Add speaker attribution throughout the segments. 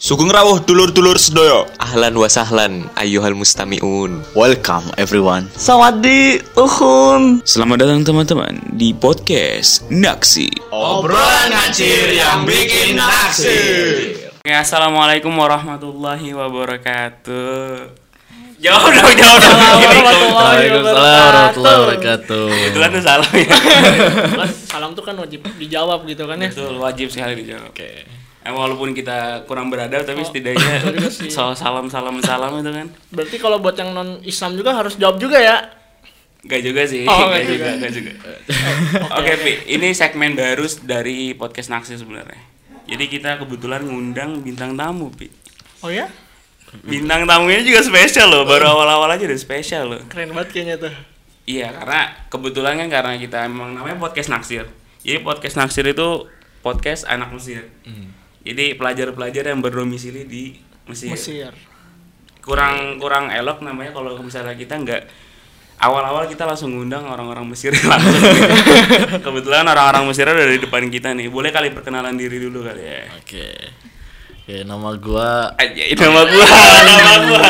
Speaker 1: Sugeng rawuh dulur-dulur sedaya.
Speaker 2: Ahlan wa sahlan ayyuhal mustami'un.
Speaker 3: Welcome everyone.
Speaker 4: Sawadee Uhun.
Speaker 5: Selamat datang teman-teman di podcast Naksi.
Speaker 1: Obrolan ngacir yang bikin naksir.
Speaker 6: Assalamualaikum warahmatullahi wabarakatuh. Jauh dong, jauh dong.
Speaker 3: Waalaikumsalam warahmatullahi wabarakatuh.
Speaker 6: Itu kan tuh salam ya.
Speaker 7: Mas, salam tuh kan wajib dijawab gitu kan ya
Speaker 6: Betul, wajib sekali dijawab. Oke. walaupun kita kurang beradab
Speaker 7: Oh,
Speaker 6: tapi setidaknya soal salam salam salam itu kan
Speaker 7: berarti kalau buat yang non Islam juga harus jawab juga ya
Speaker 6: Gak juga sih,
Speaker 7: Oh,
Speaker 6: gak
Speaker 7: nggak juga. Oh,
Speaker 6: juga, nggak juga. Oke, Pi, ini segmen baru dari podcast Naksi sebenarnya. Jadi kita kebetulan ngundang bintang tamu, Pi.
Speaker 7: oh ya
Speaker 6: Bintang tamunya juga spesial loh, baru awal-awal aja udah spesial loh.
Speaker 7: keren banget kayaknya tuh
Speaker 6: Iya, karena kebetulan kan karena kita emang namanya podcast naksir. Jadi podcast naksir itu podcast anak Mesir. Jadi pelajar-pelajar yang berdomisili di Mesir.
Speaker 7: Mesir
Speaker 6: Kurang kurang elok namanya kalau misalnya kita nggak awal-awal kita langsung ngundang orang-orang Mesir langsung. kebetulan orang-orang Mesir udah di depan kita nih. Boleh kali perkenalan diri dulu kali ya.
Speaker 3: Oke. Oke, nama gua
Speaker 6: Aja, nama Eh, gua, nama gua.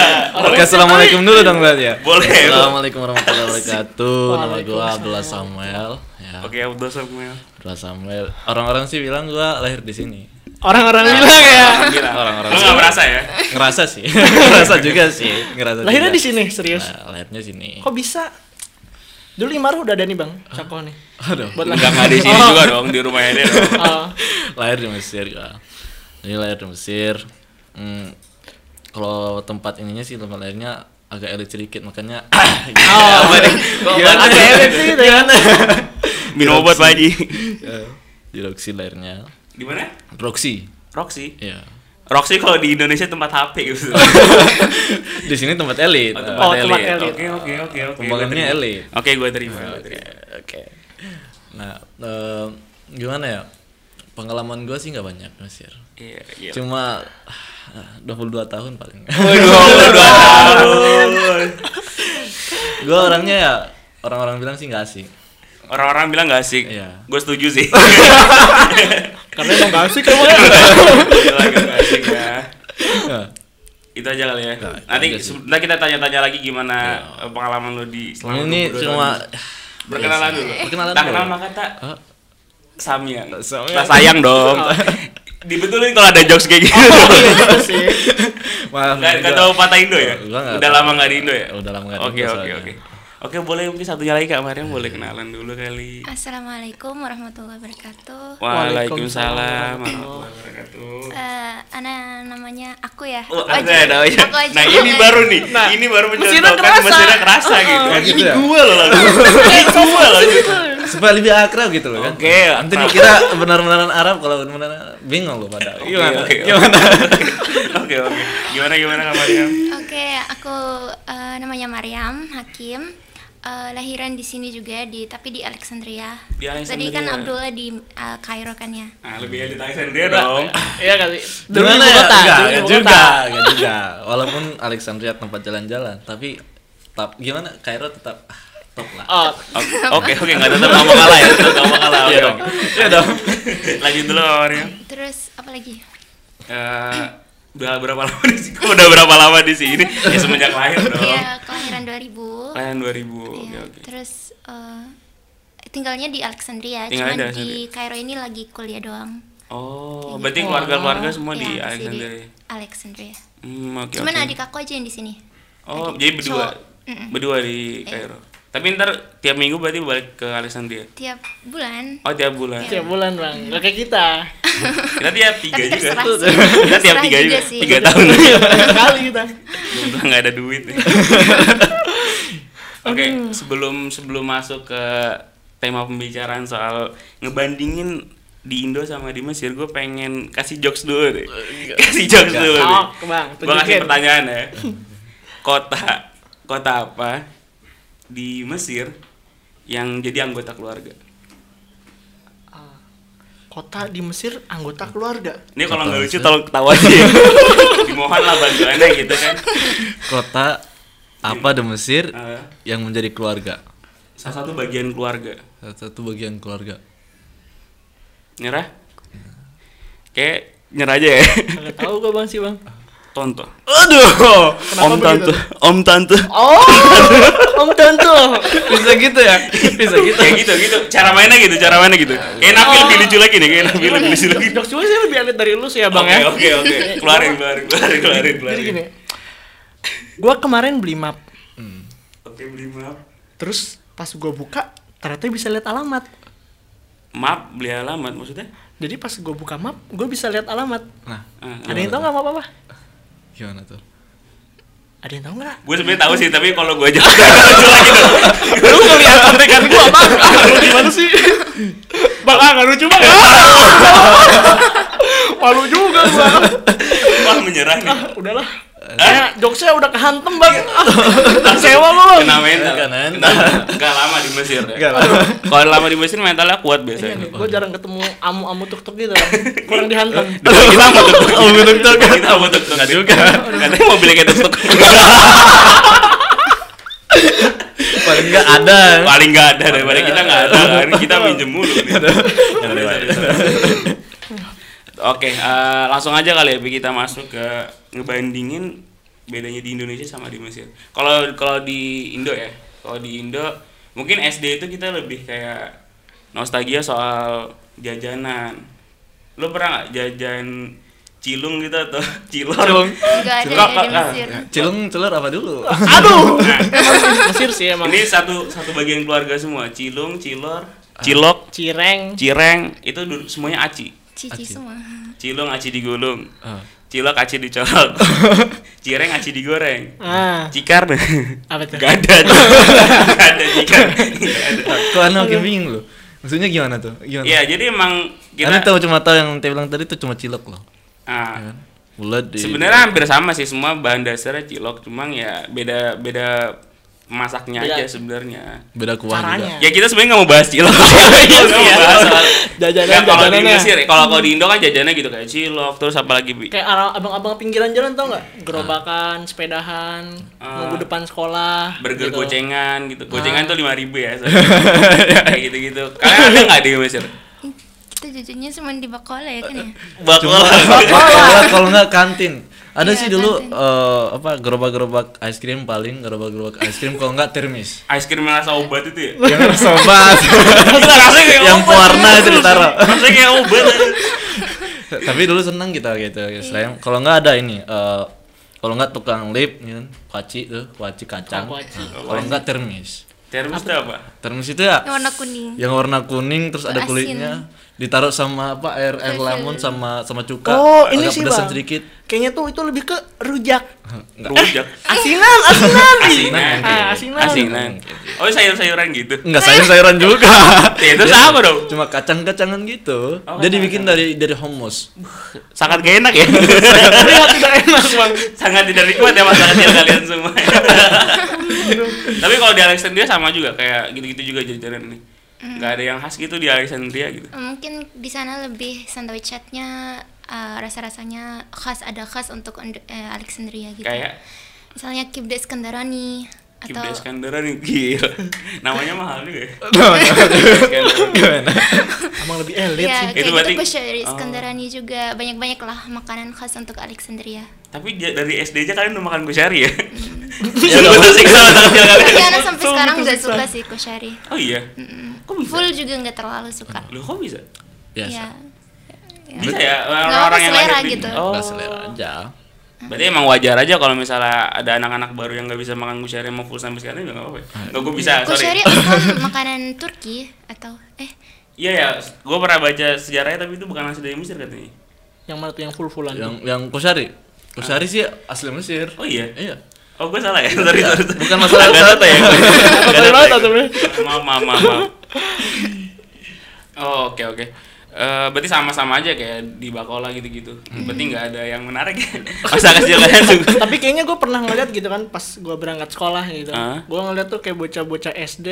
Speaker 3: Oke, assalamualaikum dulu dong berarti ya.
Speaker 6: Boleh.
Speaker 3: Assalamualaikum warahmatullahi wabarakatuh. Nama gua Abdullah Samuel. Ya,
Speaker 6: Oke, Abdul Samuel.
Speaker 3: Abdullah Samuel. Orang-orang sih bilang gua lahir di sini.
Speaker 7: orang-orang
Speaker 3: Nah,
Speaker 7: bilang ya
Speaker 6: Alhamdulillah.
Speaker 3: Orang-orang
Speaker 6: Iya. Lu nggak merasa ya?
Speaker 3: Ngerasa sih. Ngerasa juga sih. Ngerasa.
Speaker 7: lahirnya di
Speaker 3: juga.
Speaker 7: sini serius
Speaker 3: Nah, lahirnya sini.
Speaker 7: kok bisa dulu Imaru udah ada nih bang cako nih
Speaker 3: Aduh.
Speaker 7: buat
Speaker 6: Enggak enggak di sini juga dong, di rumahnya dia dong.
Speaker 7: Oh,
Speaker 3: lahir di Mesir ya jadi lahir di Mesir Hmm, kalau tempat ininya sih tempat lahirnya agak elit sedikit makanya
Speaker 7: Oh. ada elit sih gitu ya.
Speaker 6: Minum obat Pak Haji.
Speaker 3: Iya. di Roxy lahirnya
Speaker 6: Di mana?
Speaker 3: Roxy
Speaker 6: Roxy.
Speaker 3: ya
Speaker 6: Roxy kalau di Indonesia tempat HP gitu.
Speaker 3: di sini tempat elit
Speaker 6: Oh,
Speaker 7: Oh, tempat
Speaker 6: elit.
Speaker 7: elit.
Speaker 6: Oke, oke, oke, oke.
Speaker 3: Pembangunannya
Speaker 6: Gua terima.
Speaker 3: elit.
Speaker 6: Oke, gue terima. gua
Speaker 3: oke
Speaker 6: terima.
Speaker 3: oke. nah em, gimana ya pengalaman gue sih nggak banyak di Mesir
Speaker 6: Iya, iya.
Speaker 3: cuma ah, 22 tahun paling
Speaker 6: Oh,
Speaker 3: gue orangnya ya orang-orang bilang sih nggak asik
Speaker 6: Orang-orang bilang gak asik.
Speaker 3: Iya.
Speaker 6: Gue setuju sih.
Speaker 7: karena emang gak asik
Speaker 3: kan,
Speaker 7: kamu ya
Speaker 6: Gila, gak asik ya. Itu aja
Speaker 3: Nah,
Speaker 6: kali ya.
Speaker 3: itu
Speaker 6: Nanti
Speaker 3: aja sih.
Speaker 6: sebentar kita tanya-tanya lagi gimana eh, pengalaman lo di selama
Speaker 3: ini
Speaker 6: 22
Speaker 3: cuma
Speaker 6: tahun. Berkenalan dulu.
Speaker 3: Berkenalan
Speaker 6: tak
Speaker 3: dulu.
Speaker 6: kenal maka tak
Speaker 3: Hah? Oh.
Speaker 6: Samyang.
Speaker 3: Samyang.
Speaker 6: Tak sayang dong. Dibetulin kalau ada jokes kayak gitu.
Speaker 3: Oh, iya, Maaf.
Speaker 6: Gak, gak tau patah Indo ya?
Speaker 3: Gua nggak
Speaker 6: Udah
Speaker 3: tahu.
Speaker 6: lama gak di Indo ya?
Speaker 3: Udah lama nggak di
Speaker 6: Oke
Speaker 3: Indo
Speaker 6: oke
Speaker 3: soalnya. Iya.
Speaker 6: oke. Oke boleh mungkin satunya lagi Kak Mariam boleh kenalan dulu kali.
Speaker 8: Assalamualaikum warahmatullahi wabarakatuh.
Speaker 6: Oh. Waalaikumsalam
Speaker 3: Oh.
Speaker 6: warahmatullahi wabarakatuh.
Speaker 8: Eh, ana namanya aku ya.
Speaker 6: Oh,
Speaker 8: Aku
Speaker 6: ada, ada,
Speaker 8: aja.
Speaker 6: ada.
Speaker 8: Aku aja.
Speaker 6: Nah ini baru nih, ini baru mencontohkan mesinnya kerasa gitu.
Speaker 3: gitu
Speaker 6: Ini
Speaker 3: ya?
Speaker 6: gue loh, lagu.
Speaker 3: Iya,
Speaker 6: ini gue loh. gitu.
Speaker 3: Supaya lebih akrab gitu loh kan.
Speaker 6: Oke,
Speaker 3: Nanti
Speaker 6: akrab.
Speaker 3: dikira benar-benaran Arab kalau benar-benar bingung lo pada.
Speaker 7: Iya,
Speaker 3: Gimana? ya?
Speaker 6: oke, oke.
Speaker 3: Gimana?
Speaker 6: Oke oke. Gimana gimana Kak Mariam?
Speaker 8: Oke, aku eh, namanya Mariam Hakim. Eh, lahiran di sini juga di tapi di Alexandria.
Speaker 6: Di
Speaker 8: Tadi
Speaker 6: Alexandria.
Speaker 8: kan Abdullah di eh, Kairo kan ya.
Speaker 6: Nah lebih elit Alexandria dong.
Speaker 7: iya kali dulu
Speaker 3: Gimana
Speaker 7: ibu
Speaker 3: ya?
Speaker 7: kota
Speaker 3: Enggak,
Speaker 7: dulu
Speaker 3: enggak
Speaker 7: ibu
Speaker 3: juga,
Speaker 7: kota.
Speaker 3: enggak juga. Walaupun Alexandria tempat jalan-jalan, tapi tetap gimana? Kairo tetap ah, top lah.
Speaker 7: oh
Speaker 6: Oke oke nggak tetap nggak mau kalah ya, tetap nggak mau kalah. Oke oke.
Speaker 3: Iya dong.
Speaker 6: Lanjut dulu Kak Mariam.
Speaker 8: Terus apa lagi?
Speaker 6: Eh, udah berapa lama di sini? Udah berapa lama di sini? Ya semenjak lahir dong.
Speaker 8: Iya, kelahiran 2000.
Speaker 6: Lahiran 2000. Oke
Speaker 8: Iya,
Speaker 6: oke.
Speaker 8: Terus eh, tinggalnya di Alexandria,
Speaker 6: Tinggalnya di
Speaker 8: cuman di Kairo ini lagi kuliah doang.
Speaker 6: Oh,
Speaker 8: Kayak
Speaker 6: berarti
Speaker 8: gitu.
Speaker 6: keluarga-keluarga semua Oh, di
Speaker 8: Iya, pasti
Speaker 6: Alexander. ya?
Speaker 8: Alexandria.
Speaker 6: Hmm, oke
Speaker 8: Cuman
Speaker 6: oke.
Speaker 8: adik aku aja yang di sini.
Speaker 6: Oh,
Speaker 8: adik
Speaker 6: jadi berdua.
Speaker 8: cowok. Mm-mm. Iya.
Speaker 6: Berdua di Kairo. Tapi ntar tiap minggu berarti balik ke Alexandria.
Speaker 8: Tiap bulan.
Speaker 6: Oh, tiap bulan.
Speaker 7: tiap bulan bang gak kayak kita
Speaker 6: Kita tiap tiga
Speaker 8: Iya.
Speaker 6: juga.
Speaker 8: Tapi terserah sih.
Speaker 6: Kita tiap
Speaker 8: Terserah
Speaker 6: tiga
Speaker 8: juga
Speaker 6: juga.
Speaker 8: sih.
Speaker 6: Tiga tahun.
Speaker 7: kali kita
Speaker 6: Belum nggak ada duit. nih. Oke, sebelum sebelum masuk ke tema pembicaraan soal ngebandingin di Indo sama di Mesir, gue pengen kasih jokes dulu
Speaker 7: Eh,
Speaker 6: deh. Kasih jokes dulu. deh.
Speaker 7: oh bang
Speaker 6: Gue kasih
Speaker 7: tunjukin
Speaker 6: pertanyaan ya. Kota kota apa di Mesir yang jadi anggota keluarga?
Speaker 7: kota di Mesir anggota keluarga
Speaker 6: Ini kalau nggak lucu tolong ketawa aja. ya. Dimohon lah bantuannya gitu kan.
Speaker 3: Kota apa di Mesir
Speaker 6: Eh,
Speaker 3: yang menjadi keluarga?
Speaker 6: salah satu bagian keluarga.
Speaker 3: Satu bagian keluarga.
Speaker 6: Iya. Nyerah? Kayak nyerah aja ya
Speaker 7: Gak tahu gue bang sih bang.
Speaker 6: tonto
Speaker 7: Aduh.
Speaker 6: om tante om tante
Speaker 7: Oh, om tentu.
Speaker 3: bisa gitu ya bisa gitu
Speaker 6: kayak gitu gitu cara mainnya gitu cara mainnya gitu kayak Nabil lebih lucu lagi nih kayak Nabil lebih lucu lagi
Speaker 7: Jok cuma sih lebih elit dari lu sih ya Iya, bang
Speaker 6: oke
Speaker 7: ya.
Speaker 6: oke oke keluarin keluarin keluarin keluarin
Speaker 7: Jadi
Speaker 6: keluarin
Speaker 7: gini, gue kemarin beli map,
Speaker 6: oke beli map
Speaker 7: terus pas gue buka ternyata bisa lihat alamat.
Speaker 6: map beli alamat maksudnya
Speaker 7: Jadi pas gue buka map, gue bisa lihat alamat.
Speaker 3: nah
Speaker 6: Ah,
Speaker 7: Ada yang tahu nggak map apa?
Speaker 3: gimana tuh
Speaker 7: Ada yang tahu nggak?
Speaker 6: gue sebenarnya tahu sih tapi kalau gue jawab lucu lagi dong
Speaker 7: Lu ngeliat
Speaker 6: kan
Speaker 7: kontekan gue bang? ah, Lu gimana sih? Bang, ah nggak lucu banget. Malu juga bang.
Speaker 6: wah menyerah gitu.
Speaker 7: Ah,
Speaker 6: nih
Speaker 7: Udahlah. Eh, jokesnya udah kehantem bang. Ah, Kecewa gue bang.
Speaker 6: kena mental
Speaker 3: Kena mental.
Speaker 6: gak lama Iya, di Mesir ya kalau lama di Mesir mentalnya kuat biasanya
Speaker 7: Gue jarang ketemu amu-amu tuk-tuk gitu bang. Kurang dihantam.
Speaker 6: Depan kita mau tuk tuk kita mau tuk tuk juga katanya mobilnya kayak tuk tuk
Speaker 3: paling nggak ada
Speaker 6: paling nggak ada daripada kita nggak ada kan kita minjem mulu nih. oke eh, langsung aja kali ya Bi, kita masuk ke ngebandingin bedanya di Indonesia sama di Mesir kalau kalau di Indo ya kalau di Indo mungkin SD itu kita lebih kayak nostalgia soal jajanan lo pernah nggak jajan cilung gitu atau cilor
Speaker 3: Cilung.
Speaker 8: Enggak ada
Speaker 6: Cilok,
Speaker 8: dari
Speaker 6: Ah, Kak.
Speaker 8: Mesir.
Speaker 3: cilung celur apa dulu
Speaker 7: Aduh. Mesir sih Nah, emang.
Speaker 6: ini satu satu bagian keluarga semua cilung cilor cilok
Speaker 7: Cireng.
Speaker 6: Cireng itu du- semuanya aci.
Speaker 8: Cici semua.
Speaker 6: Cilung aci digulung.
Speaker 3: Ah.
Speaker 6: Cilok aci dicolok. Cireng aci digoreng.
Speaker 7: Ah,
Speaker 6: Cikar
Speaker 7: apa tuh?
Speaker 6: Gak ada. Gak ada cikar. Nggak ada.
Speaker 3: kok aneh makin bingung lu maksudnya gimana tuh gimana
Speaker 6: Ya, jadi emang
Speaker 3: Karena
Speaker 6: kita
Speaker 3: tahu cuma tahu yang teh bilang tadi itu cuma cilok loh. Iya.
Speaker 6: ah,
Speaker 3: Kan? Bulat di
Speaker 6: sebenarnya hampir sama sih semua bahan dasarnya cilok, cuma ya beda beda masaknya aja
Speaker 7: Iya.
Speaker 6: sebenarnya.
Speaker 3: beda kuah
Speaker 7: Caranya.
Speaker 6: Ya kita sebenarnya nggak mau bahas cilok. Kita nggak mau bahas soal
Speaker 7: Iya, Jajanan- ya.
Speaker 6: Nggak, kalau di
Speaker 7: jajanannya.
Speaker 6: Mesir, kalau kalau di Indo kan jajannya gitu kayak cilok, terus apa lagi Bi?
Speaker 7: Kayak arah- abang-abang pinggiran jalan tau nggak? Gerobakan, sepedahan,
Speaker 6: Ah.
Speaker 7: nunggu depan sekolah.
Speaker 6: burger
Speaker 7: gitu.
Speaker 6: gocengan gitu gocengan tuh lima ribu ya soalnya. kayak gitu gitu kalian ada nggak di Mesir
Speaker 8: Kita jujurnya cuma di Bakola
Speaker 6: Eh,
Speaker 8: ya kan ya?
Speaker 3: Oh.
Speaker 6: bakul
Speaker 3: Kalau kalau nggak kantin. Ada
Speaker 8: Iya,
Speaker 3: sih dulu
Speaker 8: kantin.
Speaker 3: eh, apa gerobak-gerobak es krim paling gerobak-gerobak es krim kalau nggak termis.
Speaker 6: ice cream yang rasa obat itu ya
Speaker 3: Yang rasa obat.
Speaker 6: rasanya kayak
Speaker 3: yang
Speaker 6: obat
Speaker 3: pewarna itu ditaruh.
Speaker 6: rasanya kayak obat kan?
Speaker 3: Tapi dulu seneng kita gitu. ya. Selain kalau nggak ada ini eh, kalau nggak tukang lip gitu, kuaci tuh, kuaci kacang.
Speaker 7: Kuaci.
Speaker 3: Nah, kalau nggak termis.
Speaker 6: terus tuh apa
Speaker 3: Termis itu ya
Speaker 8: Yang warna kuning.
Speaker 3: yang warna kuning terus ada
Speaker 8: Asin.
Speaker 3: kulitnya ditaruh sama apa air air lemon sama sama cuka
Speaker 7: Oh, ini
Speaker 3: agak
Speaker 7: sih
Speaker 3: pedesan
Speaker 7: bang.
Speaker 3: sedikit
Speaker 7: Kayaknya tuh itu lebih ke rujak.
Speaker 6: rujak
Speaker 7: Asinan, asinan.
Speaker 6: asinan
Speaker 7: Ah, asinan.
Speaker 6: asinan oh sayur-sayuran gitu
Speaker 3: Enggak sayur-sayuran juga.
Speaker 6: Ya, itu sama dong. Oh,
Speaker 3: Cuma kacang-kacangan gitu. Dia dibikin dari dari hummus.
Speaker 6: sangat gak enak ya
Speaker 7: Terlihat tidak enak bang.
Speaker 6: sangat tidak nikmat ya masa kecil kalian semua tapi kalau di Alexandria sama juga kayak gitu-gitu juga jajanan nih nggak ada yang khas gitu di Alexandria gitu
Speaker 8: Mungkin di sana lebih sandwichatnya eh, rasa-rasanya khas ada khas untuk Ond- eh, Alexandria gitu.
Speaker 6: kayak
Speaker 8: Misalnya kibda Iskandarani atau Iya,
Speaker 6: Kibda Iskandara nih gila. Namanya mahal juga. ya.
Speaker 7: Emang lebih elit sih.
Speaker 8: ya kayak
Speaker 6: Itu
Speaker 8: gitu
Speaker 6: berarti-
Speaker 8: Basyair Iskandarani juga banyak-banyak lah makanan khas untuk Alexandria.
Speaker 6: Tapi dia- dari SD aja kalian udah makan kusyari ya. ya gue tersiksa masa kecil kalian.
Speaker 8: Tapi Ana sampai sekarang nggak suka sih kushari.
Speaker 6: Oh iya. Kok bisa?
Speaker 8: Full juga nggak terlalu suka.
Speaker 6: Loh kok bisa? Iya,
Speaker 3: Biasa.
Speaker 8: Ya.
Speaker 6: Bisa ya
Speaker 8: Nggak apa
Speaker 6: orang-orang yang
Speaker 8: selera
Speaker 6: lahir di-
Speaker 8: gitu.
Speaker 6: Oh.
Speaker 3: Nggak selera aja.
Speaker 6: Berarti emang wajar aja kalau misalnya ada anak-anak baru yang nggak bisa makan kusyari mau full sampai sekarang juga nggak apa-apa. ya? Nggak gue bisa, sorry.
Speaker 8: Kushari asal oh, makanan Turki atau eh
Speaker 6: Iya ya, gue pernah baca sejarahnya tapi itu bukan asli dari Mesir katanya.
Speaker 7: Yang mana tuh yang full fullan?
Speaker 3: Yang yang kusyari. Kusyari sih asli Mesir.
Speaker 6: Ah. Oh iya.
Speaker 3: Iya.
Speaker 6: Oh gue salah ya, sorry sorry. sorry.
Speaker 3: Bukan masalah
Speaker 6: Nggak
Speaker 3: usaha.
Speaker 6: tahu ya. gua. Nggak
Speaker 7: Sorry
Speaker 6: tahu
Speaker 7: banget
Speaker 6: ya.
Speaker 7: atau bener?
Speaker 6: maaf maaf maaf, maaf. Oh, oke oke Eh, berarti sama-sama aja kayak di bakola gitu-gitu berarti nggak ada yang menarik ya masa kecil kalian juga
Speaker 7: tapi kayaknya gue pernah ngeliat gitu kan pas gue berangkat sekolah gitu
Speaker 6: Ah.
Speaker 7: gue ngeliat tuh kayak bocah-bocah SD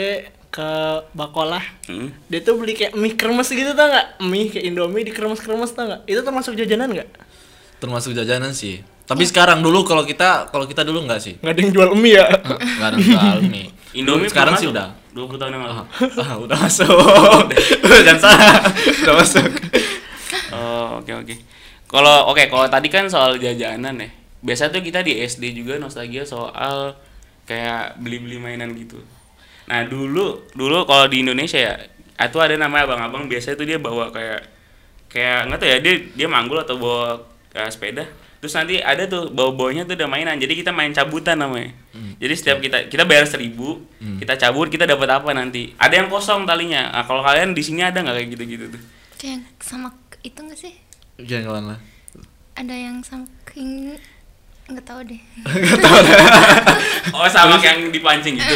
Speaker 7: ke bakolah
Speaker 6: Hmm.
Speaker 7: dia tuh beli kayak mie kremes gitu tau nggak mie kayak indomie dikremes-kremes tau nggak itu termasuk jajanan nggak
Speaker 3: Termasuk jajanan sih. Tapi sekarang dulu kalau kita kalau kita dulu nggak sih.
Speaker 7: nggak ada yang jual mie ya
Speaker 3: Sekarang sekali
Speaker 6: Indomie
Speaker 3: sekarang
Speaker 6: belum
Speaker 3: sih
Speaker 6: masuk.
Speaker 3: udah.
Speaker 6: 20 tahun yang lalu
Speaker 3: Ah, udah masuk. Jangan salah. Udah masuk.
Speaker 6: Oh, oke oke Kalau oke, kalau tadi kan soal jajanan ya. Biasa tuh kita di SD juga nostalgia soal kayak beli-beli mainan gitu. Nah, dulu dulu kalau di Indonesia ya, itu ada namanya abang-abang biasanya tuh dia bawa kayak kayak nggak tahu ya dia dia manggul atau bawa eh, sepeda. Terus nanti ada tuh bawa-bawanya tuh ada mainan. Jadi kita main cabutan namanya. Jadi setiap kita kita bayar seribu, kita cabut, kita dapat apa nanti? Ada yang kosong talinya. Nah, kalau kalian di sini ada nggak kayak gitu-gitu tuh?
Speaker 8: Itu yang sama itu nggak sih?
Speaker 3: Jangan lah.
Speaker 8: Ada yang sama king nggak tahu deh.
Speaker 6: Oh sama yang dipancing gitu.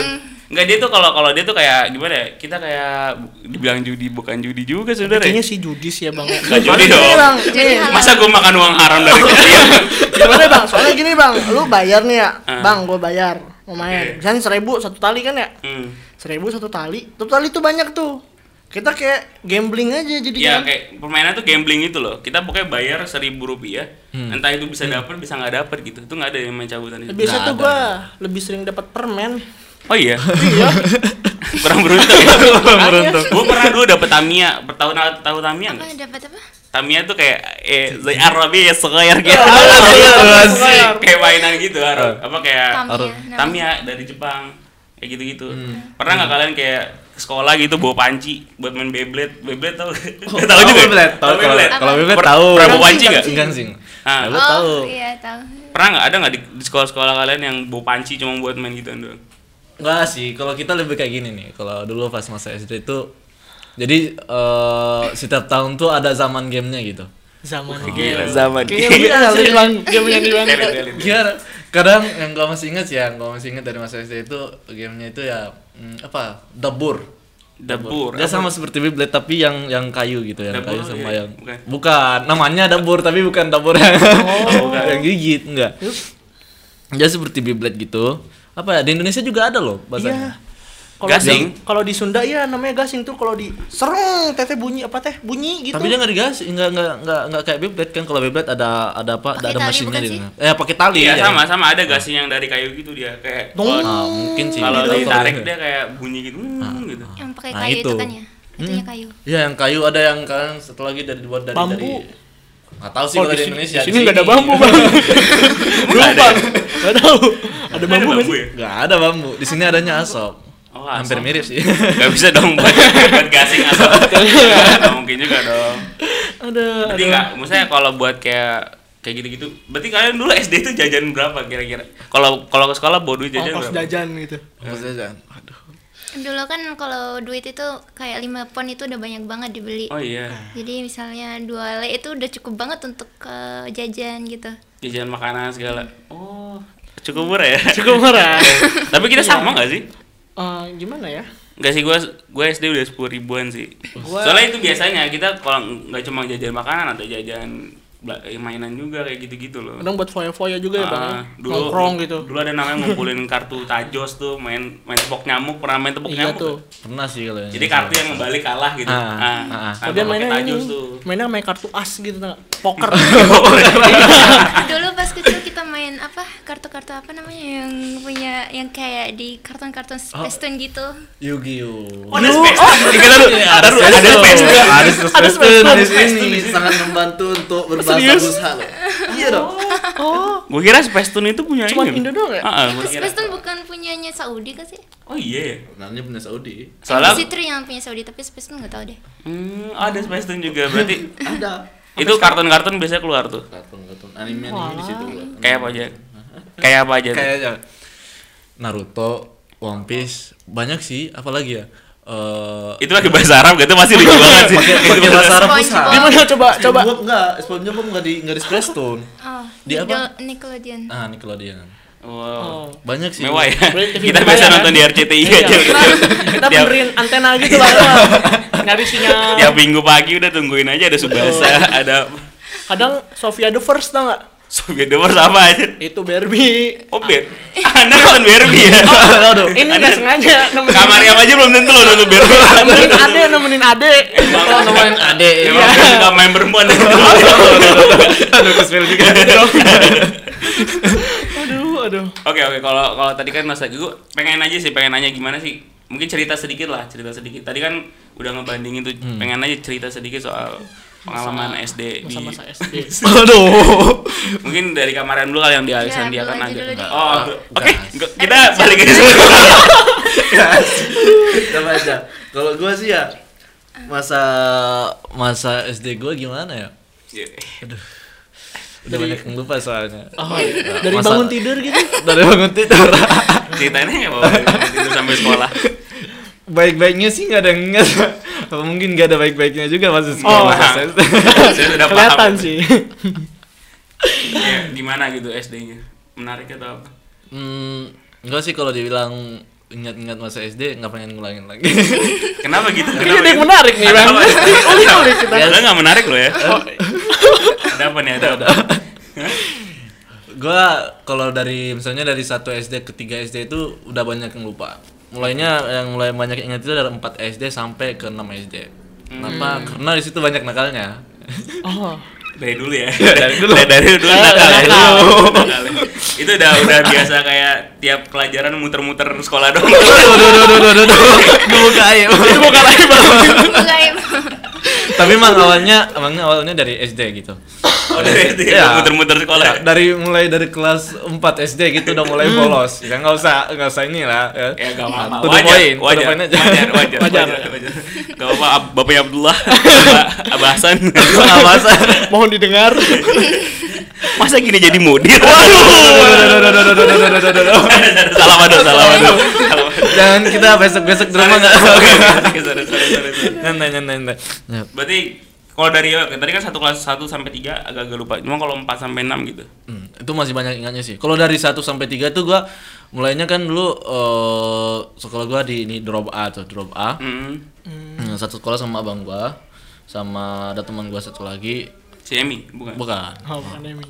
Speaker 6: Enggak dia tuh kalau kalau dia tuh kayak gimana ya? Kita kayak bu- dibilang judi bukan judi juga saudara.
Speaker 7: Kayaknya
Speaker 6: ya?
Speaker 7: si judi sih ya bang.
Speaker 6: Nggak judi
Speaker 7: Soalnya gini,
Speaker 6: dong.
Speaker 7: Bang.
Speaker 8: Judi
Speaker 7: Nih,
Speaker 8: halal.
Speaker 6: Masa gue makan uang haram dari kalian?
Speaker 7: Gimana bang? Soalnya gini bang, lu bayar nih ya,
Speaker 6: Ah.
Speaker 7: bang, gue bayar mau main.
Speaker 6: Oke.
Speaker 7: Misalnya seribu satu tali kan ya,
Speaker 6: Hmm.
Speaker 7: seribu satu tali, satu tali tuh banyak tuh. Kita kayak gambling aja jadi
Speaker 6: Ya
Speaker 7: kan?
Speaker 6: kayak permainan tuh gambling itu loh. Kita pokoknya bayar seribu rupiah.
Speaker 7: Hmm.
Speaker 6: Entah itu bisa dapat bisa nggak dapat gitu. Itu nggak ada yang main cabutan itu.
Speaker 7: Biasa
Speaker 3: Nggak
Speaker 7: tuh
Speaker 3: ada.
Speaker 7: gue lebih sering dapat permen.
Speaker 6: Oh iya. Kurang beruntung. Ya? Kurang
Speaker 7: beruntung.
Speaker 6: Gue pernah dulu dapet Tamiya. Tahu tahu Tamiya
Speaker 8: Apa
Speaker 6: nggak?
Speaker 8: dapat apa?
Speaker 6: Tamiya tuh kayak eh zai arabi ya sekoyer gitu. Kayak mainan gitu Arab.
Speaker 3: Iya.
Speaker 6: Apa kayak
Speaker 8: Tamiya, nama.
Speaker 6: Tamiya dari Jepang. Kayak gitu-gitu.
Speaker 3: Hmm.
Speaker 6: Pernah nggak kalian kayak ke sekolah gitu bawa panci buat main Beyblade? Beyblade tau nggak? Eh, tahu juga.
Speaker 3: Oh, Beyblade, tahu kalau kalau
Speaker 8: Apa?
Speaker 3: Beyblade
Speaker 6: Per-
Speaker 3: tahu.
Speaker 6: pernah bawa panci nggak?
Speaker 3: Gansing.
Speaker 6: Ah.
Speaker 3: Lu tahu.
Speaker 8: Oh iya tahu.
Speaker 6: Pernah nggak ada nggak di, di sekolah-sekolah kalian yang bawa panci cuma buat main gituan doang?
Speaker 3: Enggak sih, kalau kita lebih kayak gini nih. Kalau dulu pas masa SD itu jadi eh, setiap tahun tuh ada zaman gamenya gitu.
Speaker 7: Zaman.
Speaker 6: Gila.
Speaker 5: Zaman.
Speaker 7: Kayaknya ada sih bang, gamenya di bang.
Speaker 6: Elit, elit.
Speaker 3: Iya, kadang yang gua masih inget sih, yang gua masih inget dari masa SD itu gamenya itu ya hmm, apa? Debur.
Speaker 6: Dapur.
Speaker 3: Ya sama seperti Beyblade tapi yang yang kayu gitu, yang
Speaker 6: Debur,
Speaker 3: kayu sama
Speaker 6: iya,
Speaker 3: yang
Speaker 6: bukan.
Speaker 3: bukan. namanya debur tapi bukan debur yang,
Speaker 6: Oh,
Speaker 3: yang gigit, enggak. Ya seperti Beyblade gitu. Apa ya, di Indonesia juga ada loh
Speaker 7: Iya,
Speaker 3: bahasanya.
Speaker 7: Kalau
Speaker 6: Gasing.
Speaker 7: di- Kalau di Sunda ya namanya gasing tuh kalau di serung teteh bunyi apa teh bunyi gitu.
Speaker 3: Tapi dia nggak digas, nggak nggak nggak nggak kayak Beyblade kan kalau Beyblade ada ada apa?
Speaker 8: Pakai
Speaker 3: ada
Speaker 8: tali
Speaker 3: mesinnya
Speaker 8: bukan
Speaker 3: di
Speaker 8: sih?
Speaker 3: sana. Eh pakai tali
Speaker 6: Iya
Speaker 3: ya.
Speaker 6: sama sama ada gak sih yang dari kayu gitu dia kayak
Speaker 7: Dong.
Speaker 3: Ah, mungkin sih.
Speaker 6: kalau
Speaker 3: Gitu.
Speaker 6: ditarik dia kayak bunyi gitu
Speaker 3: Ah.
Speaker 6: hmm, gitu.
Speaker 8: Yang pakai
Speaker 3: Nah,
Speaker 8: kayu itu,
Speaker 3: itu.
Speaker 8: kan ya? Itunya kayu.
Speaker 3: Iya yang kayu ada yang kan satu lagi dari buat dari
Speaker 7: Bambu. Oh,
Speaker 3: dari nggak tahu sih kalau di Indonesia.
Speaker 7: Di sini nggak ada bambu bang. Belum bang. Nggak tahu. Ada bambu nggak sih?
Speaker 6: ya?
Speaker 3: Nggak ada bambu. Di sini adanya asap.
Speaker 6: Oh,
Speaker 3: Hampir
Speaker 6: asap.
Speaker 3: mirip sih.
Speaker 6: Gak bisa dong Kan buat, buat gasing asal Gak mungkin juga dong
Speaker 7: Ada.
Speaker 6: Berarti gak, maksudnya kalau buat kayak kayak gitu-gitu Berarti kalian dulu SD itu jajan berapa kira-kira? Kalau kalau ke sekolah bawa duit jajan
Speaker 7: Ongkos
Speaker 6: berapa?
Speaker 7: jajan gitu.
Speaker 3: Maksudnya
Speaker 8: Dulu kan kalau duit itu kayak 5 pon itu udah banyak banget dibeli.
Speaker 6: Oh iya,
Speaker 8: Jadi misalnya dua le itu udah cukup banget untuk eh, jajan gitu.
Speaker 6: jajan makanan segala Oh, cukup murah ya?
Speaker 7: Cukup murah.
Speaker 6: Tapi kita
Speaker 7: Iya.
Speaker 6: sama gak sih?
Speaker 7: Eh, gimana ya?
Speaker 6: Enggak sih gua gua SD udah sepuluh ribuan sih. Soalnya itu biasanya kita kalau nggak cuma jajan makanan ada jajan bela- eh, mainan juga kayak gitu-gitu loh.
Speaker 7: Kadang buat foya-foya juga ya bang. ya?
Speaker 6: Ah,
Speaker 7: Nongkrong gitu.
Speaker 6: Dulu ada namanya ngumpulin kartu tajos tuh main main tepok nyamuk, pernah main tepok
Speaker 7: Iya
Speaker 6: nyamuk.
Speaker 7: tuh.
Speaker 3: pernah sih kalau yang
Speaker 6: Jadi kartu yang ngebalik kalah gitu.
Speaker 3: Ah,
Speaker 6: Ah,
Speaker 3: ah, ah.
Speaker 6: kartu
Speaker 7: Dia
Speaker 6: pakai
Speaker 7: mainnya ini.
Speaker 6: tajos tuh.
Speaker 7: Mainnya main kartu as gitu tau nggak? Poker.
Speaker 8: Dulu pas kecil kita main apa? Kartu-kartu apa namanya yang punya yang kayak di karton-karton Spacetoon gitu.
Speaker 3: Yu-Gi-Oh.
Speaker 6: Oh, ada space. Kita dulu ada
Speaker 3: Harus
Speaker 6: ada space juga.
Speaker 3: Ada
Speaker 7: Ada
Speaker 3: Spacetoon
Speaker 7: Spacetoon.
Speaker 3: di sini sangat membantu untuk berbahasa Nusa loh. Iya dong.
Speaker 7: Oh,
Speaker 6: Gua kira space tune itu punya
Speaker 7: Cuman
Speaker 6: ini.
Speaker 7: Indo doang ya?
Speaker 6: Ah, ah, gua
Speaker 8: Itu
Speaker 6: kira.
Speaker 8: Spacetoon bukan punyanya Saudi kan sih?
Speaker 6: Oh iya.
Speaker 3: Namanya punya Saudi.
Speaker 6: Soalnya
Speaker 8: Sitri yang punya Saudi tapi Spacetoon nggak tahu deh.
Speaker 6: hmm, oh, ada space tune juga berarti.
Speaker 3: Ada.
Speaker 6: itu kartun-kartun biasanya keluar tuh.
Speaker 3: Kartun-kartun anime anime di situ.
Speaker 6: Kayak apa aja? Kayak apa aja? tuh?
Speaker 3: Kayaknya Naruto, One Piece, banyak sih, apalagi ya. Eh
Speaker 6: Itu lagi bahasa Arab gitu masih lucu banget sih.
Speaker 3: pakai bahasa Arab
Speaker 8: SpongeBob.
Speaker 3: pusat.
Speaker 7: gimana coba coba
Speaker 3: SpongeBob enggak, SpongeBob enggak di enggak di Splatoon.
Speaker 8: Oh,
Speaker 3: Di apa?
Speaker 8: Nickel- Nickelodeon.
Speaker 3: Ah, Nickelodeon.
Speaker 7: Oh.
Speaker 6: Wow.
Speaker 3: Banyak sih.
Speaker 6: Mewah ya.
Speaker 7: Berarti
Speaker 6: Kita
Speaker 7: TV
Speaker 6: biasa
Speaker 7: bayar.
Speaker 6: nonton di RCTI
Speaker 7: kan? Iya.
Speaker 6: aja.
Speaker 7: Kita, kita
Speaker 6: Tiap-
Speaker 7: benerin antena gitu lah nyari sinyal
Speaker 6: Tiap minggu pagi udah tungguin aja ada Subasa,
Speaker 8: Oh.
Speaker 6: ada
Speaker 7: kadang Sofia the First tau nggak
Speaker 6: Soviet Dover sama aja.
Speaker 7: itu Barbie
Speaker 6: Oh, Ber.
Speaker 8: Ah.
Speaker 6: Anda nonton Barbie ya?
Speaker 8: Oh.
Speaker 3: Aduh.
Speaker 7: ini nggak sengaja nemenin
Speaker 6: Kamar yang aja belum tentu loh nonton Barbie.
Speaker 7: nemenin ade nemenin ade
Speaker 6: Emang
Speaker 3: Teman adek.
Speaker 6: Ya, emang
Speaker 8: Iya.
Speaker 6: dia suka main perempuan.
Speaker 3: Aduh, kesel juga.
Speaker 7: aduh aduh
Speaker 6: Oke oke kalau kalau tadi kan masa gue pengen aja sih pengen nanya gimana sih mungkin cerita sedikit lah cerita sedikit tadi kan udah ngebandingin tuh pengen aja cerita sedikit soal pengalaman SD di
Speaker 7: masa-masa SD
Speaker 3: Aduh.
Speaker 6: mungkin dari kamaran dulu kali yang di Alisan dia
Speaker 8: Bella
Speaker 6: kan
Speaker 8: aja
Speaker 6: agak
Speaker 8: Iya, dulu deh.
Speaker 6: oh oke
Speaker 3: Gas.
Speaker 6: Nggak, kita balik ke sini
Speaker 9: Coba aja. Kalau gue sih ya masa
Speaker 3: Masa SD gue gimana ya?
Speaker 6: Iya.
Speaker 3: Udah banyak yang lupa soalnya.
Speaker 7: oh, dari
Speaker 3: Masa-
Speaker 7: bangun tidur gitu
Speaker 3: Dari bangun tidur.
Speaker 6: ceritanya nggak apa-apa tidur sampai sekolah
Speaker 3: Baik-baiknya sih nggak ada nggak ada- mungkin nggak ada baik-baiknya juga masa sekolah.
Speaker 6: paham.
Speaker 3: Masa-
Speaker 6: saya sudah
Speaker 7: kelihatan
Speaker 6: paham
Speaker 7: sih
Speaker 6: Iya, gimana gitu SD-nya menarik atau apa
Speaker 3: Hmm, enggak sih kalau dibilang ingat-ingat masa SD nggak pengen ngulangin lagi.
Speaker 6: kenapa gitu
Speaker 7: ini
Speaker 6: kenapa
Speaker 7: ada yang
Speaker 6: gitu?
Speaker 7: menarik nih bang ulik-ulik kita
Speaker 6: Padahal nggak menarik loh ya
Speaker 7: Oh.
Speaker 6: ada apa nih ada apa
Speaker 3: gua kalau dari misalnya dari satu SD ke 3 SD itu udah banyak yang lupa. Mulainya yang mulai banyak yang ingat itu dari 4 SD sampai ke 6 SD. Kenapa?
Speaker 6: Hmm.
Speaker 3: Karena di situ banyak nakalnya.
Speaker 7: oh
Speaker 6: dari dulu ya
Speaker 7: Iya,
Speaker 3: dari dulu.
Speaker 6: dari dulu nakal ya.
Speaker 3: nakal.
Speaker 6: Nakal ya. itu udah udah biasa kayak tiap pelajaran muter-muter sekolah dong
Speaker 3: Aduh, aduh, aduh, aduh, aduh. Gua buka aib.
Speaker 8: Enggak, emang.
Speaker 3: Tapi emang awalnya emangnya awalnya dari SD gitu.
Speaker 6: oh dari SD
Speaker 3: Iya.
Speaker 6: muter-muter Hmm. sekolah ya?
Speaker 3: Da- dari mulai dari kelas 4 SD gitu udah mulai bolos. Ya enggak usah enggak usah inilah ya.
Speaker 6: ya gak apa-apa
Speaker 3: To the
Speaker 6: wajar,
Speaker 3: point, to the
Speaker 6: wajar,
Speaker 3: point aja.
Speaker 6: wajar, wajar, wajar,
Speaker 3: Wajar.
Speaker 6: wajar. Gak apa-apa, Ab- Bapaknya Abdullah, Abah- Abah Hasan
Speaker 7: mohon didengar
Speaker 6: Masa gini jadi mudir?
Speaker 3: Waduh.
Speaker 6: salam aduh, salam aduh Salam aduh.
Speaker 3: Jangan kita besok-besok di rumah enggak.
Speaker 6: Sorry, sorry, sorry, sorry, sorry, sorry.
Speaker 3: Nyantai nyantai nyantai. Ya.
Speaker 6: Berarti kalau dari tadi kan satu kelas 1 sampai 3 agak-agak lupa. Cuma kalau 4 sampai 6 gitu.
Speaker 3: Hmm, itu masih banyak ingatnya sih. Kalau dari 1 sampai 3 tuh gua mulainya kan dulu eh sekolah gua di ini drop A tuh, drop A.
Speaker 6: Hmm.
Speaker 3: Hmm, Satu sekolah sama abang gua sama ada teman gua satu lagi
Speaker 6: Si Emi, bukan?
Speaker 3: bukan
Speaker 7: oh pandemi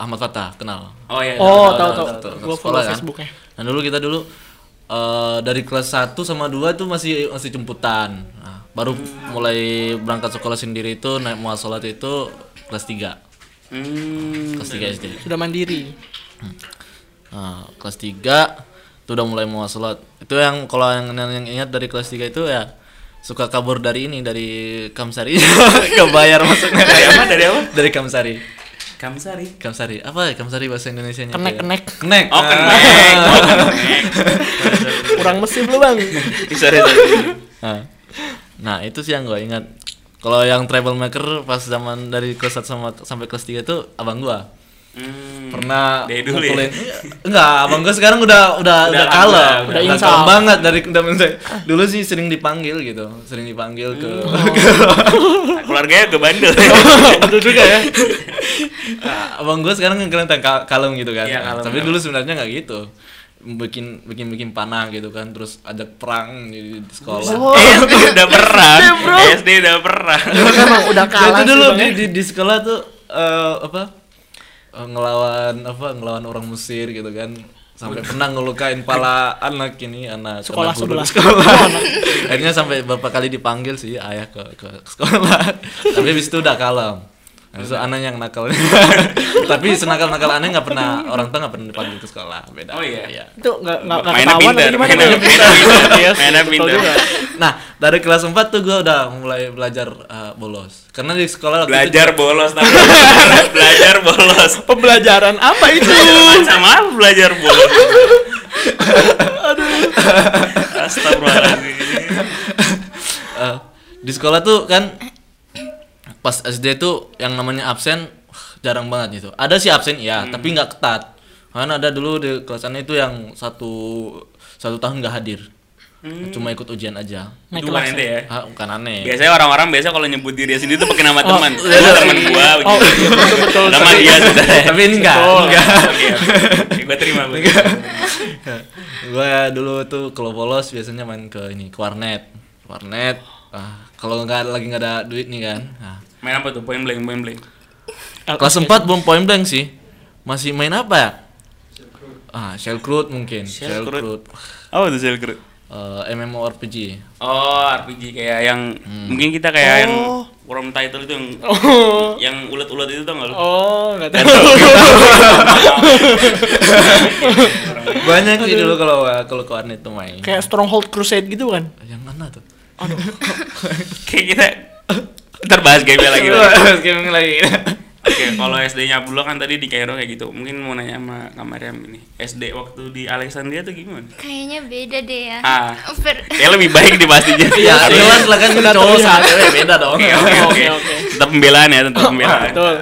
Speaker 3: Ahmad Fatah, kenal.
Speaker 6: Oh iya.
Speaker 3: Ada-
Speaker 7: oh tahu
Speaker 3: ada-
Speaker 7: tahu
Speaker 3: ada- ada
Speaker 7: gua follow
Speaker 3: sekolah kan.
Speaker 7: Facebooknya
Speaker 3: Nah, dulu kita dulu eh, dari kelas 1 sama 2 tuh masih masih jemputan. Nah, baru mulai berangkat sekolah sendiri itu naik muas sholat itu kelas 3.
Speaker 6: Hmm.
Speaker 3: Kelas 3 SD.
Speaker 7: sudah mandiri
Speaker 3: Nah, kelas 3 itu udah mulai muas sholat. Itu yang kalau yang, yang, yang ingat dari kelas 3 itu ya suka kabur dari ini dari Kamsari kebayar maksudnya
Speaker 6: Dari apa? Dari apa?
Speaker 3: dari Kamsari
Speaker 6: Kamsari.
Speaker 3: Kamsari apa ya Kamsari bahasa Indonesia nya
Speaker 7: kenek kenek
Speaker 3: kenek
Speaker 6: Oh,
Speaker 3: Ah.
Speaker 6: kenek. Oh, kenek.
Speaker 7: kurang mesin lu bang
Speaker 6: Sorry, sorry.
Speaker 3: Nah, Nah, itu sih yang gue ingat. Kalau yang travel maker pas zaman dari kelas 1 sama sampai kelas 3 tuh abang gua
Speaker 6: Hmm.
Speaker 3: pernah
Speaker 6: Dari dulu ya?
Speaker 3: mukulin- enggak abang gua sekarang udah udah
Speaker 6: Udah
Speaker 3: udah
Speaker 6: lama,
Speaker 3: kalem
Speaker 6: udah-
Speaker 3: udah,
Speaker 7: udah insaf.
Speaker 3: kalem banget dari udah men- dulu sih sering dipanggil gitu sering dipanggil ke,
Speaker 6: Hmm. Keluarganya ke bandel.
Speaker 3: betul juga ya Nah, abang gua sekarang kelihatan kal- kalem gitu kan
Speaker 6: Iya, kalem,
Speaker 3: tapi
Speaker 6: kalem.
Speaker 3: dulu sebenarnya nggak gitu bikin bikin bikin panah gitu kan terus ajak perang di, di sekolah
Speaker 7: Oh,
Speaker 6: SD Eh, udah pernah.
Speaker 7: iya,
Speaker 6: SD udah pernah.
Speaker 7: emang udah
Speaker 3: Nah,
Speaker 7: kalah
Speaker 3: itu
Speaker 7: sih,
Speaker 3: dulu
Speaker 7: Bang,
Speaker 3: di,
Speaker 7: ya.
Speaker 3: di, di sekolah tuh eh, apa eh, ngelawan apa ngelawan orang Mesir gitu kan sampai pernah ngelukain pala anak ini anak
Speaker 7: Sekolah
Speaker 3: anak guru
Speaker 7: sebelah.
Speaker 3: di sekolah akhirnya sampai beberapa kali dipanggil sih ayah ke ke ke sekolah tapi habis itu udah kalem Habis itu anak yang nakal tapi senakal nakal aneh nggak pernah orang tua nggak pernah dipanggil ke sekolah beda
Speaker 6: Oh, iya?
Speaker 7: itu nggak nggak nggak
Speaker 6: Mainnya
Speaker 7: ketahuan
Speaker 6: pinter.
Speaker 7: atau gimana
Speaker 6: Mainnya
Speaker 7: Bang?
Speaker 6: pinter.
Speaker 7: Iya,
Speaker 6: Mainnya
Speaker 7: betul
Speaker 6: pinter.
Speaker 7: juga.
Speaker 3: nah dari kelas 4 tuh gue udah mulai belajar eh, bolos karena di sekolah waktu itu-
Speaker 6: Belajar bolos tapi belajar bolos.
Speaker 7: pembelajaran apa itu
Speaker 6: Belajar sama apa belajar bolos. Aduh. Astagfirullahaladzim.
Speaker 3: Eh, di sekolah tuh kan pas SD tuh yang namanya absen wah, jarang banget gitu. Ada sih absen ya, tapi nggak ketat. Karena ada dulu di kelasannya itu yang satu satu tahun nggak hadir, cuma ikut ujian aja.
Speaker 6: Itu bukan ente ya.
Speaker 3: Ah, bukan aneh.
Speaker 6: Biasanya orang-orang biasa kalau nyebut diri sendiri tuh pakai nama teman.
Speaker 3: iya,
Speaker 6: Lu
Speaker 3: iya.
Speaker 6: teman gua
Speaker 7: oh
Speaker 6: begitu.
Speaker 7: betul betul
Speaker 6: Nama dia sudah.
Speaker 3: tapi ini enggak, enggak.
Speaker 6: Oke, oke. Gua terima gua.
Speaker 3: gue dulu tuh kalau bolos biasanya main ke ini ke warnet, warnet. Ah, kalau nggak lagi nggak ada duit nih kan. Ah,
Speaker 6: Main apa tuh? Point blank, point blank.
Speaker 3: Kelas 4 belum point blank sih. Masih main apa ya? Ah, Shellcroot mungkin. Shellcroot.
Speaker 6: Apa tuh sel group?
Speaker 3: Eh, MMORPG.
Speaker 6: Oh, RPG kayak yang
Speaker 3: Hmm.
Speaker 6: mungkin kita kayak yang worm title itu yang yang ulet-ulet itu tau nggak lu?
Speaker 7: oh nggak tahu
Speaker 3: Banyak sih dulu kalau kalau ke warnet tuh main.
Speaker 7: kayak stronghold crusade gitu kan
Speaker 3: Yang mana tuh?
Speaker 6: kayak kita Ntar bahas game lagi. Oke,
Speaker 7: Gaming lagi.
Speaker 6: kalau SD-nya Abdullah kan tadi di Kairo kayak gitu. Mungkin mau nanya sama Kamariam ini. SD waktu di Alexandria tuh gimana?
Speaker 8: Kayaknya beda deh ya.
Speaker 6: Ah.
Speaker 8: Per-
Speaker 6: Ya lebih baik dibahas di Jakarta.
Speaker 3: Iya, jelas lah kan cowok sama cewek beda dong.
Speaker 6: Oke, oke, oke. Tetap pembelaan ya, tetap pembelaan.
Speaker 7: Betul.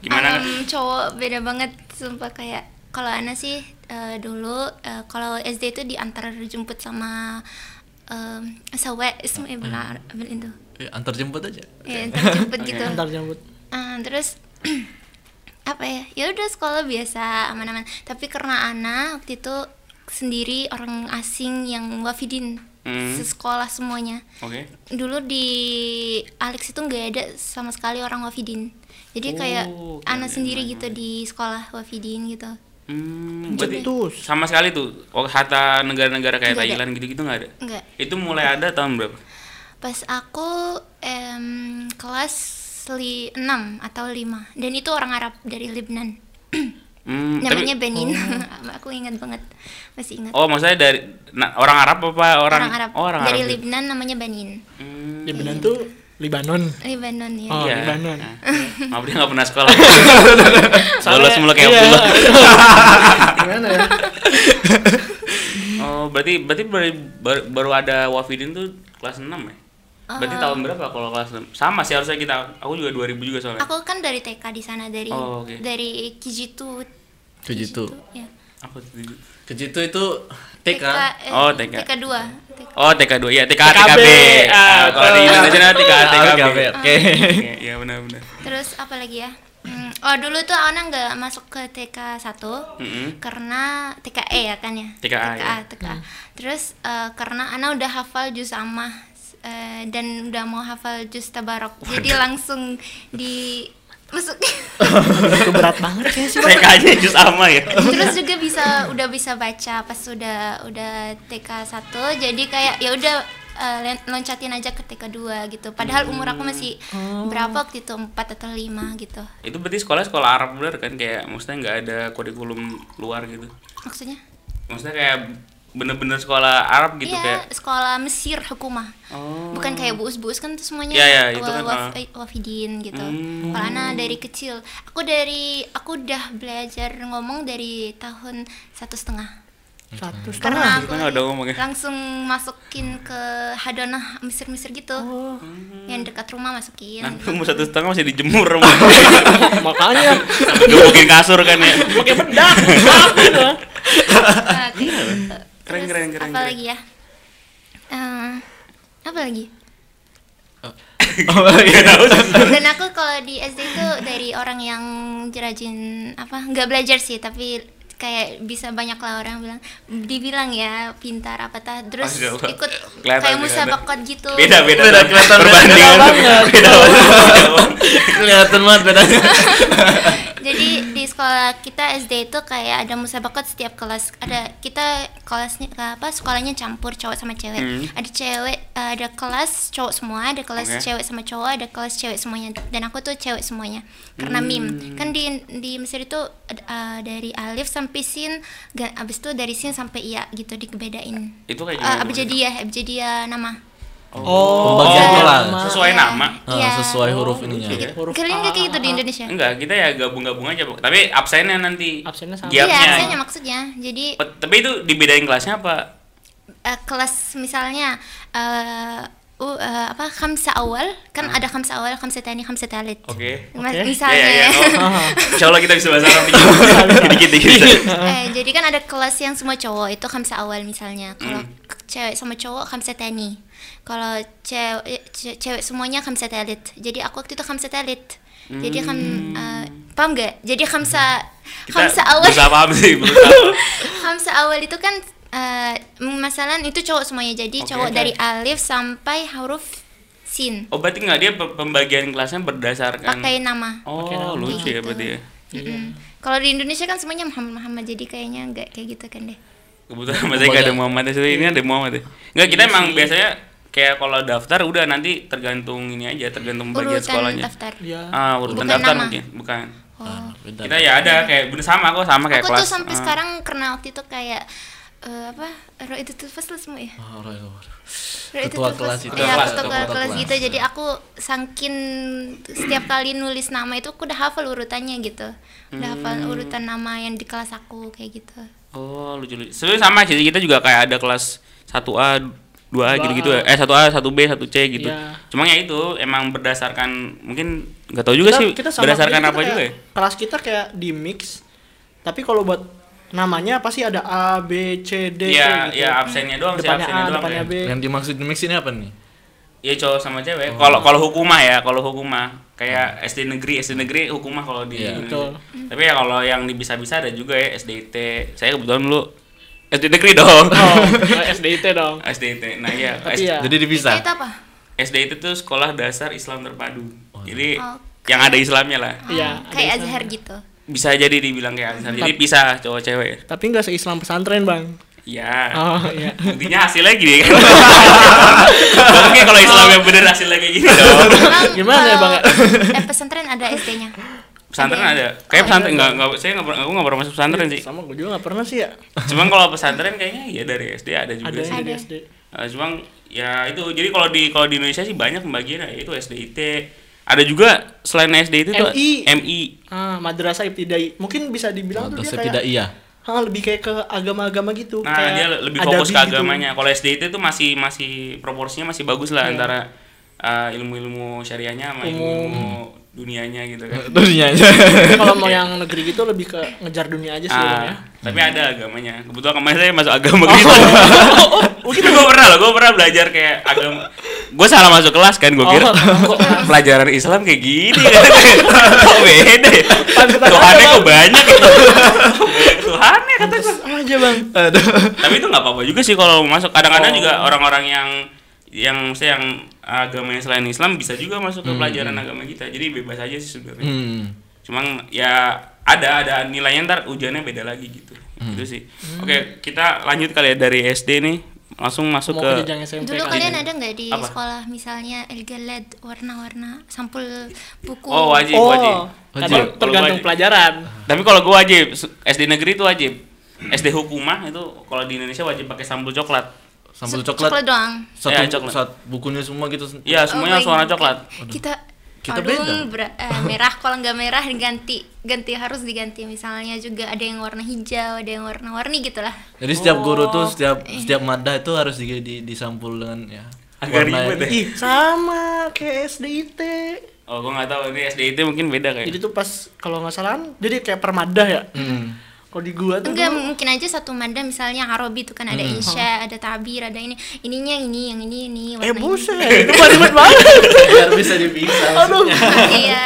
Speaker 6: Gimana?
Speaker 8: Em, cowok beda banget sumpah kayak kalau Ana sih eh, dulu eh, kalau SD itu diantar jemput sama em sawe semua ibu ambil itu
Speaker 3: Ya, Antar jemput aja.
Speaker 8: ya antar jemput
Speaker 6: Hmm. Oke.
Speaker 8: gitu
Speaker 7: Ntar jemput.
Speaker 8: Eh, terus apa ya ya udah sekolah biasa aman-aman tapi karena Ana waktu itu sendiri orang asing yang wafidin
Speaker 6: Hmm.
Speaker 8: sekolah semuanya
Speaker 6: Oke.
Speaker 8: dulu di Alex itu nggak ada sama sekali orang wafidin jadi kayak
Speaker 6: Oh, oke,
Speaker 8: anak
Speaker 6: oke,
Speaker 8: sendiri
Speaker 6: oke,
Speaker 8: gitu di sekolah wafidin gitu
Speaker 6: Hmm, berarti
Speaker 7: Cetus.
Speaker 6: sama sekali tuh oh, kata negara-negara kayak
Speaker 8: Nggak ada.
Speaker 6: Thailand gitu-gitu nggak ada.
Speaker 8: enggak
Speaker 6: Itu mulai ada tahun berapa?
Speaker 8: pas aku em, kelas li 6 atau 5 dan itu orang Arab dari Lebanon
Speaker 6: Hmm,
Speaker 8: namanya
Speaker 6: tapi-
Speaker 8: Benin aku ingat banget masih ingat
Speaker 6: Oh, maksudnya dari nah, orang Arab apa orang,
Speaker 8: Arab
Speaker 6: Oh, orang
Speaker 8: dari
Speaker 6: Arab.
Speaker 8: Lebanon namanya Benin
Speaker 6: Hmm,
Speaker 7: Lebanon tuh Libanon.
Speaker 8: Lebanon ya
Speaker 7: Oh,
Speaker 6: iya.
Speaker 7: Lebanon.
Speaker 6: Nah, Maaf dia nggak pernah sekolah. Lolos mulu kayak
Speaker 7: Iya.
Speaker 6: Abdullah.
Speaker 7: Gimana ya?
Speaker 6: Oh, berarti berarti baru, baru- baru ada Wafidin tuh kelas 6 ya?
Speaker 8: Ah.
Speaker 6: Berarti tahun berapa kalau kelas 6? Sama sih harusnya kita. Aku juga 2000 juga soalnya.
Speaker 8: aku kan dari TK di sana dari
Speaker 6: Oh, oke.
Speaker 8: dari Kijitu
Speaker 3: Kejitu.
Speaker 8: ya.
Speaker 6: Aku tujuh.
Speaker 3: Kejitu itu TK.
Speaker 8: eh,
Speaker 6: Oh, TK.
Speaker 8: TK 2
Speaker 6: Oh, TK2 ya, TK TKB.
Speaker 7: TKB.
Speaker 6: Ah,
Speaker 7: Ah,
Speaker 6: kalau di
Speaker 7: betul.
Speaker 6: Indonesia TKA TKB.
Speaker 3: Ah, Oke.
Speaker 6: Oke, Iya, benar benar.
Speaker 8: Terus apa lagi ya? Hmm, oh dulu tuh Aona nggak masuk ke TK 1
Speaker 6: Mm-mm.
Speaker 8: karena TKE ya kan ya?
Speaker 6: TKA, ya.
Speaker 8: TKA. Terus eh, karena Ana udah hafal juz amah eh, dan udah mau hafal juz tabarok, jadi langsung di masuk.
Speaker 7: Itu berat banget ya sih.
Speaker 6: TK-nya itu sama ya.
Speaker 8: Terus juga bisa udah bisa baca pas udah udah TK 1 jadi kayak ya udah eh, len- loncatin aja ke TK 2 gitu. Padahal umur aku masih berapa waktu itu 4 atau 5 gitu.
Speaker 6: Itu berarti sekolah sekolah Arab bener kan kayak maksudnya nggak ada kurikulum luar gitu.
Speaker 8: Maksudnya?
Speaker 6: Maksudnya kayak bener-bener sekolah Arab gitu
Speaker 8: Iya,
Speaker 6: kayak.
Speaker 8: sekolah Mesir hukumah.
Speaker 6: Oh.
Speaker 8: Bukan kayak buus-buus kan tuh semuanya
Speaker 6: Iya, iya,
Speaker 8: wa-
Speaker 6: itu kan,
Speaker 8: waf-
Speaker 6: ah.
Speaker 8: eh, wafidin gitu.
Speaker 6: Hmm.
Speaker 8: Kalau Ana dari kecil, aku dari aku udah belajar ngomong dari tahun satu setengah.
Speaker 7: Satu setengah.
Speaker 8: Karena aku
Speaker 6: setengah udah ngomong ya?
Speaker 8: langsung masukin ke hadanah Mesir-Mesir gitu. Yang dekat rumah masukin.
Speaker 6: Oh. Nah, umur satu setengah masih dijemur rumah.
Speaker 7: Makanya
Speaker 6: Gebukin kasur kan ya.
Speaker 7: pakai bedak. bedak gitu.
Speaker 8: Ah, kayak gitu.
Speaker 6: Iya, Keren,
Speaker 8: Terus,
Speaker 6: keren, keren,
Speaker 8: Apa
Speaker 6: keren.
Speaker 8: lagi ya? Eh, apa lagi?
Speaker 6: Nggak tahu sih.
Speaker 8: dan aku kalau di SD itu dari orang yang rajin apa nggak belajar sih tapi kayak bisa banyak lah orang bilang dibilang ya pintar apa tah terus
Speaker 6: Masya Allah.
Speaker 8: ikut
Speaker 6: Kelihatan
Speaker 8: kayak
Speaker 6: sih,
Speaker 8: musabakot gitu
Speaker 6: Beda beda.
Speaker 3: Beda, kelihatan beda banget.
Speaker 6: Beda banget.
Speaker 3: Kelihatan banget bedanya.
Speaker 8: jadi di sekolah kita SD itu kayak ada musabakot setiap kelas ada kita kelasnya apa sekolahnya campur cowok sama cewek
Speaker 6: Hmm.
Speaker 8: ada cewek eh, ada kelas cowok semua ada kelas
Speaker 6: Oke.
Speaker 8: cewek sama cowok ada kelas cewek semuanya dan aku tuh cewek semuanya karena
Speaker 6: Hmm.
Speaker 8: mim kan di di Mesir itu ada, eh, dari alif sampai sin dan abis itu dari sin sampai iya gitu dikebedain
Speaker 6: Itu kayak
Speaker 8: Eh,
Speaker 6: gimana?
Speaker 8: abjadiyah abjadiyah nama
Speaker 7: Oh,
Speaker 3: Pembagian
Speaker 6: Oh,
Speaker 3: kelas.
Speaker 6: sesuai
Speaker 8: Iya.
Speaker 6: nama.
Speaker 3: Ah,
Speaker 8: Iya.
Speaker 3: sesuai huruf ininya.
Speaker 6: Iya.
Speaker 8: kalian kayak gitu di Indonesia
Speaker 6: Enggak, kita ya gabung-gabung aja, Bu. Tapi absennya nanti.
Speaker 7: Absennya sama.
Speaker 6: Giapnya.
Speaker 8: iya abjadiyah maksudnya jadi
Speaker 6: Pe- Tapi itu dibedain kelasnya apa?
Speaker 8: eh, kelas misalnya eh u- eh, apa khamsa awal kan ada khamsa awal khamsa tani khamsa talit
Speaker 6: Oke.
Speaker 8: Mas-
Speaker 7: Oke.
Speaker 8: misalnya
Speaker 6: Ya, ya, ya. Oh. Insya Allah kita bisa bahasa Arab dikit. dikit dikit.
Speaker 8: eh, jadi kan ada kelas yang semua cowok itu khamsa awal misalnya kalau ke- cewek sama cowok khamsa tani kalau cewek eh, ce- cewek semuanya khamsa talit jadi aku waktu itu khamsa talit jadi kham eh, paham gak jadi khamsa khamsa awal
Speaker 6: Bisa paham sih, berusaha.
Speaker 8: Hamsa awal itu kan eh masalah itu cowok semuanya jadi
Speaker 6: Oke,
Speaker 8: cowok
Speaker 6: oke.
Speaker 8: dari alif sampai huruf sin
Speaker 6: Oh, berarti nggak dia pe- pembagian kelasnya berdasarkan
Speaker 8: pakai nama.
Speaker 6: Oh, lucu ya berarti ya.
Speaker 8: Mm-mm. Kalau di Indonesia kan semuanya Muhammad Muhammad jadi kayaknya nggak kayak gitu kan deh.
Speaker 6: Kebetulan Mas Eka ada Muhammad ya, ini ada Muhammad ya. Enggak, kita emang biasanya kayak kalau daftar udah nanti tergantung ini aja, tergantung bagian
Speaker 8: Urutan
Speaker 6: sekolahnya.
Speaker 8: daftar.
Speaker 7: Iya.
Speaker 6: Ah, urutan
Speaker 8: Bukan
Speaker 6: daftar
Speaker 8: nama.
Speaker 6: mungkin, bukan.
Speaker 8: Oh.
Speaker 3: Ah, nah, Beda.
Speaker 6: Kita ya ada kayak bener sama kok sama kayak
Speaker 8: Aku
Speaker 6: kelas.
Speaker 8: tuh sampai
Speaker 6: Ah.
Speaker 8: sekarang karena waktu itu kayak eh, apa roh itu tuh pas semua ya
Speaker 3: Oh, Roy Lover.
Speaker 8: Roh itu
Speaker 3: Ketua
Speaker 8: tuh
Speaker 3: kelas
Speaker 8: pas-
Speaker 3: itu. Ketua
Speaker 8: iya ketua
Speaker 3: kelas,
Speaker 8: kelas,
Speaker 3: ketua kelas.
Speaker 8: gitu jadi aku sangkin setiap kali nulis nama itu aku udah hafal urutannya gitu udah hafal
Speaker 6: Hmm.
Speaker 8: urutan nama yang di kelas aku kayak gitu
Speaker 6: Oh, lucu lucu. Sebenarnya sama sih kita juga kayak ada kelas 1A, 2A gitu-gitu ya. Eh 1A, 1B, 1C gitu.
Speaker 7: Iya.
Speaker 6: Cuma ya itu emang berdasarkan mungkin nggak tahu juga sih berdasarkan
Speaker 7: aja,
Speaker 6: apa
Speaker 7: kita
Speaker 6: juga ya.
Speaker 7: kayak- gitu kelas kita kayak di mix tapi kalau buat namanya pasti ada A B C D
Speaker 6: Iya,
Speaker 7: kayak
Speaker 6: iya absennya doang sih,
Speaker 7: depannya
Speaker 6: absennya
Speaker 7: A
Speaker 6: doang.
Speaker 7: depannya
Speaker 6: ya.
Speaker 7: B
Speaker 3: Yang dimaksud di mix ini apa nih?
Speaker 6: Iya cowok sama cewek. Kalau kalau hukumah ya, kalau hukumah kayak SD negeri, SD negeri hukumah kalau di.
Speaker 3: Iya.
Speaker 7: Betul.
Speaker 6: Tapi ya kalau yang bisa-bisa ada juga ya SDIT. Saya kebetulan dulu SD negeri dong.
Speaker 7: oh nggak SDIT dong
Speaker 6: SDIT. Nah iya.
Speaker 7: tapi ya
Speaker 3: Jadi dipisah.
Speaker 8: itu apa
Speaker 6: SDIT itu sekolah dasar Islam terpadu. Jadi
Speaker 8: Oh.
Speaker 6: yang ada Islamnya lah.
Speaker 7: iya
Speaker 8: Ah, kayak Azhar gitu
Speaker 6: Bisa jadi dibilang kayak Azhar. Jadi pisah cowok cewek.
Speaker 7: tapi nggak se-Islam pesantren bang
Speaker 6: Iya.
Speaker 7: oh iya
Speaker 6: Buktinya hasilnya gini kan. Mungkin kalau Islam yang bener hasilnya kayak gini dong.
Speaker 8: Bang,
Speaker 7: Gimana ya, Bang, ya?
Speaker 8: kalau- eh pesantren ada SD-nya
Speaker 6: Pesantren ada. Kayak pesantren enggak enggak saya enggak pernah aku enggak pernah masuk pesantren sih.
Speaker 7: sama gue juga nggak pernah sih ya
Speaker 6: Cuman kalau pesantren kayaknya ya dari SD ada juga
Speaker 7: ada
Speaker 6: sih.
Speaker 7: yang di
Speaker 8: Ada.
Speaker 7: SD
Speaker 6: Eh, cuman ya itu jadi kalau di kalau di Indonesia sih banyak pembagian ya itu SDIT. Ada juga selain SDIT itu
Speaker 7: MI.
Speaker 6: MI.
Speaker 7: ah madrasah ibtidai mungkin bisa dibilang tuh
Speaker 3: Atau
Speaker 7: dia
Speaker 3: setidak
Speaker 8: ya.
Speaker 7: kayak
Speaker 3: iya.
Speaker 7: ah, lebih kayak ke agama-agama gitu
Speaker 6: Nah,
Speaker 7: kayak
Speaker 6: dia lebih
Speaker 7: adabi
Speaker 6: fokus ke
Speaker 7: gitu.
Speaker 6: agamanya. Kalau SDIT itu masih masih proporsinya masih bagus
Speaker 7: Iya.
Speaker 6: lah antara eh, ilmu-ilmu syariahnya sama ilmu dunianya gitu kan.
Speaker 3: Dunia aja.
Speaker 7: kalau mau yang negeri gitu lebih ke ngejar dunia aja sih
Speaker 6: Ah,
Speaker 7: Bang, ya.
Speaker 6: tapi ada agamanya. Kebetulan kemarin saya masuk agama
Speaker 7: Oh.
Speaker 6: gitu.
Speaker 7: gitu?
Speaker 6: Tapi gue pernah loh, gue pernah belajar kayak agama. Gue salah masuk kelas kan, gue
Speaker 7: Oh.
Speaker 6: kira kok pelajaran Islam kayak gini. kok beda ya? Tuhannya kok banyak gitu. Kok banyak Tuhannya kata gue.
Speaker 7: sama Ah, aja bang
Speaker 6: Tapi itu nggak apa-apa juga sih kalau mau masuk. Kadang-kadang juga orang-orang yang yang saya yang agamanya selain Islam bisa juga masuk ke pelajaran agama kita. Jadi bebas aja sih sebenarnya
Speaker 3: Hmm.
Speaker 6: cuman ya ada ada nilainya ntar ujiannya beda lagi gitu itu sih oke kita lanjut kali ya dari SD nih langsung masuk
Speaker 7: mau
Speaker 6: ke
Speaker 7: ke jenjang SMP
Speaker 8: Dulu
Speaker 7: kan.
Speaker 8: kalian ada nggak di
Speaker 6: Apa?
Speaker 8: sekolah misalnya elgalad warna-warna sampul buku?
Speaker 6: oh wajib
Speaker 7: oh
Speaker 6: wajib
Speaker 7: kadang
Speaker 6: Wajib.
Speaker 7: tergantung
Speaker 6: Wajib.
Speaker 7: pelajaran
Speaker 6: tapi kalau gua wajib s- SD negeri itu wajib SD hukumah itu kalau di Indonesia wajib pakai sambul coklat
Speaker 3: Sambal
Speaker 8: Sa-
Speaker 3: coklat.
Speaker 8: doang.
Speaker 3: Satu,
Speaker 6: Iya, coklat.
Speaker 3: satu bukunya semua gitu.
Speaker 6: ya semuanya
Speaker 8: Oh my
Speaker 6: warna
Speaker 8: God.
Speaker 6: coklat
Speaker 8: Kita
Speaker 3: Kita
Speaker 8: Aduh,
Speaker 3: beda.
Speaker 8: bera- eh, merah kalau nggak merah ganti ganti harus diganti misalnya juga ada yang warna hijau ada yang warna-warni gitu gitulah
Speaker 3: Jadi
Speaker 8: Oh.
Speaker 3: setiap guru tuh setiap
Speaker 8: Iya.
Speaker 3: setiap madah itu harus di, di disampul dengan ya.
Speaker 6: agak
Speaker 3: warna
Speaker 6: ribet ya. deh
Speaker 7: ih sama kayak SDIT
Speaker 6: oh gua nggak tahu ini SD itu mungkin beda kayak
Speaker 7: jadi tuh pas kalau nggak salah jadi kayak permadah ya
Speaker 3: Hmm.
Speaker 7: kalau di gua tuh
Speaker 8: enggak
Speaker 7: dulu-
Speaker 8: mungkin aja satu manda misalnya Arabi itu kan ada
Speaker 6: Hmm.
Speaker 8: Isya ada Tabir ada ini ininya ini yang ini ini
Speaker 7: eh
Speaker 8: warna ini.
Speaker 7: buset itu ribet banget
Speaker 9: biar bisa dipisah
Speaker 7: aduh
Speaker 8: iya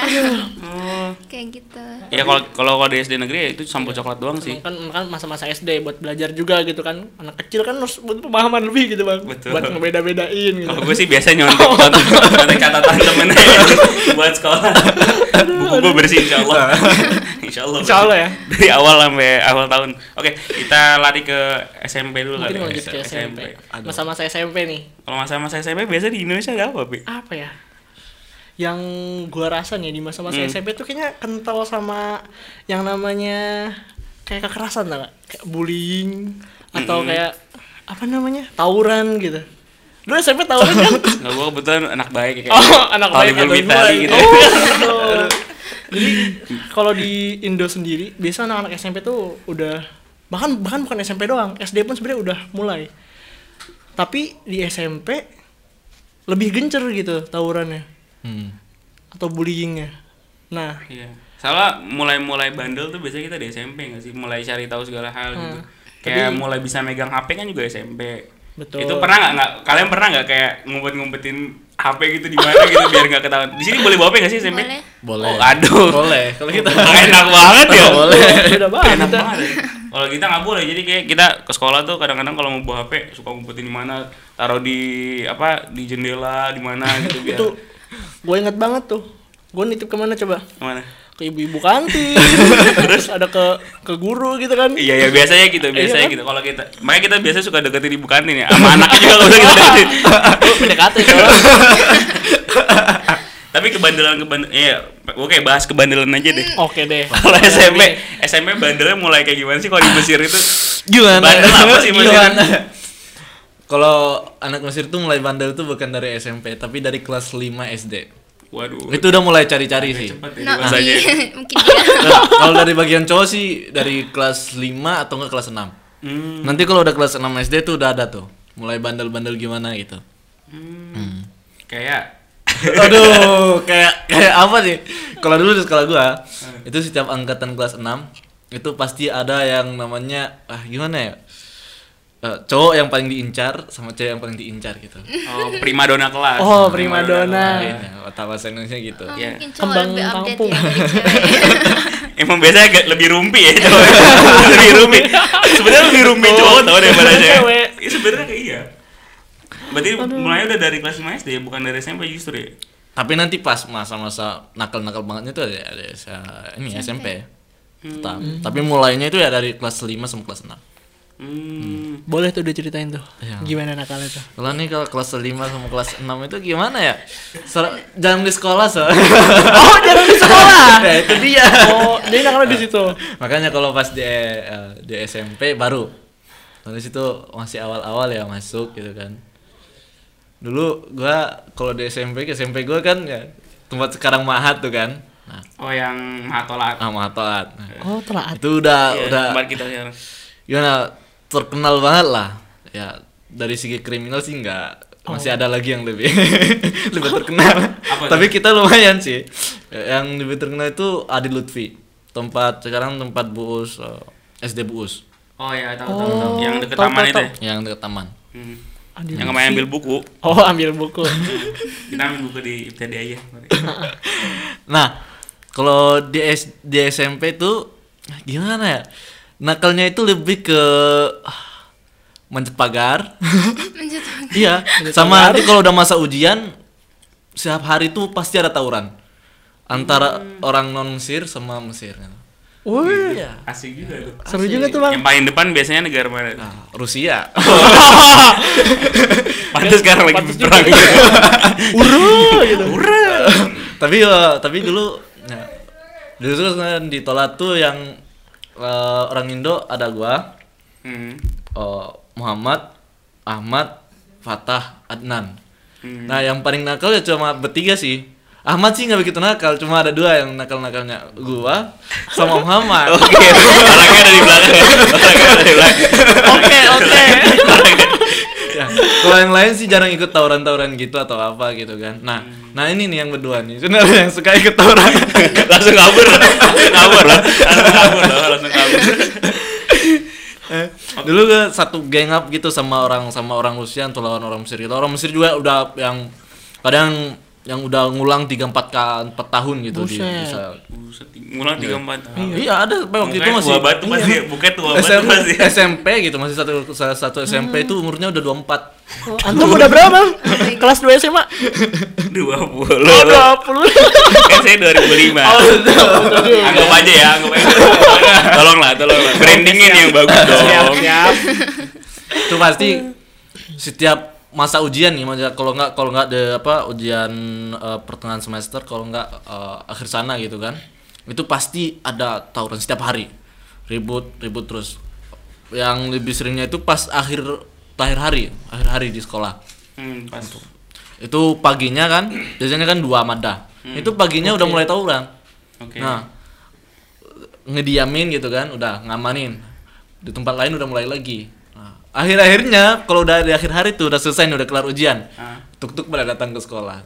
Speaker 6: Hmm.
Speaker 8: kayak gitu
Speaker 6: ya kalau kalau kalau di SD negeri ya itu sambul coklat doang sih
Speaker 7: kan kan masa-masa SD buat belajar juga gitu kan anak kecil kan harus butuh pemahaman lebih gitu bang
Speaker 6: Betul.
Speaker 7: buat ngebeda-bedain gitu
Speaker 6: kalau gue sih biasa nyontek nyontek nyontek catatan temen aja buat sekolah buku gue bersih insya Allah insya Allah
Speaker 7: Insya Allah ya.
Speaker 6: dari awal sampai awal tahun oke kita lari ke SMP dulu kali
Speaker 7: mungkin
Speaker 6: ya.
Speaker 7: lanjut ke SMP masa-masa SMP nih
Speaker 6: kalau masa-masa SMP biasa di Indonesia ada apa bi
Speaker 7: apa ya yang gua rasa nih di masa-masa
Speaker 6: Hmm.
Speaker 7: SMP tuh kayaknya kental sama yang namanya kayak kekerasan tau nggak? kayak bullying
Speaker 6: Hmm.
Speaker 7: atau kayak apa namanya tawuran gitu lu SMP tawuran kan
Speaker 6: nggak gue kebetulan anak baik ya, kayak
Speaker 7: oh anak baik
Speaker 6: Talibul
Speaker 7: atau
Speaker 6: Mitali
Speaker 7: gimana?
Speaker 6: gitu
Speaker 7: Oh, aduh. jadi kalau di Indo sendiri biasa anak-anak SMP tuh udah bahkan bahkan bukan SMP doang SD pun sebenarnya udah mulai tapi di SMP lebih gencer gitu tawurannya
Speaker 3: Hmm.
Speaker 7: atau bullyingnya. Nah,
Speaker 6: Iya. Salah mulai-mulai bandel tuh biasanya kita di SMP nggak sih? Mulai cari tahu segala hal gitu. Kayak mulai bisa megang HP kan juga SMP.
Speaker 7: Betul.
Speaker 6: Itu pernah nggak? nggak- Kalian pernah nggak kayak ngumpet-ngumpetin HP gitu di mana gitu biar nggak ketahuan? Di sini boleh bawa HP nggak sih SMP?
Speaker 8: Boleh.
Speaker 3: Boleh.
Speaker 6: Oh, aduh.
Speaker 3: Boleh. Kalau kita
Speaker 6: Enak banget ya.
Speaker 3: boleh.
Speaker 7: beda banget.
Speaker 6: Enak banget. ya. Kalau kita nggak boleh, jadi kayak kita ke sekolah tuh kadang-kadang kalau mau bawa HP suka ngumpetin di mana, taruh di apa di jendela di mana gitu biar.
Speaker 7: Itu gue inget banget tuh. Gue nitip kemana coba?
Speaker 6: Mana?
Speaker 7: Ke ibu-ibu kantin. Terus ada ke ke guru gitu kan.
Speaker 6: Iya ya biasanya gitu, biasanya
Speaker 7: kan?
Speaker 6: gitu. Kalau kita, makanya kita biasanya suka deketin ibu kantin ya, sama anaknya juga kalau kita deketin.
Speaker 7: Lu PDKT coba.
Speaker 6: Tapi kebandelan kebandelan ya oke bahas kebandelan aja deh.
Speaker 7: Oke deh.
Speaker 6: Kalau SMP, SMP bandelnya mulai kayak gimana sih kalau di Mesir itu?
Speaker 3: Gimana?
Speaker 6: Bandel apa sih Mesir?
Speaker 3: Gimana? Kalau anak Mesir tuh mulai bandel tuh bukan dari SMP, tapi dari kelas 5 SD.
Speaker 6: Waduh.
Speaker 3: Itu udah mulai cari-cari sih.
Speaker 6: cepat ya
Speaker 8: No, iya,
Speaker 6: bahasanya.
Speaker 8: mungkin dia.
Speaker 3: Nah, kalau dari bagian cowok sih dari kelas 5 atau enggak kelas 6.
Speaker 6: Hmm.
Speaker 3: Nanti kalau udah kelas 6 SD tuh udah ada tuh. Mulai bandel-bandel gimana gitu.
Speaker 6: Kayak
Speaker 3: Aduh, kayak kayak apa sih? Kalau dulu di sekolah gua,
Speaker 6: Hmm.
Speaker 3: itu setiap angkatan kelas 6 itu pasti ada yang namanya ah gimana ya? Eh, cowok yang paling diincar sama cewek yang paling diincar gitu.
Speaker 6: oh, primadona iya. kelas.
Speaker 7: Oh,
Speaker 6: Ah.
Speaker 7: primadona.
Speaker 3: Kayaknya, otak bahasa Indonesia gitu.
Speaker 8: Oh,
Speaker 6: Iya.
Speaker 8: Mungkin cowok
Speaker 7: Kembang
Speaker 8: lebih update
Speaker 7: kampung.
Speaker 8: ya dari cewek.
Speaker 6: Emang biasanya agak lebih rumpi ya cowok. lebih rumpi. Sebenarnya lebih rumpi cowok tau daripada cewek.
Speaker 7: Oh. Cewek.
Speaker 6: Iya sebenarnya kayak iya. Berarti mulai udah dari kelas 5 SD bukan dari SMP justru ya.
Speaker 3: Tapi nanti pas masa-masa nakal-nakal bangetnya tuh ada, ada sa- ini SMP. Tetap.
Speaker 7: Hmm.
Speaker 3: Tapi mulainya itu ya dari kelas 5 sampai kelas 6.
Speaker 6: Hmm.
Speaker 7: Boleh tuh diceritain tuh.
Speaker 3: Iya.
Speaker 7: Gimana nakalnya tuh?
Speaker 3: Kalau nih kalau kelas 5 sama kelas 6 itu gimana ya? Ser- jangan di sekolah, so.
Speaker 7: Oh, jangan di sekolah.
Speaker 3: ya, itu dia.
Speaker 7: Oh, dia nakalnya di situ.
Speaker 3: Makanya kalau pas di eh, di SMP baru. Kalau di situ masih awal-awal ya masuk gitu kan. Dulu gua kalau di SMP ke SMP gua kan ya tempat sekarang Mahat tuh kan. Nah,
Speaker 6: Oh yang matolat.
Speaker 3: ah, Mahat Toat. Nah,
Speaker 7: Oh, telah.
Speaker 3: itu udah
Speaker 6: Iya,
Speaker 3: udah
Speaker 6: tempat kita sekarang.
Speaker 3: gimana terkenal banget lah ya dari segi kriminal sih enggak masih ada lagi yang lebih lebih terkenal
Speaker 6: Oh. Apa tuh?
Speaker 3: tapi kita lumayan sih yang lebih terkenal itu Adi Lutfi tempat sekarang tempat buus eh, SD buus
Speaker 6: Oh ya tahu tahu tahu. Yang deket
Speaker 7: tahu,
Speaker 6: taman
Speaker 7: tahu,
Speaker 6: itu. ya?
Speaker 3: yang dekat taman
Speaker 6: Hmm.
Speaker 7: Adi
Speaker 6: Yang kemarin ambil buku.
Speaker 7: Oh, ambil buku.
Speaker 6: Kita ambil buku di IPTD aja.
Speaker 3: nah kalau di, S- di SMP tuh gimana ya nakalnya itu lebih ke ah, mencet pagar
Speaker 8: Lanjut.
Speaker 3: Iya, sama nanti kalau udah masa ujian setiap hari tuh pasti ada tawuran antara orang non Mesir sama Mesir.
Speaker 7: Wih,
Speaker 6: Asik juga tuh.
Speaker 7: seru juga tuh, Bang.
Speaker 6: Yang paling depan biasanya negara mana? tuh?
Speaker 3: Nah, Rusia.
Speaker 6: Pantes sekarang lagi
Speaker 7: Pantes juga.
Speaker 6: berperang.
Speaker 7: Uru gitu.
Speaker 3: tapi eh, tapi dulu nah, dulu tuh kan di Tola tuh yang eh, orang Indo ada gua,
Speaker 6: Hmm.
Speaker 3: eh, Muhammad, Ahmad, Fatah, Adnan.
Speaker 6: Hmm.
Speaker 3: Nah, yang paling nakal ya cuma bertiga sih. Ahmad sih nggak begitu nakal, cuma ada dua yang nakal-nakalnya gua sama Muhammad.
Speaker 6: Oke, orangnya ada di belakang. Orangnya ada di belakang.
Speaker 3: Oke, oke. Ya, Kalau yang lain sih jarang ikut tawuran-tawuran gitu atau apa gitu kan. Nah,
Speaker 6: Hmm.
Speaker 3: nah ini nih yang berdua nih. Sebenarnya yang suka ikut tawuran.
Speaker 6: langsung kabur langsung kabur lah langsung kabur lah langsung kabur
Speaker 3: Dulu gue satu gang up gitu sama orang sama orang Rusia atau lawan orang Mesir gitu. Orang Mesir juga udah yang kadang yang udah ngulang 3 4 ka- 4 tahun gitu di
Speaker 7: Buset.
Speaker 3: Israel.
Speaker 6: Buset, ngulang tiga empat tahun
Speaker 3: Iya, ada sampai waktu itu
Speaker 6: Mukanya
Speaker 3: masih Iya.
Speaker 6: tua batu pasti ya, mukanya tua batu
Speaker 3: SMP,
Speaker 6: pasti ya.
Speaker 3: SMP gitu, masih satu satu SMP itu umurnya udah 24.
Speaker 7: Antum udah berapa, Bang? Kelas 2 SMA.
Speaker 6: dua puluh
Speaker 7: Oh, 20.
Speaker 6: kan saya dua ribu lima
Speaker 3: Oh, iya,
Speaker 6: anggap aja ya anggap aja tolonglah tolonglah brandingin yang bagus dong
Speaker 3: itu pasti setiap masa ujian nih masa- kalau nggak kalau nggak ada apa ujian eh, pertengahan semester kalau nggak eh, akhir sana gitu kan itu pasti ada tawuran setiap hari ribut ribut terus yang lebih seringnya itu pas akhir akhir hari akhir hari di sekolah
Speaker 6: hmm, pas
Speaker 3: itu paginya kan biasanya kan dua madah itu paginya udah mulai tawuran
Speaker 6: oke
Speaker 3: Nah, ngediamin gitu kan, udah ngamanin. Di tempat lain udah mulai lagi. Nah, akhir-akhirnya kalau udah di akhir hari tuh udah selesai nih, udah kelar ujian.
Speaker 6: Ah.
Speaker 3: Tuk-tuk pada datang ke sekolah.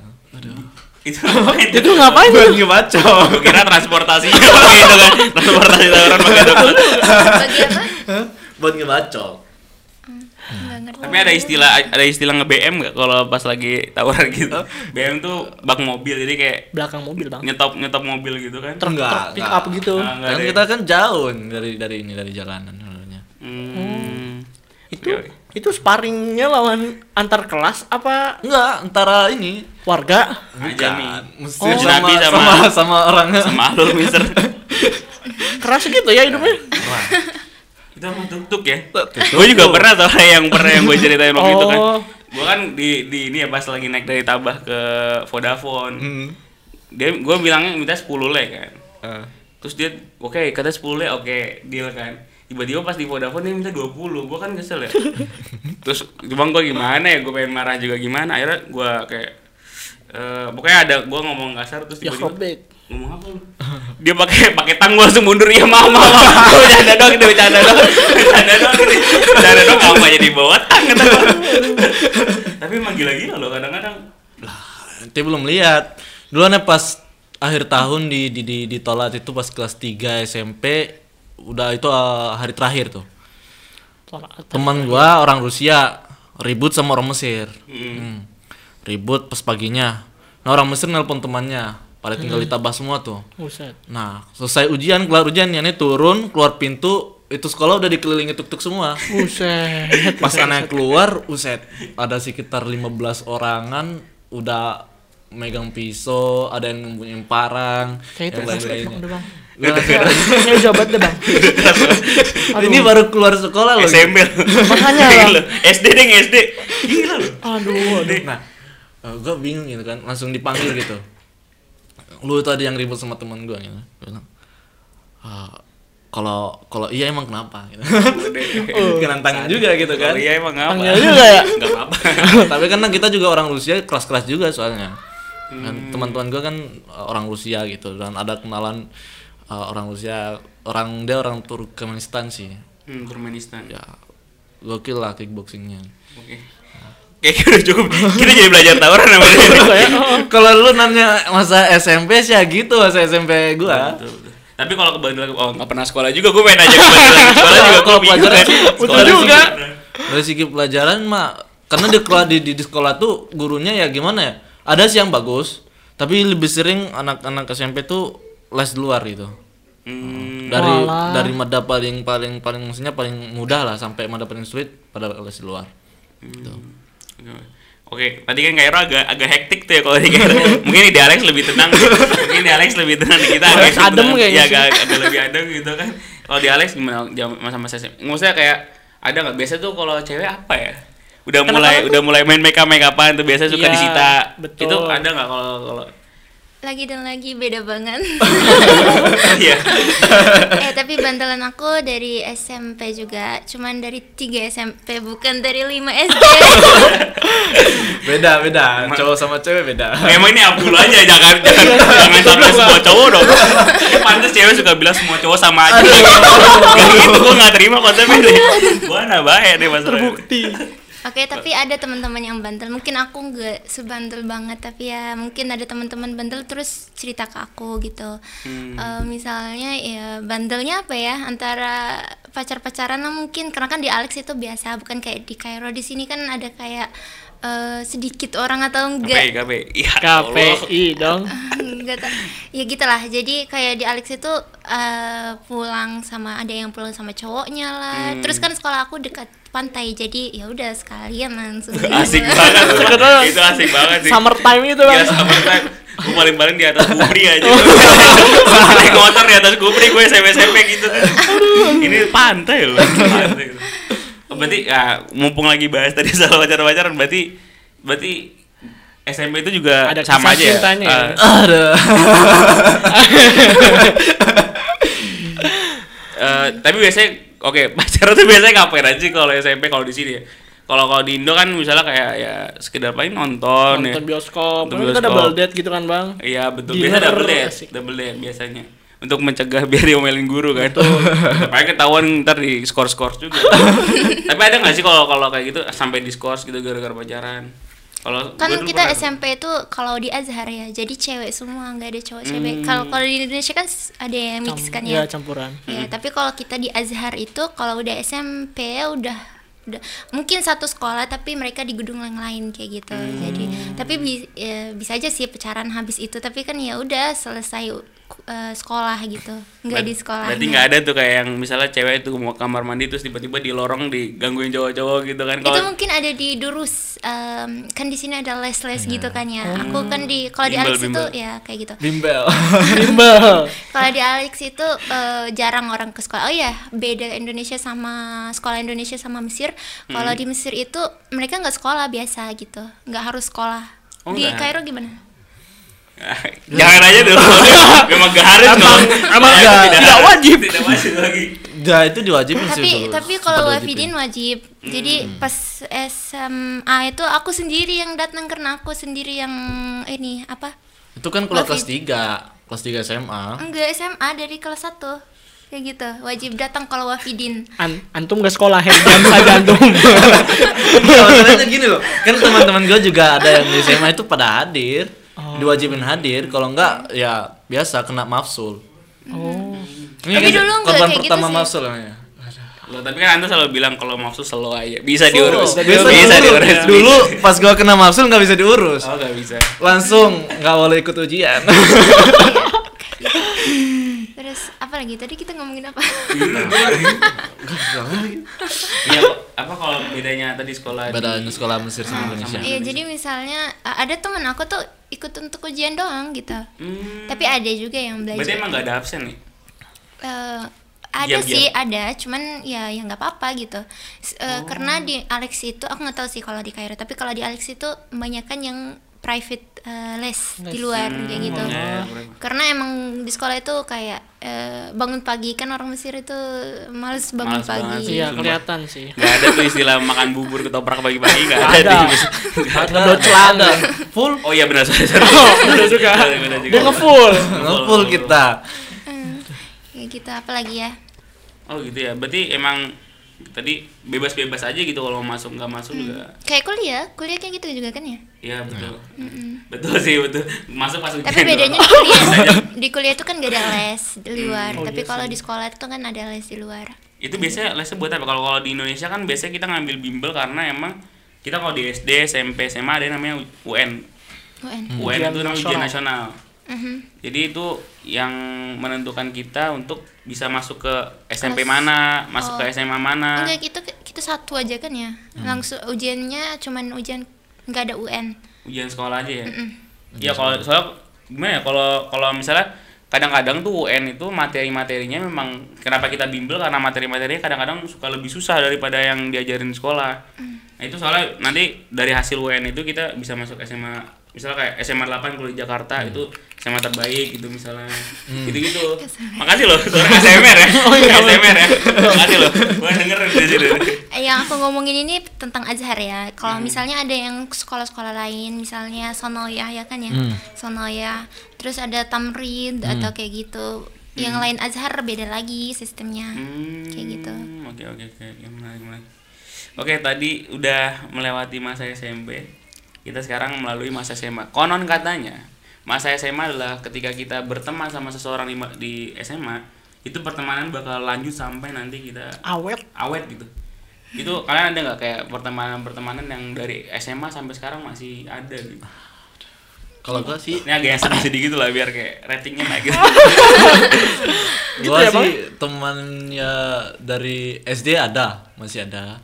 Speaker 6: itu ngapain
Speaker 7: Itu ngapain?
Speaker 3: Gue lagi baca.
Speaker 6: Gua kira transportasinya pakai itu kan transportasi tawuran pakai dokter
Speaker 8: Bagi apa?
Speaker 3: Buat ngebaca.
Speaker 8: Nggak ngerti.
Speaker 6: tapi ada istilah ada istilah nge BM nggak kalau pas lagi tawuran gitu BM tuh bak mobil jadi kayak
Speaker 7: Belakang mobil, Bang.
Speaker 6: nyetop nyetop mobil gitu kan
Speaker 3: Truk, enggak,
Speaker 7: Pick up gitu.
Speaker 6: Ah, enggak
Speaker 3: Kan
Speaker 6: deh.
Speaker 3: kita kan jauh dari dari ini dari jalanan sebenarnya.
Speaker 6: Hmm.
Speaker 7: Itu
Speaker 6: Oke, oke.
Speaker 7: itu sparringnya lawan antar kelas apa
Speaker 3: Enggak, antara ini
Speaker 7: warga?
Speaker 6: Ajami.
Speaker 3: Mesir
Speaker 6: Oh.
Speaker 3: sama,
Speaker 6: Nabi sama-
Speaker 3: sama sama orang
Speaker 6: Sama lu mister.
Speaker 7: Keras gitu ya hidupnya.
Speaker 6: Itu sama tuk-tuk ya. Gue juga pernah tau yang pernah yang gue ceritain waktu itu kan.
Speaker 7: Oh.
Speaker 6: Gue kan di di ini ya pas lagi naik dari Tabah ke Vodafone. dia gue bilangnya minta 10 le kan
Speaker 3: Eh,
Speaker 6: terus dia oke kata 10 le oke deal kan tiba-tiba pas di Vodafone dia minta 20 gue kan kesel ya terus bang gue gimana ya gue pengen marah juga gimana akhirnya gue kayak eh, pokoknya ada gue ngomong kasar terus
Speaker 7: ya
Speaker 6: tiba-tiba
Speaker 7: robek
Speaker 6: ngomong apa lu? dia pakai pakai tang gua langsung mundur ya mama mama Gua bercanda doang kita bercanda doang bercanda doang ini bercanda doang apa jadi bawa tang kata gua. tapi emang gila-gila loh kadang-kadang
Speaker 3: nanti belum lihat dulu aneh pas akhir tahun di di di, di tolat itu pas kelas 3 SMP udah itu eh, hari terakhir tuh
Speaker 7: Tolak.
Speaker 3: teman gua orang Rusia ribut sama orang Mesir Hmm. ribut pas paginya nah orang Mesir nelpon temannya pada tinggal ditabah semua tuh
Speaker 7: Buset.
Speaker 3: nah selesai ujian kelar ujian yani turun keluar pintu itu sekolah udah dikelilingi tuk-tuk semua
Speaker 7: Buset.
Speaker 3: pas anak keluar uset ada sekitar 15 orangan udah megang pisau ada yang nyembunyiin parang
Speaker 7: Kayak itu
Speaker 3: yang
Speaker 7: keras banget,
Speaker 3: lain-lainnya.
Speaker 7: Bang, udah, Bang. Ini udah banget deh, Bang.
Speaker 3: ini
Speaker 7: Aduh.
Speaker 3: baru keluar sekolah loh
Speaker 6: SMP
Speaker 7: Makanya,
Speaker 6: Gila. SD deh SD gila loh
Speaker 7: Aduh, aduh.
Speaker 3: Nah, gue bingung gitu kan, langsung dipanggil gitu. Lu itu ada yang ribut sama teman gue gitu. Gua bilang, "Ah, kalau kalau iya emang kenapa? Gitu. Kena tanya juga gitu kan.
Speaker 6: Kalau iya emang apa
Speaker 7: Panggil juga ya.
Speaker 6: nggak apa-apa
Speaker 3: Tapi karena kita juga orang Rusia keras-keras juga soalnya. Dan teman-teman gue kan uh, orang Rusia gitu dan ada kenalan uh, orang Rusia, orang dia orang Turkmenistan sih.
Speaker 6: hmm, Turkmenistan
Speaker 3: Ya gokil lah kickboxingnya.
Speaker 6: oke Kayaknya udah cukup. Kita jadi belajar tawuran namanya.
Speaker 3: Oh, ya? kalau lu nanya masa SMP sih ya gitu masa SMP
Speaker 6: Iya,
Speaker 3: gua.
Speaker 6: Tapi kalau kebetulan oh nggak pernah sekolah juga gue main aja kebetulan sekolah juga
Speaker 3: Kalau
Speaker 6: gue bingung
Speaker 3: pelajaran
Speaker 6: kan.
Speaker 3: sih, ya. betul
Speaker 6: Sekolah
Speaker 3: juga.
Speaker 6: sih.
Speaker 3: dari segi pelajaran mah karena di kelas di, di, di sekolah tuh gurunya ya gimana ya ada sih yang bagus tapi lebih sering anak-anak SMP tuh les di luar gitu
Speaker 6: Hmm,
Speaker 3: dari
Speaker 7: Walah.
Speaker 3: dari mada paling paling paling maksudnya paling mudah lah sampai mada paling sulit pada les di luar
Speaker 6: Oke, tadi kan Kairo agak agak hektik tuh ya kalau di Kairo. Mungkin di Alex lebih tenang. Mungkin di Alex lebih tenang di kita agak
Speaker 7: Alex adem kayaknya
Speaker 6: Ya
Speaker 7: sih.
Speaker 6: agak, agak lebih adem gitu kan. Kalau di Alex gimana jam- masa-masa SMP? Maksudnya kayak ada nggak biasa tuh kalau cewek apa ya? Udah mulai udah mulai main make up make upan tuh biasa suka
Speaker 7: Iya,
Speaker 6: disita.
Speaker 7: betul.
Speaker 6: Itu ada nggak kalau kalau
Speaker 8: Lagi dan lagi beda banget.
Speaker 6: Iya.
Speaker 8: eh tapi bantalan aku dari SMP juga, cuman dari 3 SMP bukan dari 5 SD.
Speaker 3: beda beda cowok sama cewek beda
Speaker 6: Emang ini abdul aja jangan jangan jangan sampai semua cowok dong. Ya pantas cewek suka bilang semua cowok sama aja. Gak gitu gue nggak terima konsepnya. Gue nabae deh masalahnya.
Speaker 7: Terbukti.
Speaker 8: Oke, tapi ada teman-teman yang bantal. Mungkin aku nggak sebantal banget, tapi ya mungkin ada teman-teman bantal terus cerita ke aku gitu. Eh, misalnya ya bantalnya apa ya antara pacar-pacaran lah mungkin karena kan di Alex itu biasa, bukan kayak di Kairo. Di sini kan ada kayak eh, sedikit orang atau
Speaker 6: KPI,
Speaker 8: enggak
Speaker 6: KPI. Ya Allah.
Speaker 7: KPI dong.
Speaker 8: Nggak tahu. ya gitulah jadi kayak di Alex itu eh, pulang sama ada yang pulang sama cowoknya lah
Speaker 6: Hmm.
Speaker 8: terus kan sekolah aku dekat pantai jadi ya udah sekalian langsung
Speaker 6: Asik
Speaker 8: gitu.
Speaker 6: banget. itu asik banget sih.
Speaker 7: Summer time itu,
Speaker 6: Gila,
Speaker 7: gitu, Bang.
Speaker 6: summer time. Gue paling-paling di atas kubri aja. Gua Naik motor di atas kubri gue SMP-SMP gitu kan. Ini pantai loh. Pantai loh. Oh, Berarti ya, mumpung lagi bahas tadi soal pacaran-pacaran berarti berarti SMP itu juga
Speaker 7: Ada
Speaker 6: sama
Speaker 7: kisah
Speaker 6: aja ya.
Speaker 7: cintanya ya?
Speaker 6: Eh,
Speaker 3: ada
Speaker 6: eh, tapi biasanya oke, pacaran tuh biasanya ngapain aja kalau SMP kalau di sini ya? Kalau kalau di Indo kan misalnya kayak ya sekedar paling nonton, ya.
Speaker 7: Nonton bioskop.
Speaker 6: Nonton
Speaker 7: Kan kita
Speaker 6: bioskop.
Speaker 7: double date gitu kan, Bang.
Speaker 6: Iya betul.
Speaker 7: Dinner,
Speaker 6: Biasanya double date,
Speaker 7: asik.
Speaker 6: double date biasanya. Untuk mencegah biar diomelin guru kan. Tapi ketahuan ntar di skor skor juga. Tapi ada nggak sih kalau kalau kayak gitu sampai di skor gitu gara-gara pacaran? Kalau
Speaker 8: kan
Speaker 6: gua dulu
Speaker 8: kita
Speaker 6: pernah-
Speaker 8: SMP itu kalau di Azhar ya jadi cewek semua nggak ada cowok cewek
Speaker 6: Hmm.
Speaker 8: kalau kalau di Indonesia kan s- ada yang mix kan
Speaker 7: Ya
Speaker 8: ya
Speaker 7: campuran.
Speaker 6: Hmm.
Speaker 8: Ya, tapi kalau kita di Azhar itu kalau udah SMP ya udah udah mungkin satu sekolah tapi mereka di gedung yang lain kayak gitu.
Speaker 6: Hmm.
Speaker 8: Jadi tapi bi- ya, bisa aja sih pacaran habis itu tapi kan ya udah selesai eh, sekolah gitu. Nggak di sekolah.
Speaker 6: Berarti nggak ada tuh kayak yang misalnya cewek tuh mau kamar mandi terus tiba-tiba di lorong digangguin cowok-cowok gitu kan.
Speaker 8: Itu
Speaker 6: Kalau
Speaker 8: mungkin ada di Durus. em, kan di sini ada les-les gitu kan ya. Aku kan di kalau di
Speaker 6: Hmm. Bimbel,
Speaker 8: Alex itu
Speaker 6: bimbel.
Speaker 8: ya kayak gitu.
Speaker 3: bimbel
Speaker 7: Bimbel.
Speaker 8: Kalau di Alex itu eh, jarang orang ke sekolah. Oh iya, beda Indonesia sama sekolah Indonesia sama Mesir. Kalau di Mesir itu mereka nggak sekolah biasa gitu, nggak harus sekolah.
Speaker 6: Oh,
Speaker 8: di
Speaker 6: nggak.
Speaker 8: Kairo gimana?
Speaker 6: Jangan aja dulu. Memang gak harus dong.
Speaker 7: emang
Speaker 6: Tidak-
Speaker 7: nggak- tidak wajib.
Speaker 6: Tidak wajib lagi.
Speaker 3: Ya itu diwajibin sih.
Speaker 8: tapi
Speaker 3: dulu.
Speaker 8: tapi kalau
Speaker 3: Sempat
Speaker 8: Wafidin wajib jadi pas SMA itu aku sendiri yang datang karena aku sendiri yang ini apa
Speaker 3: Itu kan kalau
Speaker 8: Wafid-
Speaker 3: kelas 3, kelas 3 SMA.
Speaker 8: enggak SMA dari kelas 1 kayak gitu wajib datang kalau Wafidin
Speaker 7: An- antum gak sekolah ya jam saja antum
Speaker 3: Masalahnya gini loh, kan teman-teman gue juga ada yang di SMA itu pada hadir.
Speaker 8: Oh.
Speaker 3: Diwajibin hadir, kalau enggak ya biasa kena mafsul. Oh. Ini
Speaker 8: Tapi
Speaker 3: kan
Speaker 8: dulu enggak
Speaker 3: korban
Speaker 8: kayak gitu
Speaker 3: pertama
Speaker 8: sih.
Speaker 3: mafsul namanya.
Speaker 6: Loh, tapi kan Anda selalu bilang kalau maksud slow aja. Bisa diurus.
Speaker 3: Oh, bisa diurus. Dulu pas gua kena mafsul nggak bisa diurus.
Speaker 6: Oh, gak bisa.
Speaker 3: Langsung nggak boleh ikut ujian.
Speaker 8: terus apa lagi tadi kita ngomongin apa
Speaker 6: Iya, apa kalau bedanya tadi sekolah di-
Speaker 3: Pada sekolah Mesir sama Indonesia.
Speaker 8: Iya jadi misalnya uh, ada temen aku tuh ikut untuk ujian doang gitu
Speaker 6: Hmm,
Speaker 8: tapi ada juga yang belajar
Speaker 6: berarti emang gak ada absen nih?
Speaker 8: Eh, ada
Speaker 6: Diam-diam.
Speaker 8: sih ada cuman ya ya nggak apa-apa gitu S- eh,
Speaker 6: Oh.
Speaker 8: karena di Alex itu aku nggak tahu sih kalau di Kairo tapi kalau di Alex itu kebanyakan yang private eh, les, di luar kayak
Speaker 6: Hmm,
Speaker 8: gitu karena emang di sekolah itu kayak eh, bangun pagi kan orang Mesir itu males bangun
Speaker 6: Males banget
Speaker 8: pagi
Speaker 6: sih.
Speaker 7: iya kelihatan sih
Speaker 6: Gak ada tuh istilah makan bubur ketoprak pagi-pagi gak ada.
Speaker 7: ada
Speaker 6: di-
Speaker 3: Ada celana full
Speaker 6: Oh iya benar sorry, sorry.
Speaker 7: Bener juga
Speaker 6: Bener, bener juga.
Speaker 7: dia ngefull
Speaker 3: full kita.
Speaker 8: kayak gitu apalagi ya
Speaker 6: Oh gitu ya. Berarti emang tadi bebas-bebas aja gitu kalau mau masuk nggak
Speaker 8: Hmm.
Speaker 6: masuk juga.
Speaker 8: kayak kuliah kuliah kayak gitu juga kan ya
Speaker 6: Iya betul. Betul sih betul. Masuk masuk.
Speaker 8: Hmm. tapi bedanya di kuliah di kuliah itu kan gak ada les di luar tapi kalau di sekolah itu kan ada les di luar
Speaker 6: itu biasanya lesnya buat apa? Kalau kalau di Indonesia kan biasanya kita ngambil bimbel karena emang kita kalau di SD, SMP, SMA ada yang namanya UN.
Speaker 8: UN
Speaker 6: UN itu namanya ujian nasional.
Speaker 8: Mhm.
Speaker 6: Jadi itu yang menentukan kita untuk bisa masuk ke SMP mana, masuk ke SMA mana.
Speaker 8: Enggak, itu kita satu aja kan ya. Langsung ujiannya cuman ujian nggak ada UN.
Speaker 6: ujian sekolah aja ya iya kalau soalnya gimana ya kalau kalau misalnya kadang-kadang tuh UN itu materi-materinya memang kenapa kita bimbel karena materi-materinya kadang-kadang suka lebih susah daripada yang diajarin di sekolah nah itu soalnya nanti dari hasil UN itu kita bisa masuk SMA misalnya kayak SMA 8 kuliah di Jakarta itu SMA terbaik gitu misalnya gitu-gitu makasih loh suara ASMR ya ASMR ya makasih loh gua denger dari sini
Speaker 8: Eh, Yang aku ngomongin ini tentang Azhar ya. Kalau misalnya ada yang sekolah-sekolah lain, misalnya Sonoya ya kan ya. Sonoya, terus ada Tamrid atau kayak gitu. Yang lain Azhar beda lagi sistemnya.
Speaker 6: Hmm,
Speaker 8: Kayak gitu.
Speaker 6: Oke oke oke Ya, menarik menarik. Oke tadi udah melewati masa SMP. Kita sekarang melalui masa SMA. Konon katanya masa SMA adalah ketika kita berteman sama seseorang di, ma- di SMA itu pertemanan bakal lanjut sampai nanti kita
Speaker 7: awet
Speaker 6: awet gitu. Itu kalian ada nggak kayak pertemanan-pertemanan yang dari SMA sampai sekarang masih ada gitu?
Speaker 3: Kalau gua sih
Speaker 6: Ini agak yang sedih sedikit gitu lah biar kayak ratingnya naik gitu.
Speaker 3: gua sih temannya dari SD ada masih ada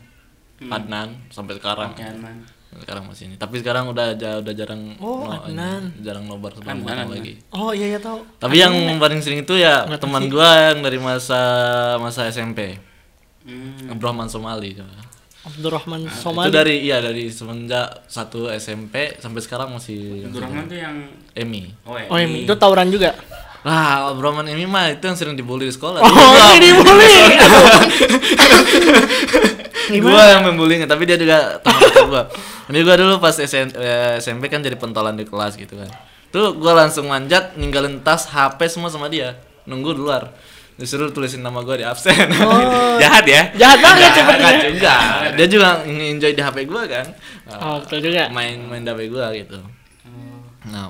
Speaker 6: Hmm.
Speaker 3: Adnan sampai sekarang
Speaker 6: Jangan.
Speaker 3: sekarang masih ini tapi sekarang udah ja- udah jarang
Speaker 7: Oh,
Speaker 3: no- ini,
Speaker 7: Adnan.
Speaker 3: jarang nobar sama
Speaker 6: Adnan,
Speaker 3: orang
Speaker 6: Adnan.
Speaker 3: lagi
Speaker 7: oh iya iya tau
Speaker 3: tapi yang paling sering itu ya teman gua yang dari masa masa SMP
Speaker 6: Hmm.
Speaker 3: Abdurrahman Somali coba.
Speaker 7: Abdurrahman
Speaker 3: itu
Speaker 7: Somali
Speaker 3: dari iya dari semenjak satu SMP sampai sekarang masih
Speaker 6: Abdurrahman tuh yang
Speaker 3: Emi
Speaker 6: Oh, ya,
Speaker 7: oh iya
Speaker 6: ini.
Speaker 7: itu tawuran juga
Speaker 3: lah Abdurrahman Emi mah itu yang sering dibully di sekolah Iya,
Speaker 7: oh ini boleh
Speaker 3: gue yang membulinya tapi dia juga teman gue ini gue dulu pas SN eh, SMP kan jadi pentolan di kelas gitu kan tuh gue langsung manjat ninggalin tas HP semua sama dia nunggu di luar disuruh tulisin nama gue di absen
Speaker 7: Oh.
Speaker 6: jahat ya.
Speaker 7: jahat banget ya.
Speaker 3: Nggak,
Speaker 7: sepertinya
Speaker 3: nggak juga dia juga nge-enjoy di HP gue kan
Speaker 7: oh betul juga
Speaker 3: main main di HP gue gitu
Speaker 6: Hmm.
Speaker 3: nah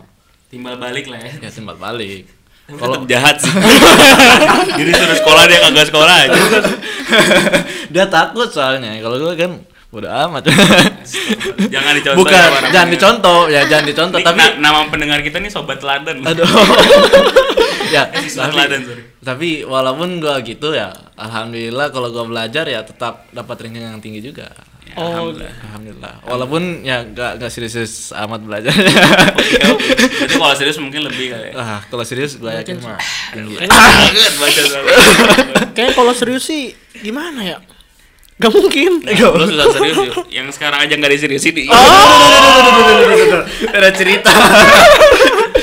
Speaker 6: Timbal balik lah ya.
Speaker 3: ya timbal balik
Speaker 6: Kalau jahat sih. Jadi suruh sekolah dia kagak sekolah aja.
Speaker 3: dia takut soalnya kalau gue kan udah amat
Speaker 6: Jangan dicontoh.
Speaker 3: bukan
Speaker 6: ya, orang.
Speaker 3: jangan dicontoh ya jangan dicontoh
Speaker 6: Ini
Speaker 3: tapi
Speaker 6: na- nama pendengar kita nih sobat teladan.
Speaker 3: Aduh. ya,
Speaker 6: Eh, siswa
Speaker 3: tapi,
Speaker 6: teladan, sorry.
Speaker 3: tapi walaupun gua gitu ya, alhamdulillah kalau gua belajar ya tetap dapat ranking yang tinggi juga.
Speaker 6: Ya,
Speaker 7: oh
Speaker 6: alhamdulillah.
Speaker 3: Alhamdulillah. Walaupun ya gak gak serius amat belajar.
Speaker 6: Oke, oke. Berarti kalau serius mungkin lebih kali ya.
Speaker 3: ah, kalau serius gua yakin mah. Ah.
Speaker 6: Banget baca soalnya.
Speaker 7: kayaknya kalau serius sih gimana ya gak mungkin
Speaker 6: Lu susah serius yuk. Yang
Speaker 3: Oh.
Speaker 6: sekarang aja nggak diseriusin.
Speaker 3: Ada cerita.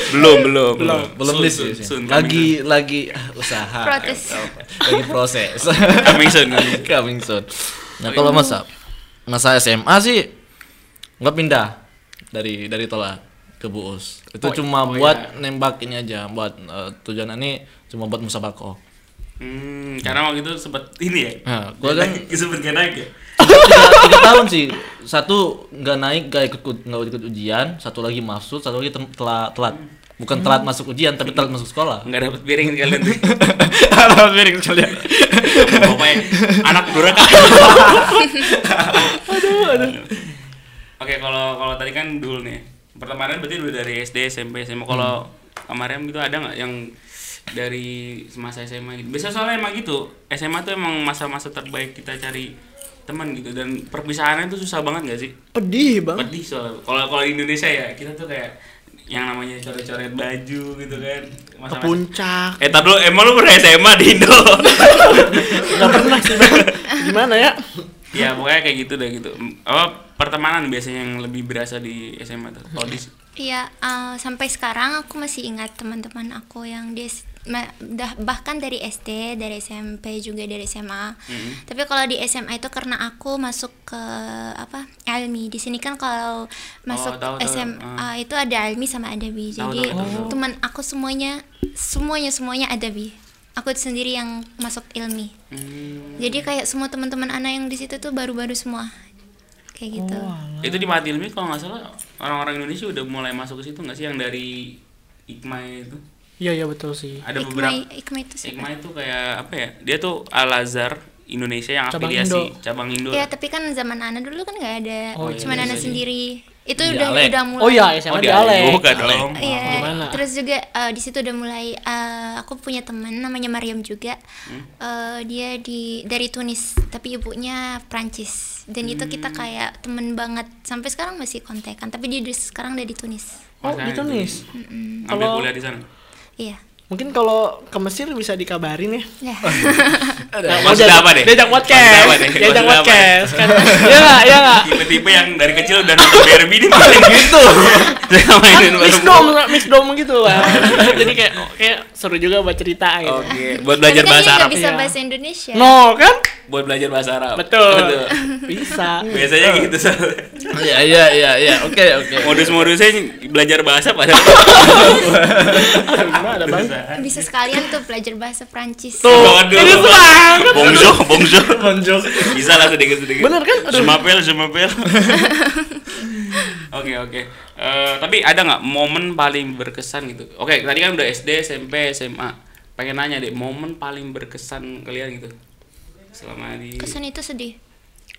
Speaker 6: belum belum belum
Speaker 3: Iya, belum
Speaker 6: Soon,
Speaker 3: list ya,
Speaker 6: soon,
Speaker 3: sih.
Speaker 6: soon, coming
Speaker 3: lagi lagi usaha
Speaker 8: Protes.
Speaker 3: lagi proses
Speaker 6: soon. coming soon coming soon.
Speaker 3: coming soon nah kalau masa masa SMA sih nggak pindah dari dari tolak ke buus itu
Speaker 6: Oh,
Speaker 3: cuma
Speaker 6: iya.
Speaker 3: buat nembak ini aja buat eh, tujuan ini cuma buat musabako
Speaker 6: hmm, karena waktu itu sempat ini ya
Speaker 3: nah, gua kan
Speaker 6: sempat gak naik ya
Speaker 3: tiga, tiga tahun sih satu nggak naik nggak ikut nggak ikut ujian satu lagi masuk satu lagi tem- telat telat bukan telat masuk ujian tapi telat masuk sekolah
Speaker 6: nggak dapat piring kalian tuh
Speaker 3: Alah, miring sekalian.
Speaker 6: pokoknya anak durhaka oke kalau kalau tadi kan dulu nih pertemanan berarti udah dari SD SMP SMA kalau
Speaker 7: Hmm.
Speaker 6: kemarin gitu ada nggak yang dari semasa SMA gitu biasanya soalnya emang gitu SMA tuh emang masa-masa terbaik kita cari teman gitu dan perpisahannya tuh susah banget gak sih
Speaker 7: Pedih bang.
Speaker 6: pedih soalnya kalau kalau di Indonesia ya kita tuh kayak yang namanya coret-coret baju gitu kan
Speaker 7: Ke
Speaker 6: masa-masa
Speaker 7: puncak.
Speaker 6: Eh tar dulu, emang lu pernah SMA di Indo?
Speaker 7: Gak pernah sih bang. Gimana ya?
Speaker 6: ya pokoknya kayak gitu deh gitu Apa pertemanan biasanya yang lebih berasa di SMA tuh? Kalau di
Speaker 8: Iya, eh, sampai sekarang aku masih ingat teman-teman aku yang di S- ma- dah- bahkan dari SD, dari SMP juga dari SMA.
Speaker 6: Mm-hmm.
Speaker 8: Tapi kalau di SMA itu karena aku masuk ke apa? Almi. Di sini kan kalau masuk
Speaker 6: Oh, tahu, tahu.
Speaker 8: SMA itu ada Almi sama
Speaker 6: Tahu,
Speaker 8: Adabi. Jadi
Speaker 6: tahu, tahu, tahu.
Speaker 8: teman aku semuanya semuanya semuanya Adabi. Aku sendiri yang masuk Ilmi.
Speaker 6: Mm-hmm.
Speaker 7: Hmm.
Speaker 8: Jadi kayak semua teman-teman anak yang di situ tuh baru-baru semua. Kayak gitu.
Speaker 6: itu di Mati Ilmi kalau nggak salah orang-orang Indonesia udah mulai masuk ke situ nggak sih yang dari Ikma itu?
Speaker 7: Iya iya betul sih.
Speaker 6: Ada
Speaker 8: Ikma-
Speaker 6: beberapa
Speaker 8: Ikma itu siapa?
Speaker 6: Ikma itu kayak apa ya? Dia tuh Al Azhar Indonesia yang
Speaker 7: Cabang
Speaker 6: afiliasi
Speaker 7: Indo.
Speaker 6: cabang Indo.
Speaker 8: Iya, tapi kan zaman Ana dulu kan nggak ada,
Speaker 7: Oh,
Speaker 8: cuma
Speaker 7: iya,
Speaker 6: iya.
Speaker 8: Ana sendiri. Itu
Speaker 3: Di
Speaker 8: udah
Speaker 3: Alek.
Speaker 8: udah mulai.
Speaker 7: Oh iya SMA
Speaker 6: oh,
Speaker 7: di
Speaker 6: dia
Speaker 7: Alek.
Speaker 6: Bukan dong.
Speaker 8: Iya.
Speaker 7: Gimana?
Speaker 8: Terus juga eh, di situ udah mulai eh, aku punya teman namanya Mariam juga.
Speaker 7: Hmm.
Speaker 8: Eh, dia di dari Tunis, tapi ibunya Prancis. Dan itu
Speaker 7: Hmm.
Speaker 8: kita kayak temen banget sampai sekarang masih kontekan, tapi dia di- sekarang udah di Tunis.
Speaker 7: Oh gitu nih.
Speaker 6: Ambil
Speaker 7: Kalau-
Speaker 6: kuliah di sana.
Speaker 8: Iya.
Speaker 7: Mungkin kalau ke Mesir bisa dikabarin ya.
Speaker 8: Ya.
Speaker 6: Maksudnya apa deh?
Speaker 7: Oh, Diajak
Speaker 6: Maksudnya
Speaker 7: podcast.
Speaker 6: apa deh? Maksudnya apa
Speaker 7: Diajak
Speaker 6: deh?
Speaker 7: podcast. Kan. Iya nggak?
Speaker 8: Ya
Speaker 7: Iya nggak?
Speaker 6: tipe-tipe yang dari kecil udah nonton Barbie ini paling gitu jangan mainin
Speaker 7: Ah,
Speaker 6: bareng
Speaker 7: Mix dom, mix dom gitu bang. Jadi kayak oh, kayak seru juga buat cerita gitu.
Speaker 6: oke buat belajar
Speaker 8: Tapi kan
Speaker 6: bahasa
Speaker 8: dia nggak
Speaker 6: Arab
Speaker 8: bisa
Speaker 7: Iya.
Speaker 8: bahasa Indonesia.
Speaker 7: No kan?
Speaker 6: buat belajar bahasa Arab
Speaker 7: Betul. Bisa.
Speaker 6: biasanya gitu soalnya.
Speaker 3: Iya iya iya iya. Oke oke.
Speaker 6: modus-modusnya belajar bahasa pada
Speaker 7: Gimana bang?
Speaker 8: Bisa sekalian tuh belajar bahasa Prancis.
Speaker 6: waduh
Speaker 7: Ini bang.
Speaker 6: bongjo bongjo bongjo bisa lah sedikit-sedikit
Speaker 7: Bener kan? Aduh.
Speaker 6: semapel semapel oke oke Eh, tapi ada nggak momen paling berkesan gitu oke tadi kan udah SD SMP SMA pengen nanya deh momen paling berkesan kalian gitu selama di
Speaker 8: Kesan itu sedih.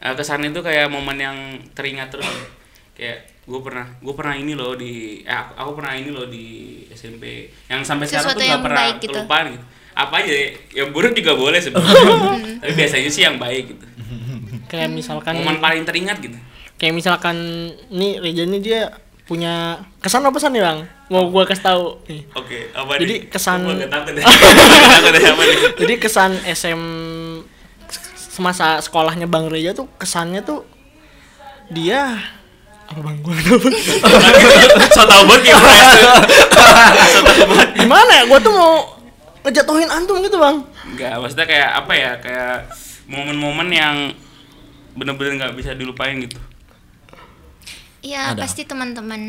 Speaker 6: Eh, kesan itu kayak momen yang teringat terus kayak gue pernah gue pernah ini loh di eh, aku, aku pernah ini loh di SMP yang sampai sekarang
Speaker 8: Sesuatu
Speaker 6: tuh
Speaker 8: yang
Speaker 6: gak pernah
Speaker 8: baik gitu.
Speaker 6: kelupaan gitu apa aja ya yang buruk juga boleh sebenarnya tapi biasanya sih yang baik gitu
Speaker 7: Kayak misalkan
Speaker 6: momen paling teringat gitu
Speaker 7: kayak misalkan nih Reja ini dia punya kesan apa pesan nih bang? Mau gua kasih tahu nih.
Speaker 6: oke apa nih?
Speaker 7: Jadi kesan-
Speaker 6: Gua gak takut deh. Gak takut deh, apa nih?
Speaker 7: Jadi kesan SM semasa sekolahnya Bang Reja tuh kesannya tuh dia apa bang gua dapet?
Speaker 6: so tau banget ya, kayak bahasa. so tau banget
Speaker 7: Gimana ya? Gua tuh mau ngejatuhin antum gitu bang.
Speaker 6: Enggak, maksudnya kayak apa ya? Kayak momen-momen yang bener-bener nggak bisa dilupain gitu.
Speaker 8: Iya
Speaker 3: Ada.
Speaker 8: pasti teman-teman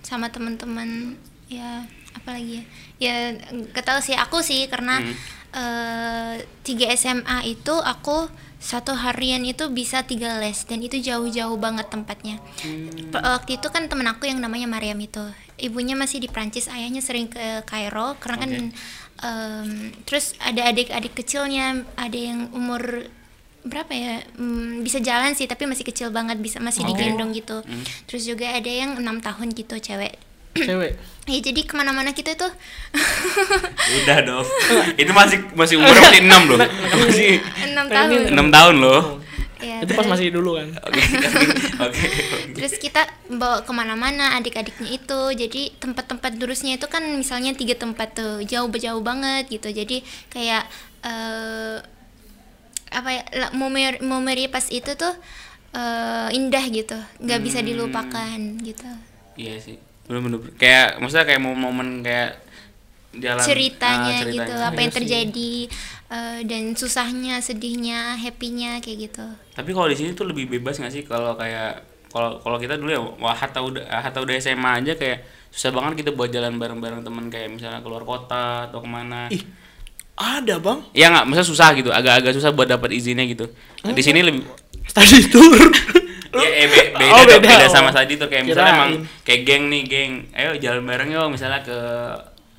Speaker 8: sama teman-teman ya apalagi ya ya nggak tahu sih aku sih karena eh, tiga SMA itu aku satu harian itu bisa tiga les dan itu jauh-jauh banget tempatnya Per- waktu itu kan temen aku yang namanya Mariam itu ibunya masih di Prancis ayahnya sering ke Kairo karena kan em, terus ada adik-adik kecilnya ada yang umur berapa ya Hmm, bisa jalan sih tapi masih kecil banget bisa masih digendong gitu terus juga ada yang enam tahun gitu cewek
Speaker 7: Cewek.
Speaker 8: ya jadi kemana-mana kita tuh
Speaker 6: Udah dong. Itu masih masih umurnya masih 6 loh. Masih
Speaker 8: enam tahun
Speaker 6: 6 tahun loh.
Speaker 8: Ya,
Speaker 7: Itu pas
Speaker 8: terus-
Speaker 7: masih dulu kan.
Speaker 6: Oke. Oke.
Speaker 8: terus kita bawa kemana-mana adik-adiknya itu jadi tempat-tempat durusnya itu kan misalnya tiga tempat tuh jauh-jauh banget gitu jadi kayak eh, apa ya la- momen momen pas itu tuh eh, indah gitu nggak bisa dilupakan gitu
Speaker 6: Iya sih. belum belum kayak maksudnya kayak momen-momen kayak jalan
Speaker 8: ceritanya,
Speaker 6: ah, ceritanya.
Speaker 8: gitu apa yang terjadi eh, dan susahnya sedihnya happy-nya kayak gitu
Speaker 6: tapi kalau di sini tuh lebih bebas nggak sih kalau kayak kalau kalau kita dulu ya wah hatta udah hatta udah SMA aja kayak susah banget kita buat jalan bareng-bareng teman kayak misalnya keluar kota atau kemana
Speaker 7: Ih, ada bang
Speaker 6: ya nggak maksudnya susah gitu agak-agak susah buat dapat izinnya gitu Nah, di sini lebih
Speaker 7: study tour
Speaker 6: ya eh, be- beda,
Speaker 7: Oh,
Speaker 6: dong,
Speaker 7: beda.
Speaker 6: beda
Speaker 7: Oh.
Speaker 6: sama tadi tuh kayak misalnya
Speaker 7: Kirain.
Speaker 6: emang kayak geng nih geng ayo jalan bareng yuk misalnya ke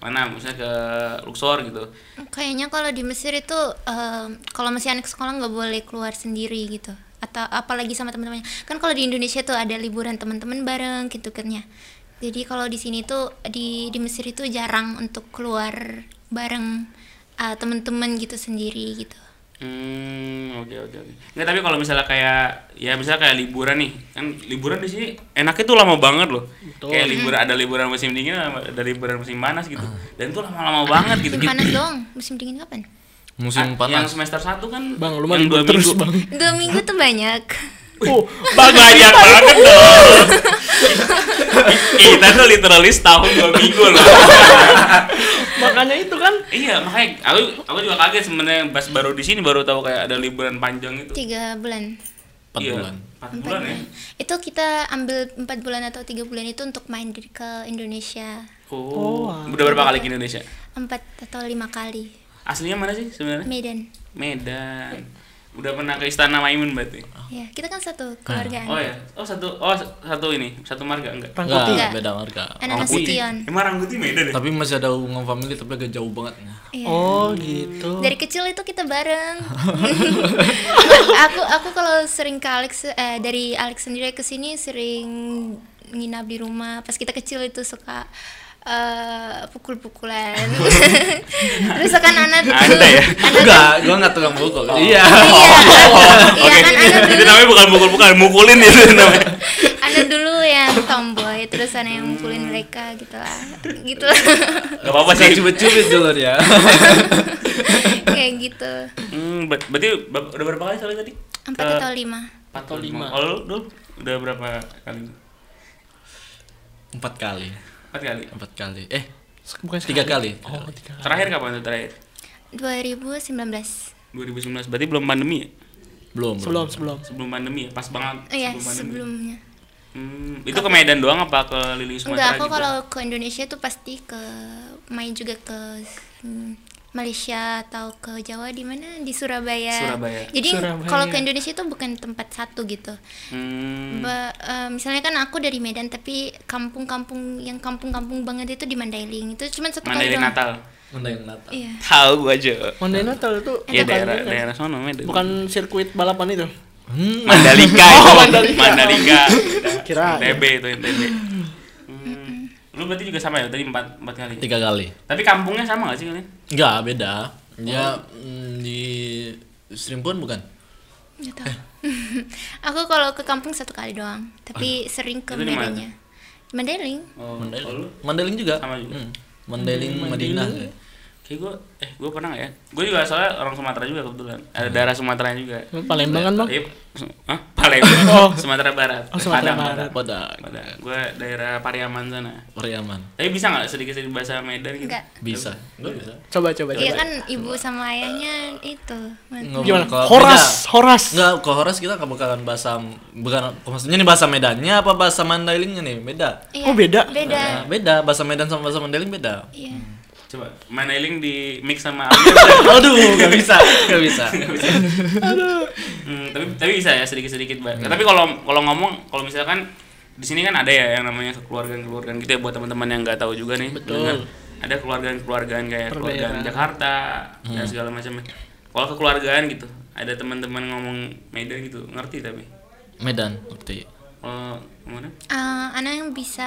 Speaker 6: mana misalnya ke Luxor gitu
Speaker 8: kayaknya kalau di Mesir itu em, kalau masih anak sekolah nggak boleh keluar sendiri gitu atau apalagi sama teman-temannya kan kalau di Indonesia tuh ada liburan teman-teman bareng gitu kan ya jadi kalau di sini tuh di di Mesir itu jarang untuk keluar bareng eh, teman-teman gitu sendiri gitu
Speaker 6: Hmm, oke oke oke. Nggak, tapi kalau misalnya kayak ya misalnya kayak liburan nih. Kan liburan di sini enaknya tuh lama banget loh. Kayak liburan ada liburan musim dingin ada liburan musim panas gitu.
Speaker 7: Ah.
Speaker 6: Dan itu lama-lama banget gitu.
Speaker 8: musim panas doang musim dingin kapan
Speaker 3: musim
Speaker 6: Ah, Yang
Speaker 3: panas
Speaker 6: semester 1 kan
Speaker 7: bang lu mah
Speaker 6: yang
Speaker 7: libur
Speaker 6: dua
Speaker 7: terus
Speaker 6: minggu.
Speaker 7: bang
Speaker 8: dua minggu tuh banyak
Speaker 7: oh
Speaker 6: Bang, banyak banget dong. Kita tuh literally setahun dua minggu loh.
Speaker 7: makanya itu kan
Speaker 6: iya, makanya aku aku juga kaget sebenarnya pas baru di sini baru tahu kayak ada liburan panjang itu.
Speaker 8: tiga bulan
Speaker 3: empat
Speaker 6: Iya,
Speaker 3: bulan
Speaker 6: Empat bulan ya.
Speaker 8: itu kita ambil empat bulan atau tiga bulan itu untuk main di- ke Indonesia
Speaker 6: Oh. Udah berapa kali ke Indonesia?
Speaker 8: empat atau lima kali
Speaker 6: Aslinya mana sih sebenarnya?
Speaker 8: Medan
Speaker 6: Medan. Udah pernah ke Istana Maimun berarti?
Speaker 8: ya kita kan satu keluargaan
Speaker 6: Oh ya. Oh satu oh satu ini, satu marga enggak?
Speaker 7: Rangkuti
Speaker 3: nggak beda warga
Speaker 8: anak Nasution
Speaker 6: Emang Rangguti Medan ya?
Speaker 3: tapi masih ada hubungan family tapi agak jauh banget
Speaker 8: Iya.
Speaker 7: oh gitu
Speaker 8: dari kecil itu kita bareng aku aku kalau sering ke Alex eh, dari Alex sendiri ke sini sering nginap di rumah pas kita kecil itu suka eh, pukul-pukulan terus kan anak
Speaker 6: Anda ya?
Speaker 3: enggak gua nggak tukang buku
Speaker 6: Oh.
Speaker 3: iya
Speaker 8: iya iya
Speaker 6: Oke,
Speaker 8: kan anak
Speaker 6: itu
Speaker 8: dulu
Speaker 6: namanya bukan mukul-mukul, Oh, mukulin itu namanya.
Speaker 8: anak dulu yang tomboy terus anak yang mukulin mereka gitu lah gitu lah
Speaker 6: Gak apa-apa sih.
Speaker 3: cubit-cubit dulu ya
Speaker 8: kayak gitu
Speaker 6: Hmm, ber- berarti ba- udah berapa kali soalnya tadi?
Speaker 8: empat
Speaker 6: Ke-
Speaker 8: atau lima
Speaker 6: Empat atau lima. Kalau lu, Dul, udah berapa kali?
Speaker 3: empat kali
Speaker 6: Empat kali.
Speaker 3: empat kali eh
Speaker 7: bukan
Speaker 3: tiga kali
Speaker 7: oh tiga
Speaker 6: Terakhir kapan tuh terakhir?
Speaker 8: 2019
Speaker 6: 2019. Berarti belum pandemi ya?
Speaker 3: belum
Speaker 7: sebelum sebelum
Speaker 6: Sebelum pandemi ya? Pas banget
Speaker 8: Oh iya,
Speaker 6: pandemi.
Speaker 8: sebelumnya.
Speaker 6: Hmm, itu ke Medan doang apa ke Lili
Speaker 8: Enggak,
Speaker 6: Sumatera gitu?
Speaker 8: aku
Speaker 6: juga?
Speaker 8: kalau ke Indonesia tuh pasti ke main juga ke hmm, Malaysia atau ke Jawa di mana di Surabaya.
Speaker 6: Surabaya.
Speaker 8: Jadi
Speaker 7: Surabaya.
Speaker 8: kalau ke Indonesia tuh bukan tempat satu gitu.
Speaker 6: Hmm.
Speaker 8: Ba- eh, misalnya kan aku dari Medan tapi kampung-kampung yang kampung-kampung banget itu di Mandailing. Itu cuma satu kali
Speaker 6: Mandailing
Speaker 8: doang.
Speaker 6: Natal.
Speaker 3: mendayang natal
Speaker 8: Iya.
Speaker 6: Tahu gua aja.
Speaker 7: Monday Natal itu kan
Speaker 6: Iya
Speaker 7: bukan
Speaker 6: daerah
Speaker 8: gitu.
Speaker 7: bukan.
Speaker 6: daerah sono Medan.
Speaker 7: bukan sirkuit balapan itu
Speaker 6: Mandalika itu. Mandalika.
Speaker 7: Kirain.
Speaker 6: NTB itu NTB. Hmm. Lu berarti juga sama ya tadi empat empat kali.
Speaker 3: tiga kali
Speaker 6: Tapi kampungnya sama gak sih kalian?
Speaker 3: enggak beda ya mm, di Serimpun bukan
Speaker 8: Nggak tahu.
Speaker 6: Eh.
Speaker 8: aku kalau ke kampung satu kali doang, tapi sering
Speaker 6: Oh,
Speaker 8: ke
Speaker 6: iya. Itu di mana?
Speaker 8: Medannya. Mandailing.
Speaker 6: Oh, kalau lu?
Speaker 3: Mandailing Mandailing juga
Speaker 6: Sama juga.
Speaker 3: Hmm. Mandailing Madinah
Speaker 6: Kayak gue, eh gue pernah gak ya? Gue juga soalnya orang Sumatera juga kebetulan. Ada daerah Sumatera juga.
Speaker 7: Palembang kan bang
Speaker 6: Iya. Hah? Palembang.
Speaker 7: Oh.
Speaker 6: Sumatera Barat.
Speaker 7: Oh, Sumatera
Speaker 6: Padang,
Speaker 7: Barat.
Speaker 3: pada
Speaker 6: Padang. Gue daerah Pariaman sana.
Speaker 3: Periaman
Speaker 6: Tapi bisa gak sedikit-sedikit bahasa Medan gitu?
Speaker 8: Enggak.
Speaker 3: bisa enggak bisa
Speaker 7: coba
Speaker 6: Eh,
Speaker 7: coba
Speaker 8: Iya
Speaker 7: coba
Speaker 8: kan ibu sama ayahnya itu. Man-
Speaker 7: gimana
Speaker 3: Kalau
Speaker 7: Horas
Speaker 3: beda.
Speaker 7: Horas
Speaker 3: Enggak, ke Horas kita nggak bakalan bahasa bukan maksudnya nih bahasa Medannya apa bahasa Mandailingnya nih? Beda.
Speaker 8: Iya,
Speaker 7: Oh, beda?
Speaker 8: Beda.
Speaker 3: Nah, beda, bahasa Medan sama bahasa Mandailing beda.
Speaker 8: Iya.
Speaker 6: Coba, Manailing di mix sama Alvin.
Speaker 3: Aduh, nggak bisa, nggak bisa.
Speaker 6: Hmm, tapi tapi bisa ya sedikit-sedikit Mbak. Nah, tapi kalau kalau ngomong kalau misalkan di sini kan ada ya yang namanya kekeluargaan-keluargaan gitu ya buat teman-teman yang nggak tahu juga nih. Betul. Ada kekeluargaan-keluargaan kayak keluargaan Jakarta dan segala macamnya. Kalau kekeluargaan gitu, ada teman-teman ngomong Medan gitu, ngerti tapi.
Speaker 3: Medan, ngerti.
Speaker 6: Kalau kemana?
Speaker 8: Eh, anak yang bisa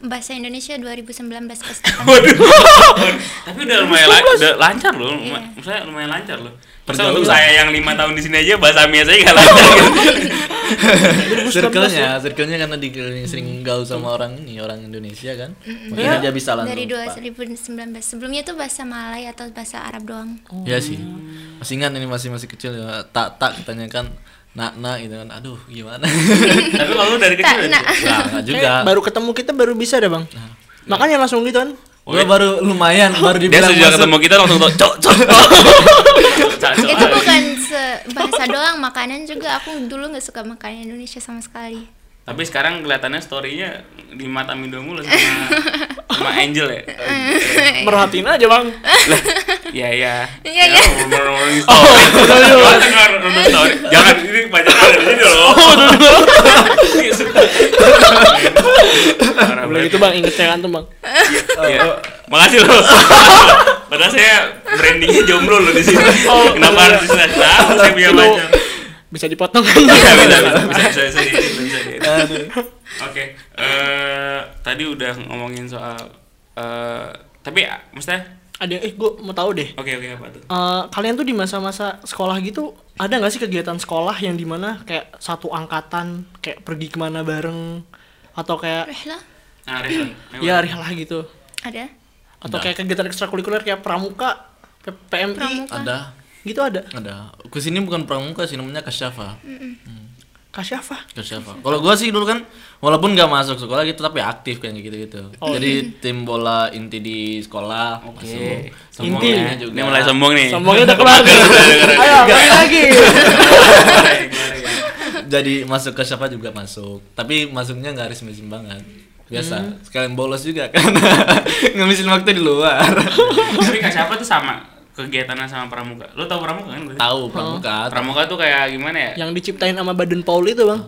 Speaker 8: bahasa Indonesia 2019 pasti.
Speaker 6: Tapi udah lumayan la- udah lancar loh, luma-
Speaker 8: Iya.
Speaker 6: maksudnya lumayan lancar loh. Masa untuk saya yang lima tahun di sini aja bahasa Mia saya nggak lancar gitu.
Speaker 3: Circle-nya, circle-nya karena dikeliling sering gaul sama orang ini, orang Indonesia kan. Mungkin aja bisa langsung.
Speaker 8: Dari
Speaker 3: lupa.
Speaker 8: 2019. Sebelumnya tuh bahasa Malay atau bahasa Arab doang.
Speaker 3: Iya sih. Masih ingat ini masih masih kecil ya. Tak tak ditanyakan nak nak gitu kan aduh gimana
Speaker 6: Tapi kalau lu Oh, dari
Speaker 8: Tak,
Speaker 6: kecil ya?
Speaker 8: nak.
Speaker 3: nah, nggak juga
Speaker 7: Kayak baru ketemu kita baru bisa deh bang makanya langsung gitu kan
Speaker 3: gue baru lumayan baru
Speaker 6: dia
Speaker 3: dibilang
Speaker 6: sejak
Speaker 3: masuk.
Speaker 6: ketemu kita langsung tuh cok cok cok cok.
Speaker 8: itu bukan se- bahasa doang makanan juga aku dulu nggak suka makanan Indonesia sama sekali
Speaker 6: Tapi sekarang kelihatannya story-nya di mata Mido mulu sama sama Angel ya.
Speaker 7: merhatiin aja bang
Speaker 6: Iya iya.
Speaker 8: Iya, iya.
Speaker 6: Orang-orang di story. Orang dengar, orang story. Jangan ini banyak ada di sini
Speaker 8: Oh,
Speaker 6: loh. Parah
Speaker 7: belum gitu
Speaker 6: banget.
Speaker 7: itu bang inget cekan tuh bang
Speaker 6: Iya. Makasih loh. Padahal saya brandingnya jomblo loh di sini. Kenapa harus disini? Tahu saya punya
Speaker 7: Oh, iya. Lu-
Speaker 6: banyak.
Speaker 7: bisa dipotong
Speaker 6: bisa bisa
Speaker 7: kan
Speaker 6: bisa bisa bisa di edit, bisa di edit. oke eh, tadi udah ngomongin soal eh, tapi ah, maksudnya
Speaker 7: ada yang- eh gue mau tahu deh
Speaker 6: oke oke apa tuh
Speaker 7: Eh, kalian tuh di masa-masa sekolah gitu ada nggak sih kegiatan sekolah yang dimana kayak satu angkatan kayak pergi kemana bareng atau kayak
Speaker 8: Eh lah
Speaker 6: nah Rifan ayo.
Speaker 7: ya rihlah gitu
Speaker 8: ada
Speaker 7: atau kayak kegiatan ekstrakurikuler kayak pramuka P- PMI
Speaker 8: pramuka
Speaker 3: ada
Speaker 7: gitu ada
Speaker 3: ada kesini bukan pramuka sih namanya kasyafa
Speaker 7: kasyafa
Speaker 3: kasyafa kalau gue sih dulu kan walaupun nggak masuk sekolah gitu tapi aktif kayak gitu gitu jadi tim bola inti di sekolah
Speaker 6: Oke.
Speaker 3: masuk
Speaker 6: Sombong
Speaker 7: Inti.
Speaker 6: ya. ini mulai sombong nih
Speaker 7: sombongnya udah keluar ayo balik lagi
Speaker 3: jadi masuk ke siapa juga masuk tapi masuknya nggak harus mesin banget biasa sekalian bolos juga kan ngemisin waktu di luar
Speaker 6: tapi kak siapa tuh sama kegiatannya sama pramuka lo tau pramuka kan berarti?
Speaker 3: tahu pramuka
Speaker 6: pramuka tuh kayak gimana ya
Speaker 7: yang diciptain sama Baden Paul itu bang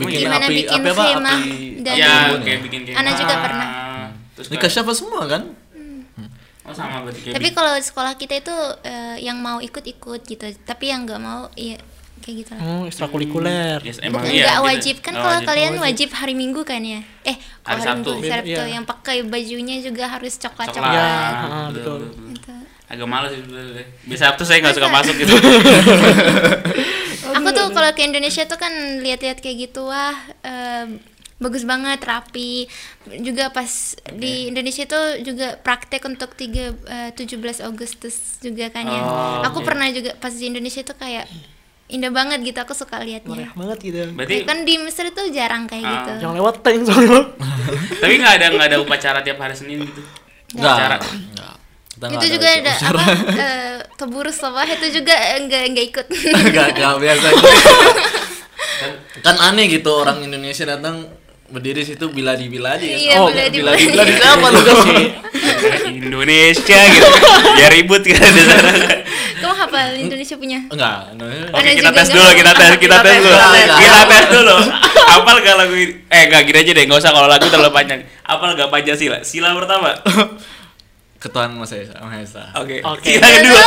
Speaker 3: bikin
Speaker 8: Gimana
Speaker 3: api
Speaker 8: bikin
Speaker 3: api apa
Speaker 8: khemah
Speaker 3: api
Speaker 8: dan-
Speaker 6: ya
Speaker 3: api unggun
Speaker 6: kayak
Speaker 3: ya?
Speaker 6: bikin kayak gitu. Ah,
Speaker 8: Ana juga pernah.
Speaker 6: terus
Speaker 3: ini
Speaker 6: kayak-
Speaker 3: ke siapa semua kan
Speaker 6: oh sama berarti kayak
Speaker 8: tapi
Speaker 6: bikin-
Speaker 8: kalau sekolah kita itu eh, yang mau ikut ikut gitu tapi yang nggak mau ya kayak gitu lah
Speaker 7: oh ekstrakurikuler
Speaker 6: Yes,
Speaker 8: Bukan
Speaker 6: emang iya,
Speaker 8: nggak
Speaker 6: gitu.
Speaker 8: wajib kan
Speaker 6: Nggak
Speaker 8: kalau
Speaker 6: wajib.
Speaker 8: kalian wajib hari Minggu kan ya eh
Speaker 6: Hari
Speaker 8: kalau hari Minggu
Speaker 6: Sabtu.
Speaker 8: hari Sabtu
Speaker 7: Iya.
Speaker 8: yang pakai bajunya juga harus coklat
Speaker 6: coklat
Speaker 8: coklat
Speaker 7: Ya, ah, betul.
Speaker 8: gitu.
Speaker 6: agak malas sih sebenarnya biasa tuh saya nggak suka masuk gitu
Speaker 8: aku tuh kalau ke Indonesia tuh kan lihat-lihat kayak gitu wah eh, bagus banget rapi juga pas di Indonesia tuh juga praktek untuk tiga eh, 17 Agustus juga kan ya
Speaker 6: Oh,
Speaker 8: aku pernah juga pas di Indonesia tuh kayak indah banget gitu aku suka liatnya
Speaker 7: meriah banget gitu
Speaker 6: berarti
Speaker 8: kan di Mesir tuh jarang kayak
Speaker 6: Ah.
Speaker 8: gitu
Speaker 7: yang lewat tank soalnya
Speaker 6: tapi nggak ada nggak ada upacara tiap hari senin gitu
Speaker 3: nggak
Speaker 6: Cara-
Speaker 3: nggak Kita nggak
Speaker 8: itu juga ada apa eh, keburu sawah itu juga eh, nggak nggak ikut
Speaker 3: nggak nggak biasa kan aneh gitu orang Indonesia datang berdiri situ bila di bila aja kan?
Speaker 8: Iya,
Speaker 3: oh
Speaker 8: bila di
Speaker 3: bila
Speaker 8: bila.
Speaker 3: di bila di siapa lu kan
Speaker 7: Iya.
Speaker 6: Indonesia gitu biar ribut kan di sana
Speaker 8: kamu hafal Indonesia punya
Speaker 3: enggak Indonesia-
Speaker 8: Ada
Speaker 6: Oke, kita
Speaker 8: juga ya,
Speaker 6: tes
Speaker 8: nggak?
Speaker 6: dulu kita tes kita tes dulu
Speaker 3: tes dulu.
Speaker 6: kita tes dulu apal gak lagu ini? eh nggak gini aja deh nggak usah kalau lagu terlalu panjang apal gak pancasila sila pertama
Speaker 3: ketuaan Mas Esa Mas Esa
Speaker 6: oke
Speaker 7: Oke.
Speaker 6: sila kedua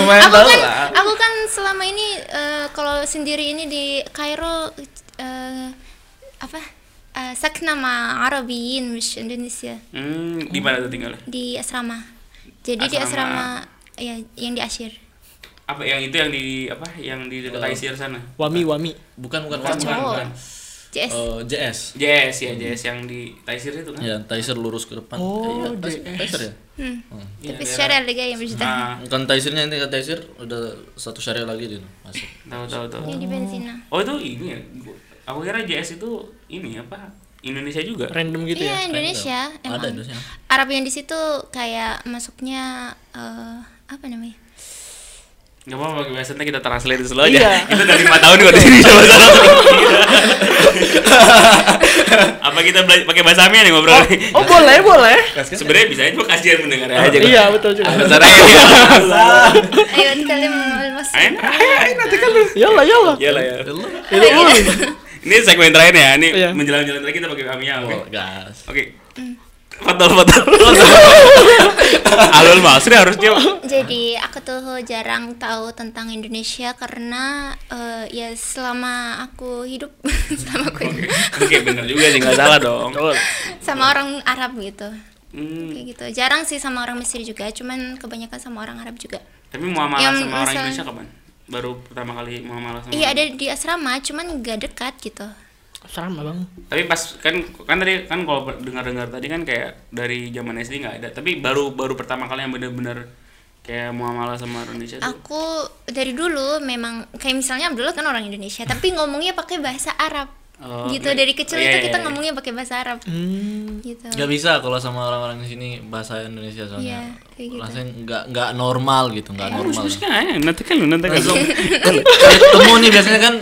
Speaker 3: lumayan
Speaker 8: aku
Speaker 3: tahu
Speaker 8: kan
Speaker 3: lah
Speaker 8: aku kan selama ini eh, kalau sendiri ini di Kairo eh, apa eh, sakna ma Arabiin mish Indonesia
Speaker 6: hmm di mana tuh tinggalnya
Speaker 8: di asrama jadi di asrama
Speaker 6: Asrama.
Speaker 8: ya yang di Asyir
Speaker 6: apa yang itu yang di apa yang di
Speaker 7: Oh.
Speaker 6: dekat Aisyir sana
Speaker 7: wami wami
Speaker 3: bukan bukan
Speaker 6: Bukan,
Speaker 3: bukan.
Speaker 8: cowok.
Speaker 6: bukan.
Speaker 8: JS
Speaker 3: Eh, JS
Speaker 6: Jess ya Jess yang di Taisir itu kan
Speaker 7: Iya.
Speaker 3: ya Taisir lurus ke depan
Speaker 7: Oh,
Speaker 3: Iya, Taisir-
Speaker 7: JS.
Speaker 3: Taisir ya
Speaker 8: hmm.
Speaker 6: Iya,
Speaker 8: tapi
Speaker 6: daerah.
Speaker 8: syariah lega ya, yang berjuta
Speaker 6: nah
Speaker 3: bukan Taisirnya nanti ke Taisir udah satu syariah lagi dia masuk
Speaker 6: tahu tahu tahu
Speaker 8: ini di Benzina
Speaker 6: Oh itu ini ya? Gua- Aku kira JS itu ini apa? Indonesia juga?
Speaker 7: random gitu ya
Speaker 8: iya Indonesia emang
Speaker 3: ada Indonesia
Speaker 8: Arab yang di situ kayak masuknya eh, apa namanya
Speaker 6: Gak apa-apa, biasanya kita translate slow aja
Speaker 7: Iya.
Speaker 6: Kita dari 4 tahun kok di sini sama sana Apa kita bela- pakai bahasa Amia nih ngobrol nih?
Speaker 7: oh boleh boleh
Speaker 6: Sebenarnya bisa aja, cuma kasihan mendengar aja
Speaker 7: iya betul juga
Speaker 6: Bahasa Amia
Speaker 8: ayo kalian masuk
Speaker 6: Ayo, ayo, nanti kan
Speaker 7: yola yola
Speaker 6: Iyalah ya
Speaker 7: Itu ulang.
Speaker 6: Ini segmen terakhir ya, ini
Speaker 7: Iya.
Speaker 6: menjelang-jelang terakhir kita pakai Amia, oke?
Speaker 3: Oh, gas
Speaker 6: Oke Fatal, fatal Alul Masri harusnya
Speaker 8: Jadi aku tuh jarang tahu tentang Indonesia karena eh, ya selama aku hidup selama aku hidup
Speaker 6: Oke, bener juga sih, gak salah dong
Speaker 8: sama orang Arab gitu.
Speaker 6: Hmm,
Speaker 8: Kayak gitu. Jarang sih sama orang Mesir juga, cuman kebanyakan sama orang Arab juga.
Speaker 6: Tapi muamalah
Speaker 8: Yang
Speaker 6: sama orang
Speaker 8: misal-
Speaker 6: Indonesia kapan? Baru pertama kali muamalah sama.
Speaker 8: Iya
Speaker 6: orang-
Speaker 8: ada di asrama, cuman gak dekat gitu.
Speaker 7: serem bang
Speaker 6: Tapi pas kan kan tadi kan kalau dengar-dengar tadi kan kayak dari zaman SD nggak ada. Tapi baru baru pertama kali yang benar-benar kayak muamalah sama orang Indonesia tuh
Speaker 8: Aku dari dulu memang kayak misalnya dulu kan orang Indonesia, tapi ngomongnya pakai bahasa Arab.
Speaker 6: Oh,
Speaker 8: gitu
Speaker 6: iya.
Speaker 8: dari
Speaker 6: Oh,
Speaker 8: kecil
Speaker 6: iya,
Speaker 8: itu
Speaker 6: iya, Ya,
Speaker 8: kita
Speaker 6: iya.
Speaker 8: ngomongnya pakai bahasa Arab. Gitu.
Speaker 3: nggak bisa kalau sama orang-orang di sini bahasa Indonesia
Speaker 8: Iya,
Speaker 3: soalnya
Speaker 8: kayak gitu.
Speaker 3: rasanya nggak nggak normal gitu nggak normal
Speaker 6: terus kan nanti kan lu nanti kan
Speaker 8: Iya,
Speaker 3: Kalau ketemu nih biasanya kan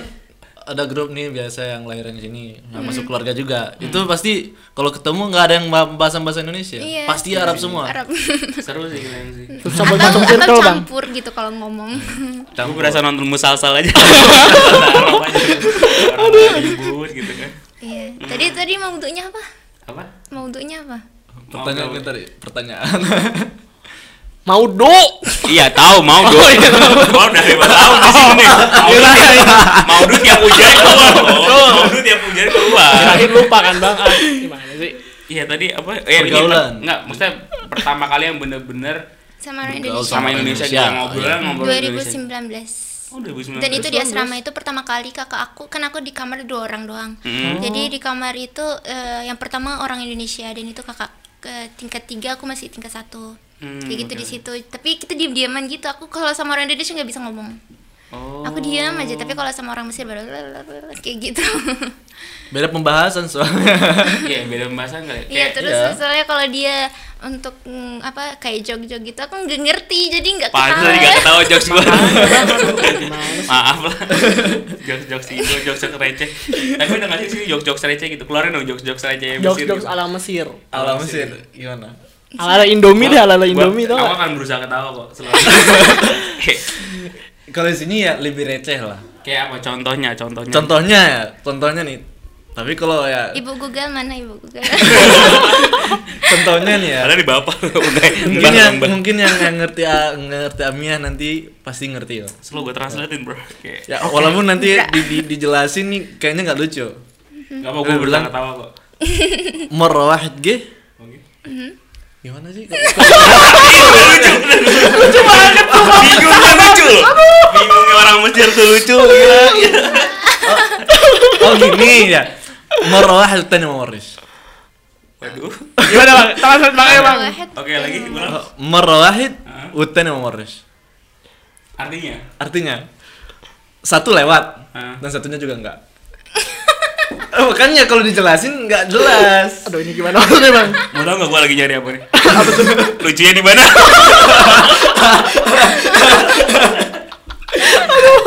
Speaker 3: ada grup nih biasa yang lahiran di sini
Speaker 8: Hmm.
Speaker 3: yang masuk keluarga juga itu pasti kalau ketemu nggak ada yang bahasa bahasa Indonesia
Speaker 8: Iya.
Speaker 3: pasti Arab semua
Speaker 8: Arab.
Speaker 6: seru sih kalian sih
Speaker 7: Susah buat masuk
Speaker 8: atau atau
Speaker 7: circle bang.
Speaker 8: campur gitu kalau ngomong.
Speaker 6: Aku berasa nonton musalsal aja. Orang aja. Orang ribut gitu kan.
Speaker 8: Iya. Tadi tadi maudunya apa?
Speaker 6: Apa?
Speaker 8: Maudunya apa?
Speaker 3: pertanyaan
Speaker 6: Mau-
Speaker 3: tadi pertanyaan
Speaker 7: Mau do.
Speaker 6: Iya tahu Oh, iya, mau gue. Mau dari mana tahu di sini. Mau du- Mau du tiap hujan keluar. Mau du tiap hujan keluar.
Speaker 7: Terakhir lupa kan bang. Ah, gimana sih?
Speaker 6: Iya tadi apa? Eh, ini
Speaker 3: Pergaulan.
Speaker 6: per- Enggak, maksudnya pertama kali yang bener-bener
Speaker 8: Sama orang
Speaker 3: Bergaul
Speaker 8: Indonesia.
Speaker 6: sama Indonesia Iya.
Speaker 3: Indonesia.
Speaker 6: kita ngobrol ngobrol Indonesia.
Speaker 8: 2019.
Speaker 6: Oh, 2019.
Speaker 8: Dan itu di asrama itu pertama kali kakak aku kan aku di kamar dua orang doang.
Speaker 6: Hmm.
Speaker 8: Jadi di kamar itu eh, yang pertama orang Indonesia dan itu kakak ke tingkat tiga aku masih tingkat satu.
Speaker 6: Hmm,
Speaker 8: Kayak gitu
Speaker 6: oke,
Speaker 8: di situ. Tapi kita diem diaman gitu. Aku kalau sama orang Indonesia nggak bisa ngomong.
Speaker 6: Oh.
Speaker 8: Aku diam aja. Tapi kalau sama orang Mesir baru kayak gitu.
Speaker 3: beda pembahasan soalnya
Speaker 6: Iya, beda pembahasan kali.
Speaker 8: Iya
Speaker 6: Kayak
Speaker 8: terus
Speaker 3: iya.
Speaker 8: misalnya kalau dia untuk mm, apa kayak jog-jog gitu aku nggak ngerti jadi nggak
Speaker 6: Pantes tadi gak
Speaker 8: ketawa.
Speaker 6: ketawa jokes gue Maaf lah Jokes-jokes itu, jokes-jokes receh Tapi udah ngasih sih jokes-jokes receh gitu Keluarin dong jokes-jokes receh gitu.
Speaker 7: Jokes jokes ala Mesir.
Speaker 3: Alam Mesir gimana
Speaker 7: Ala ala Indomie deh, ala ala Indomie
Speaker 6: tuh
Speaker 7: tuh.
Speaker 6: Aku akan berusaha ketawa kok selalu.
Speaker 3: kalau di sini ya lebih receh lah
Speaker 6: Kayak apa contohnya, contohnya
Speaker 3: contohnya ya contohnya nih tapi kalau ya
Speaker 8: Ibu Google mana ibu Google?
Speaker 3: contohnya nih ya
Speaker 6: Ada di bapak udah
Speaker 3: mungkin ya.
Speaker 6: mbak,
Speaker 3: yang
Speaker 6: mbak.
Speaker 3: mungkin yang yang ngerti ngerti Amiah nanti pasti ngerti loh
Speaker 6: Selalu gue translatein bro Kayak
Speaker 3: Ya, walaupun nanti di- di- dijelasin nih kayaknya nggak lucu.
Speaker 6: Gak mau gue
Speaker 3: Lu bilang-
Speaker 6: berusaha ketawa kok
Speaker 3: Merawat ge.
Speaker 6: Oke.
Speaker 3: Gimana sih?
Speaker 6: Bingung kan lucu Bingungnya orang Mesir tuh lucu gila.
Speaker 3: iya. Oh gini ya. Merawat tanya Morris.
Speaker 6: Waduh
Speaker 7: Gimana bang? Translate bang ya bang.
Speaker 8: Wahed.
Speaker 6: Oke lagi
Speaker 3: Oh,
Speaker 6: ulang
Speaker 3: Merawat utanya Morris.
Speaker 6: Artinya
Speaker 3: Artinya satu lewat
Speaker 6: Ah.
Speaker 3: dan satunya juga enggak. Eh, Makanya kalau dijelasin nggak jelas.
Speaker 7: Aduh ini gimana maksudnya bang?
Speaker 6: Mau tau gak gue lagi nyari apa nih? Lucunya di mana?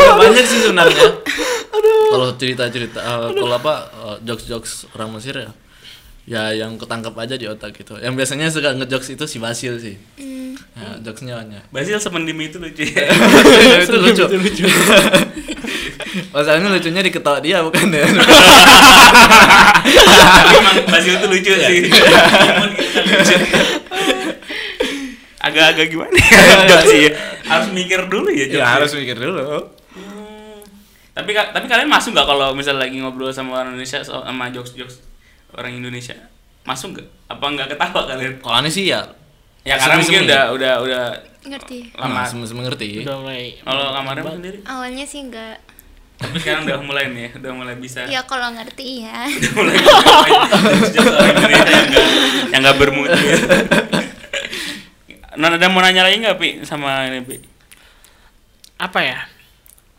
Speaker 3: Banyak sih sebenarnya. Kalau cerita-cerita, eh, kalau apa eh, jokes-jokes orang Mesir ya, ya yang ketangkap aja di otak gitu. Yang biasanya suka ngejokes itu si Basil sih. Ya, jokesnya banyak.
Speaker 6: Basil semendim itu lucu ya.
Speaker 3: Iya, itu lucu. Masalahnya lucunya di ketawa dia bukan ya. Iya,
Speaker 6: Tapi emang Basil itu lucu sih. Cuman kita lucu. Agak-agak gimana ya? Jok sih ya. Harus mikir dulu ya, Jok.
Speaker 3: mikir dulu.
Speaker 6: Tapi ka- tapi kalian masuk nggak kalau misalnya lagi ngobrol sama orang Indonesia so- sama jokes-jokes orang Indonesia? Masuk nggak? Apa nggak ketawa kalian?
Speaker 3: Kalau aneh sih ya
Speaker 6: Ya karena mungkin
Speaker 3: Semi-semi.
Speaker 6: udah udah udah
Speaker 8: Ngerti.
Speaker 6: lama.
Speaker 3: lama mengerti.
Speaker 7: Udah mulai.
Speaker 6: Kalau kamarnya sendiri,
Speaker 8: Awalnya sih nggak.
Speaker 6: tapi sekarang udah mulai nih, ya, udah mulai bisa.
Speaker 8: Ya kalau ngerti ya.
Speaker 6: Udah mulai bisa main jokes-jokes orang Indonesia yang nggak- yang nggak bermutu. ya. Non ada mau nanya lagi nggak pi sama ini pi?
Speaker 7: Apa ya?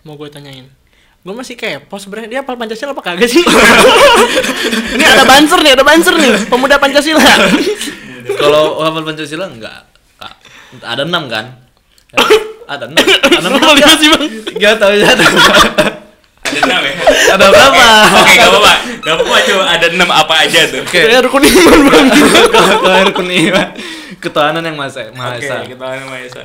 Speaker 7: Mau gue tanyain. Gue masih kepo sebenarnya dia apa Pancasila apa kagak sih? ini ada banser nih, ada banser nih. Pemuda Pancasila.
Speaker 3: Kalau hafal Pancasila enggak. Enggak. Ada enam kan? Ya, ada enam. Ada enam.
Speaker 7: Lima sih bang.
Speaker 3: Enggak tahu ya.
Speaker 6: Ada enam ya?
Speaker 3: Ada berapa?
Speaker 6: Oke, gak apa-apa. Gak apa-apa, coba ada enam apa aja tuh.
Speaker 3: Oke.
Speaker 7: Kayak rukun iman bang.
Speaker 3: Kalau rukun iman. Ketuhanan yang Maha Maha
Speaker 6: Oke,
Speaker 3: Esa.
Speaker 6: kita lawan Maha Esa.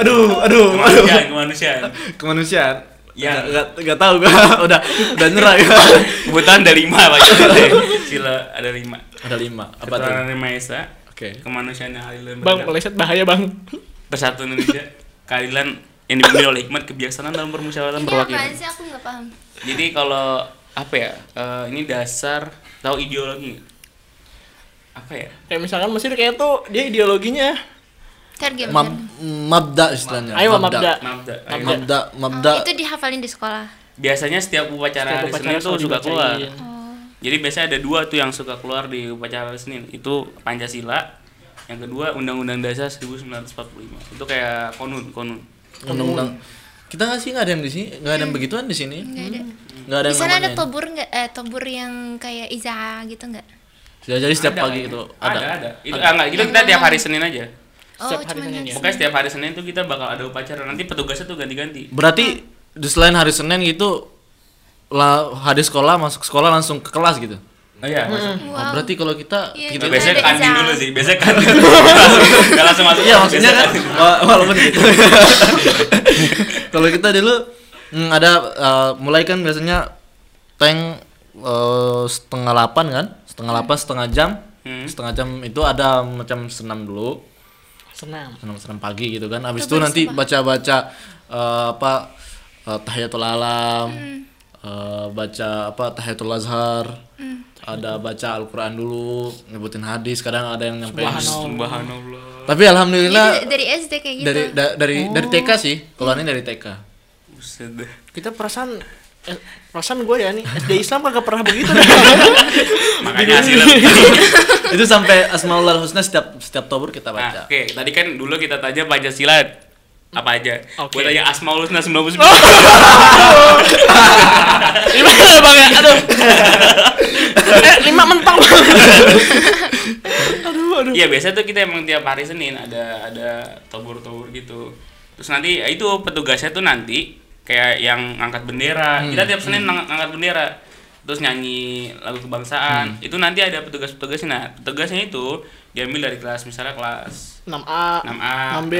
Speaker 3: Aduh, aduh, aduh.
Speaker 6: Kemanusiaan, kemanusiaan.
Speaker 3: Kemanusiaan.
Speaker 6: Ya.
Speaker 3: Enggak enggak tahu gua. Udah udah nyerah gua.
Speaker 6: Kebetulan ada lima Pak. Sila, Sila ada lima.
Speaker 3: Ada lima. Apa tuh?
Speaker 6: Ketuhanan Yang Maha Esa,
Speaker 3: Oke.
Speaker 6: kemanusiaan yang adil dan
Speaker 7: Bang,
Speaker 6: beradab,
Speaker 7: meleset bahaya bang.
Speaker 6: persatuan Indonesia, keadilan yang dipimpin oleh hikmat, kebijaksanaan dalam permusyawaratan
Speaker 8: Ini apaan
Speaker 6: perwakilan.
Speaker 7: Iya,
Speaker 8: sih aku nggak paham.
Speaker 6: Jadi kalau apa ya? eh, ini dasar tahu ideologi nggak? apa ya?
Speaker 7: Kayak misalkan Mesir kayak tuh dia ideologinya.
Speaker 8: Target.
Speaker 3: Mab, mabda istilahnya.
Speaker 7: Ayo Bang, mabda.
Speaker 6: Mabda. Ayo.
Speaker 3: Mabda, mabda.
Speaker 8: Oh, itu dihafalin di sekolah.
Speaker 6: Biasanya setiap upacara
Speaker 7: Setiap
Speaker 6: hari
Speaker 7: upacara
Speaker 6: Senin tuh
Speaker 7: selalu
Speaker 6: suka keluar.
Speaker 7: dibacain.
Speaker 6: Jadi biasanya ada dua tuh yang suka keluar di upacara hari Senin. Itu Pancasila yang kedua undang-undang dasar 1945 itu kayak konun konun
Speaker 3: undang-undang kita nggak sih nggak ada yang di sini nggak ada yang begituan di sini nggak ada nggak Hmm. ada
Speaker 8: Hmm. Ya Di
Speaker 3: yang
Speaker 8: sana ada
Speaker 3: namanya.
Speaker 8: tobur nggak? Eh, tobur yang kayak Iza gitu nggak?
Speaker 3: Ya, jadi setiap
Speaker 6: Ada
Speaker 3: pagi
Speaker 6: kayaknya.
Speaker 3: gitu
Speaker 6: ada
Speaker 3: ada,
Speaker 6: ada, itu ah, enggak, itu kita tiap hari senin aja
Speaker 8: Oh,
Speaker 7: Setiap hari
Speaker 8: cuman
Speaker 7: Senin
Speaker 8: yang-
Speaker 7: ya?
Speaker 6: pokoknya setiap hari senin tuh kita bakal ada upacara nanti petugasnya tuh ganti-ganti
Speaker 3: berarti di selain hari senin gitu lah hadis sekolah masuk sekolah langsung ke kelas gitu
Speaker 6: oh iya
Speaker 3: Oh,
Speaker 8: Wow.
Speaker 3: berarti kalau kita
Speaker 8: Iya,
Speaker 3: kita
Speaker 6: Nah,
Speaker 8: Gitu.
Speaker 6: biasanya
Speaker 8: Hmm. Ada
Speaker 6: kantin
Speaker 8: izah.
Speaker 6: dulu sih, biasanya kantin dulu. langsung, nggak langsung masuk.
Speaker 3: Iya maksudnya
Speaker 6: Biasanya
Speaker 3: kan
Speaker 6: kantin.
Speaker 3: wa- walaupun gitu. Kalau kita dulu hmm, ada eh, mulai kan biasanya tank eh, setengah delapan kan, setengah delapan setengah jam,
Speaker 6: Hmm.
Speaker 3: setengah jam itu ada macam senam dulu,
Speaker 7: senam
Speaker 3: senam senam pagi gitu kan. Habis itu
Speaker 8: Itu
Speaker 3: nanti
Speaker 8: bersumpah.
Speaker 3: baca baca apa eh, tahiyatul alam, eh, baca apa tahiyatul azhar. Ada baca Al-Quran dulu, nyebutin hadis, kadang ada yang nyampe.
Speaker 6: Subhanallah.
Speaker 3: Tapi alhamdulillah
Speaker 8: Jadi dari SD kayak gitu.
Speaker 3: dari da- dari dari TK sih keluarnya dari TK
Speaker 6: Buset deh.
Speaker 7: kita perasaan eh, perasaan gue ya nih SD Islam kagak pernah begitu nih.
Speaker 6: Makanya hasilnya. Nah,
Speaker 3: itu sampai asmaul husna setiap setiap tobur kita
Speaker 6: Nah,
Speaker 3: baca
Speaker 6: Oke, tadi kan dulu kita tanya Pancasila apa aja.
Speaker 7: Oke.
Speaker 6: Gue tanya Asmaul Husna 99.
Speaker 7: Gimana bang ya? Aduh. eh, lima mentok. aduh, aduh.
Speaker 6: Iya, biasanya tuh kita emang tiap hari Senin ada ada tobur-tobur gitu. Terus nanti ya itu petugasnya tuh nanti kayak yang ngangkat bendera.
Speaker 7: Hmm,
Speaker 6: Kita tiap Senin nang- ngangkat bendera. Terus nyanyi lagu
Speaker 7: Hmm.
Speaker 6: kebangsaan. Itu nanti ada petugas-petugasnya. Nah, petugasnya itu diambil dari kelas misalnya kelas
Speaker 7: 6A,
Speaker 6: 6A,
Speaker 7: 6B,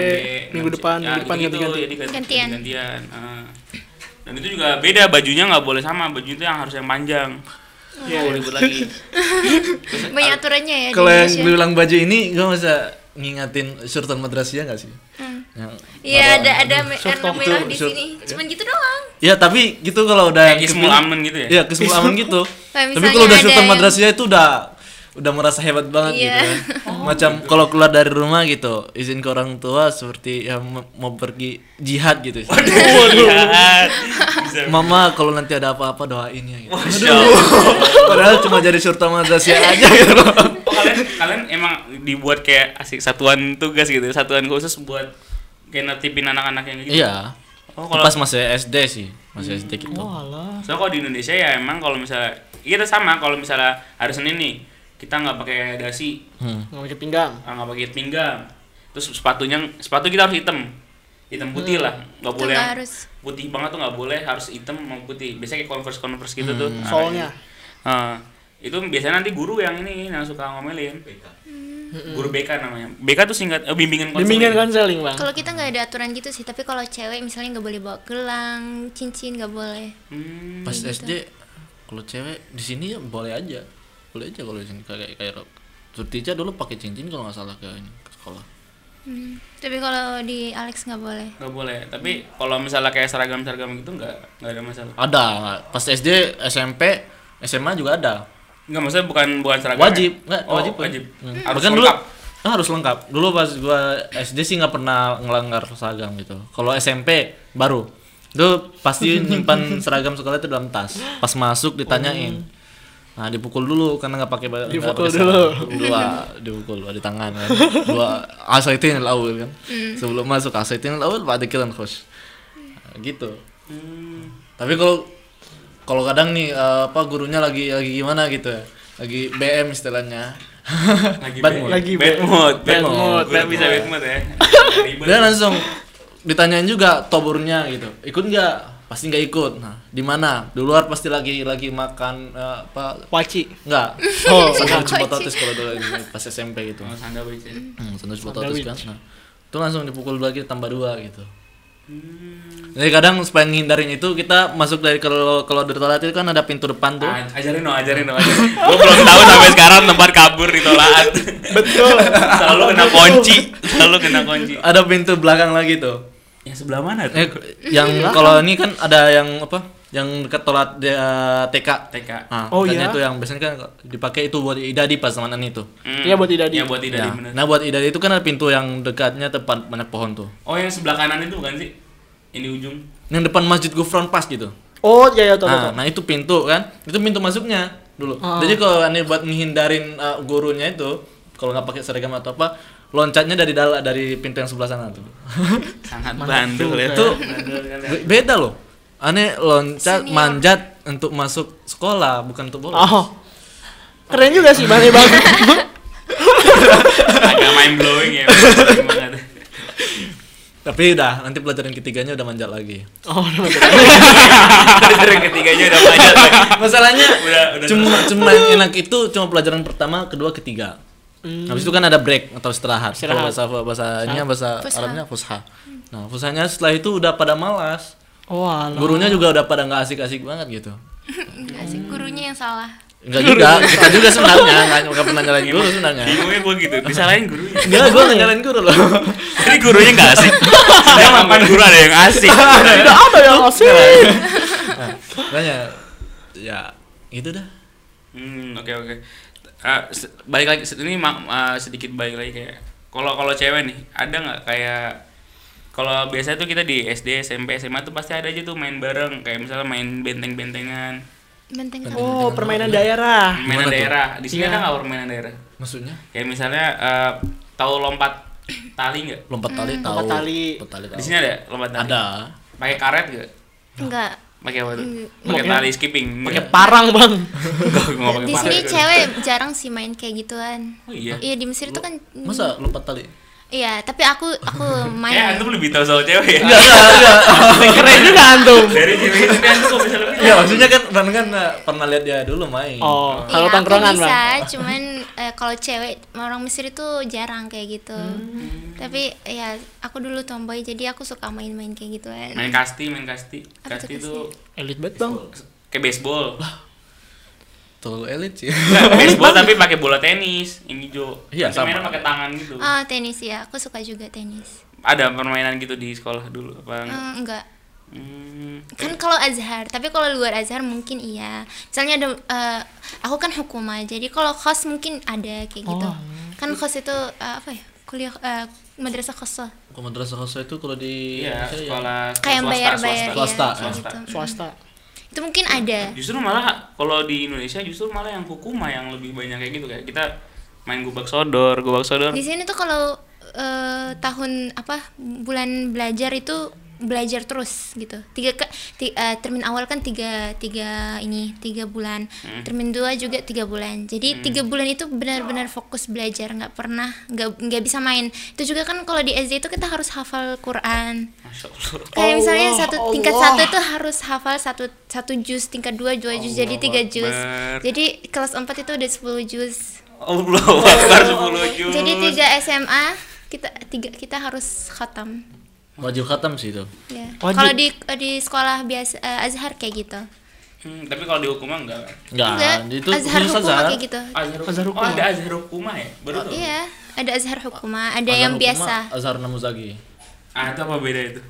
Speaker 7: minggu
Speaker 6: 6C,
Speaker 7: depan,
Speaker 6: ya,
Speaker 7: minggu depan
Speaker 6: gitu-gitu,
Speaker 7: ganti-ganti.
Speaker 6: jadi ganti-
Speaker 8: Gantian.
Speaker 6: gantian, ah. Dan itu juga beda bajunya nggak boleh sama, baju itu yang harus yang panjang. Iya, ribut lagi.
Speaker 8: Banyak aturannya ya
Speaker 3: kalau
Speaker 8: di
Speaker 3: yang
Speaker 8: Indonesia.
Speaker 3: bilang baju ini gue masa ngingatin surtan madrasiyah nggak sih Ya. Yang
Speaker 8: Iya,
Speaker 3: bawa-
Speaker 8: ada ada me-
Speaker 3: Surtan
Speaker 8: warna merah
Speaker 3: tuh,
Speaker 8: di
Speaker 3: sur-
Speaker 8: sini. Cuman gitu doang.
Speaker 3: ya tapi gitu kalau udah
Speaker 6: Kayak
Speaker 3: yang
Speaker 6: Ismul
Speaker 3: kepilih-
Speaker 6: Amnan gitu ya?
Speaker 3: iya kismul aman gitu tapi
Speaker 8: misalnya
Speaker 3: kalau udah
Speaker 8: ada
Speaker 3: surtan
Speaker 8: yang-
Speaker 3: madrasiyah itu udah udah merasa hebat banget
Speaker 8: Iya.
Speaker 3: gitu kan. macam kalau keluar dari rumah gitu izin ke orang tua seperti yang mau- mau pergi jihad gitu
Speaker 6: Lihat. Iya kan? Bisa.
Speaker 3: Mama kalau nanti ada apa-apa doain ya gitu.
Speaker 6: Masya Allah.
Speaker 3: Padahal cuma jadi surta madrasiyah aja gitu. loh.
Speaker 6: Oh, kalian kalian emang dibuat kayak asik satuan tugas gitu, satuan khusus buat kayak nertibin anak-anak yang gitu.
Speaker 3: Iya.
Speaker 6: Oh, kalau
Speaker 3: Pas masih SD sih, masih SD gitu.
Speaker 6: So kalau di Indonesia ya emang kalau misalnya kita sama kalau misalnya hari Senin nih kita nggak pakai dasi,
Speaker 3: Hmm.
Speaker 7: Nggak pakai pinggang.
Speaker 6: Ah, nggak pakai pinggang terus sepatunya sepatu kita harus hitam hitam putih lah nggak
Speaker 8: Itu
Speaker 6: boleh
Speaker 8: Hmm. nggak
Speaker 6: yang
Speaker 8: harus.
Speaker 6: putih banget tuh nggak boleh harus hitam mau putih biasanya kayak converse converse gitu tuh Nah,
Speaker 7: Soalnya.
Speaker 6: ah, itu biasanya nanti guru yang ini yang suka ngomelin
Speaker 8: Hmm.
Speaker 6: guru BK namanya BK tuh singkat eh, bimbingan konseling
Speaker 7: Bimbingan kan? konseling, Bang.
Speaker 8: Kalau kita nggak ada aturan gitu sih, tapi kalau cewek misalnya nggak boleh bawa gelang, cincin nggak boleh.
Speaker 6: Hmm,
Speaker 3: Pas SD kalau cewek di sini ya boleh aja. Boleh aja kalau di sini kayak kayak Surtija dulu pakai cincin kalau nggak salah kayaknya ke sekolah.
Speaker 8: Hmm. Tapi kalau di Alex nggak boleh.
Speaker 6: nggak boleh tapi kalau misalnya kayak seragam seragam gitu nggak nggak ada masalah
Speaker 3: Ada, pas SD, SMP, SMA juga ada.
Speaker 6: nggak maksudnya bukan bukan seragam
Speaker 3: wajib
Speaker 6: ya?
Speaker 3: nggak
Speaker 6: oh,
Speaker 3: wajib
Speaker 6: wajib
Speaker 3: Pak. Hmm.
Speaker 6: harus
Speaker 3: Bahkan
Speaker 6: lengkap
Speaker 3: dulu ah, harus lengkap dulu pas gua SD sih nggak pernah ngelanggar seragam gitu kalau SMP baru itu pasti nyimpan seragam sekolah itu dalam tas pas masuk ditanyain
Speaker 6: Oh.
Speaker 3: nah dipukul dulu karena nggak pakai ba- nggak
Speaker 7: Dipukul
Speaker 3: pakai
Speaker 7: dulu.
Speaker 3: seragam. dua dipukul dua di tangan kan dua asaitin awal kan
Speaker 6: Hmm.
Speaker 3: sebelum masuk asaitin awal pak dikiran khush Nah, gitu tapi kalau kalau kadang nih eh, apa gurunya lagi lagi gimana gitu ya. Lagi BM istilahnya.
Speaker 6: lagi
Speaker 3: Bad
Speaker 6: bad
Speaker 3: mood.
Speaker 7: Lagi
Speaker 6: bad
Speaker 7: bad-
Speaker 6: mood
Speaker 3: bad mood,
Speaker 6: Gua
Speaker 7: bad
Speaker 6: bisa
Speaker 7: mood.
Speaker 6: bad mood ya Ribet.
Speaker 3: Dia langsung ditanyain juga toburnya gitu. Ikut nggak? Pasti nggak ikut. Nah, di mana? Di luar pasti lagi lagi makan eh, apa?
Speaker 7: Waci.
Speaker 3: Enggak. Oh, sandwich potatis kalau dulu ini, pas SMP gitu.
Speaker 6: Oh, sandwich ya.
Speaker 3: Hmm, sandwich potatis kan. Nah, itu langsung dipukul lagi tambah dua gitu. Jadi kadang supaya ngindarin itu kita masuk dari kalau kalau dari toilet itu kan ada pintu depan tuh.
Speaker 6: A- Ah, ajarin dong ajarin dong ajarin. Gua belum tahu sampai sekarang tempat kabur di tolaan betul selalu kena kunci selalu kena kunci
Speaker 3: Ada pintu belakang lagi tuh.
Speaker 6: yang sebelah mana
Speaker 3: Eh,
Speaker 6: tuh
Speaker 3: yang
Speaker 7: Iya.
Speaker 3: kalau ini kan ada yang apa? Yang dekat toilet dia- TK.
Speaker 6: TK
Speaker 3: Nah,
Speaker 7: Oh,
Speaker 3: katanya
Speaker 7: iya?
Speaker 3: tuh yang biasanya kan dipakai itu buat idadi pas zamanan itu.
Speaker 6: Hmm.
Speaker 7: Iya, buat idadi.
Speaker 6: Iya, buat idadi
Speaker 3: Ya.
Speaker 6: bener.
Speaker 3: Nah, buat idadi itu kan ada pintu yang dekatnya tempat banyak pohon tuh.
Speaker 6: oh yang sebelah kanan itu bukan sih yang di ujung
Speaker 3: Yang depan Masjid Gufron pas gitu.
Speaker 7: Oh, iya ya, tahu
Speaker 3: Nah,
Speaker 7: tahu.
Speaker 3: nah itu pintu kan? Itu pintu
Speaker 7: Oh.
Speaker 3: masuknya dulu. Jadi kalau aneh buat menghindarin uh, gurunya itu kalau nggak pakai seragam atau apa loncatnya dari dala dari pintu yang sebelah sana tuh.
Speaker 6: sangat bandel ya
Speaker 3: Itu be- beda loh. Aneh loncat
Speaker 8: Senior.
Speaker 3: manjat untuk masuk sekolah bukan untuk bolos.
Speaker 7: Oh. Keren juga sih Bang ya, Bang.
Speaker 6: agak mind blowing ya banget.
Speaker 3: Tapi udah nanti pelajaran ketiganya udah manjat lagi.
Speaker 7: Oh, udah.
Speaker 6: Terus ketiganya udah banyak lagi.
Speaker 3: Masalahnya
Speaker 6: Udah, udah
Speaker 3: cuma cuma yang enak itu cuma pelajaran pertama, kedua, ketiga.
Speaker 6: Hmm.
Speaker 3: Habis itu kan ada break atau istirahat. Kalau
Speaker 7: Istirahat.
Speaker 3: bahasa bahasanya bahasa
Speaker 8: Fusha.
Speaker 3: Arabnya fusha. Nah, fushanya setelah itu udah pada malas.
Speaker 7: Walah.
Speaker 3: Gurunya juga udah pada nggak asik-asik banget gitu.
Speaker 8: Enggak sih, gurunya yang salah.
Speaker 3: Enggak juga, kita juga sebenarnya nggak nggak pernah nyalain guru sebenarnya.
Speaker 6: bingungnya gue gitu disalahin gurunya
Speaker 3: Enggak, gue nggak nyalain guru loh.
Speaker 6: jadi gurunya nggak asik sudah mantan guru ada yang asik
Speaker 7: Tidak ada yang asik.
Speaker 3: Makanya ya itu dah.
Speaker 6: Hmm, oke oke. Eh, se- balik lagi se- ini ma- eh, sedikit balik lagi kayak kalau kalau cewek nih ada nggak kayak kalau biasanya tuh kita di SD SMP SMA tuh pasti ada aja tuh main bareng kayak misalnya main benteng-bentengan
Speaker 8: Benteng
Speaker 7: Oh, permainan daerah.
Speaker 3: tuh? Iya.
Speaker 6: mainan daerah di sini ada nggak permainan daerah
Speaker 3: Maksudnya
Speaker 6: kayak misalnya eh, tahu lompat tali nggak
Speaker 3: lompat tali
Speaker 8: Hmm.
Speaker 3: tahu.
Speaker 7: lompat tali.
Speaker 3: Lompat tali tahu.
Speaker 6: di sini ada lompat tali
Speaker 3: ada.
Speaker 6: pakai karet nggak
Speaker 8: Enggak.
Speaker 6: pakai apa tuh pakai tali skipping pakai
Speaker 7: Parang, Bang.
Speaker 6: nggak pakai
Speaker 8: Di
Speaker 6: parang.
Speaker 8: sini cewek jarang sih main kayak gituan.
Speaker 6: oh iya
Speaker 8: Iya di Mesir itu kan mm,
Speaker 3: Masa Eh, lompat tali?
Speaker 8: Iya, tapi aku aku
Speaker 6: kayak
Speaker 8: main.
Speaker 6: antum lebih tahu soal cewek ya
Speaker 7: Keren juga antum.
Speaker 6: dari cewek itu deh, antum kok bisa lebih
Speaker 3: Ya maksudnya kan Ran kan eh, pernah lihat dia dulu main.
Speaker 7: Oh,
Speaker 8: Iya,
Speaker 7: kalau
Speaker 8: aku
Speaker 7: tongkrongan,
Speaker 8: bisa,
Speaker 7: Bang.
Speaker 8: cuman eh, kalau cewek orang Mesir itu jarang kayak gitu.
Speaker 6: Hmm.
Speaker 8: Tapi ya aku dulu tomboy jadi aku suka main-main kayak gituan.
Speaker 6: main kasti main kasti
Speaker 8: Apa
Speaker 6: kasti
Speaker 8: tuh
Speaker 6: itu
Speaker 7: Elit banget, Bang.
Speaker 6: kayak baseball
Speaker 3: Terlalu elit sih.
Speaker 6: Nggak, baseball tapi pakai bola tenis yang hijau
Speaker 3: Iya,
Speaker 6: Kita
Speaker 3: sama.
Speaker 6: mainnya pakai tangan gitu
Speaker 8: Ah, tenis ya. Aku suka juga tenis.
Speaker 6: ada permainan gitu di sekolah dulu apa enggak?
Speaker 8: Hmm, enggak.
Speaker 6: Hmm.
Speaker 8: Kan kalau Azhar, tapi kalau luar Azhar mungkin iya. Misalnya ada eh, aku kan hukumah. Jadi kalau khos mungkin ada kayak gitu.
Speaker 7: Oh.
Speaker 8: Kan khos itu eh, apa ya? Kuliah eh, madrasah khos.
Speaker 3: Komandan Sakosa itu kalau di
Speaker 6: iya
Speaker 3: Indonesia ya-
Speaker 6: sekolah
Speaker 8: Kayak
Speaker 6: swasta,
Speaker 8: bayar-bayar
Speaker 6: swasta.
Speaker 3: Swasta,
Speaker 8: ya, kayak
Speaker 6: swasta.
Speaker 8: gitu.
Speaker 7: Swasta.
Speaker 8: Itu mungkin ada.
Speaker 6: justru malah kalau di Indonesia justru malah yang hukumah yang lebih banyak kayak gitu kayak kita main gubak sodor gubak sodor
Speaker 8: Di sini tuh kalau eh, tahun apa bulan belajar itu belajar terus gitu. Tiga ke ti- eh, termin awal kan tiga tiga ini tiga bulan,
Speaker 6: Hmm.
Speaker 8: termin dua juga tiga bulan. Jadi tiga bulan itu benar-benar fokus belajar, nggak pernah nggak nggak bisa main. Itu juga kan kalau di SD itu kita harus hafal Quran.
Speaker 6: Masya Allah.
Speaker 8: Kayak misalnya satu tingkat satu itu harus hafal satu satu juz, tingkat dua dua juz, jadi tiga juz.
Speaker 6: Akbar.
Speaker 8: Jadi kelas empat itu udah 10 juz.
Speaker 6: Allah Akbar 10 juz
Speaker 8: Oh, Jadi tiga SMA kita tiga kita harus khatam.
Speaker 3: wajib khatam sih itu.
Speaker 8: Ya.
Speaker 3: Oh,
Speaker 7: Wajib.
Speaker 8: Kalau di di sekolah biasa eh, Azhar kayak gitu.
Speaker 6: Hmm, tapi kalau di hukumah enggak kan?
Speaker 8: Enggak,
Speaker 3: Enggak, Ah, itu
Speaker 8: Azhar
Speaker 3: khusus
Speaker 8: hukumah
Speaker 3: Azhar.
Speaker 8: kayak gitu.
Speaker 6: Azhar hukumah. Oh, ada azhar hukumah ya? Baru tuh.
Speaker 8: Iya, ada Azhar hukumah, ada
Speaker 3: Azhar
Speaker 8: yang
Speaker 3: hukumah,
Speaker 8: biasa.
Speaker 3: Azhar Namuzagi.
Speaker 6: Ah, itu apa beda itu?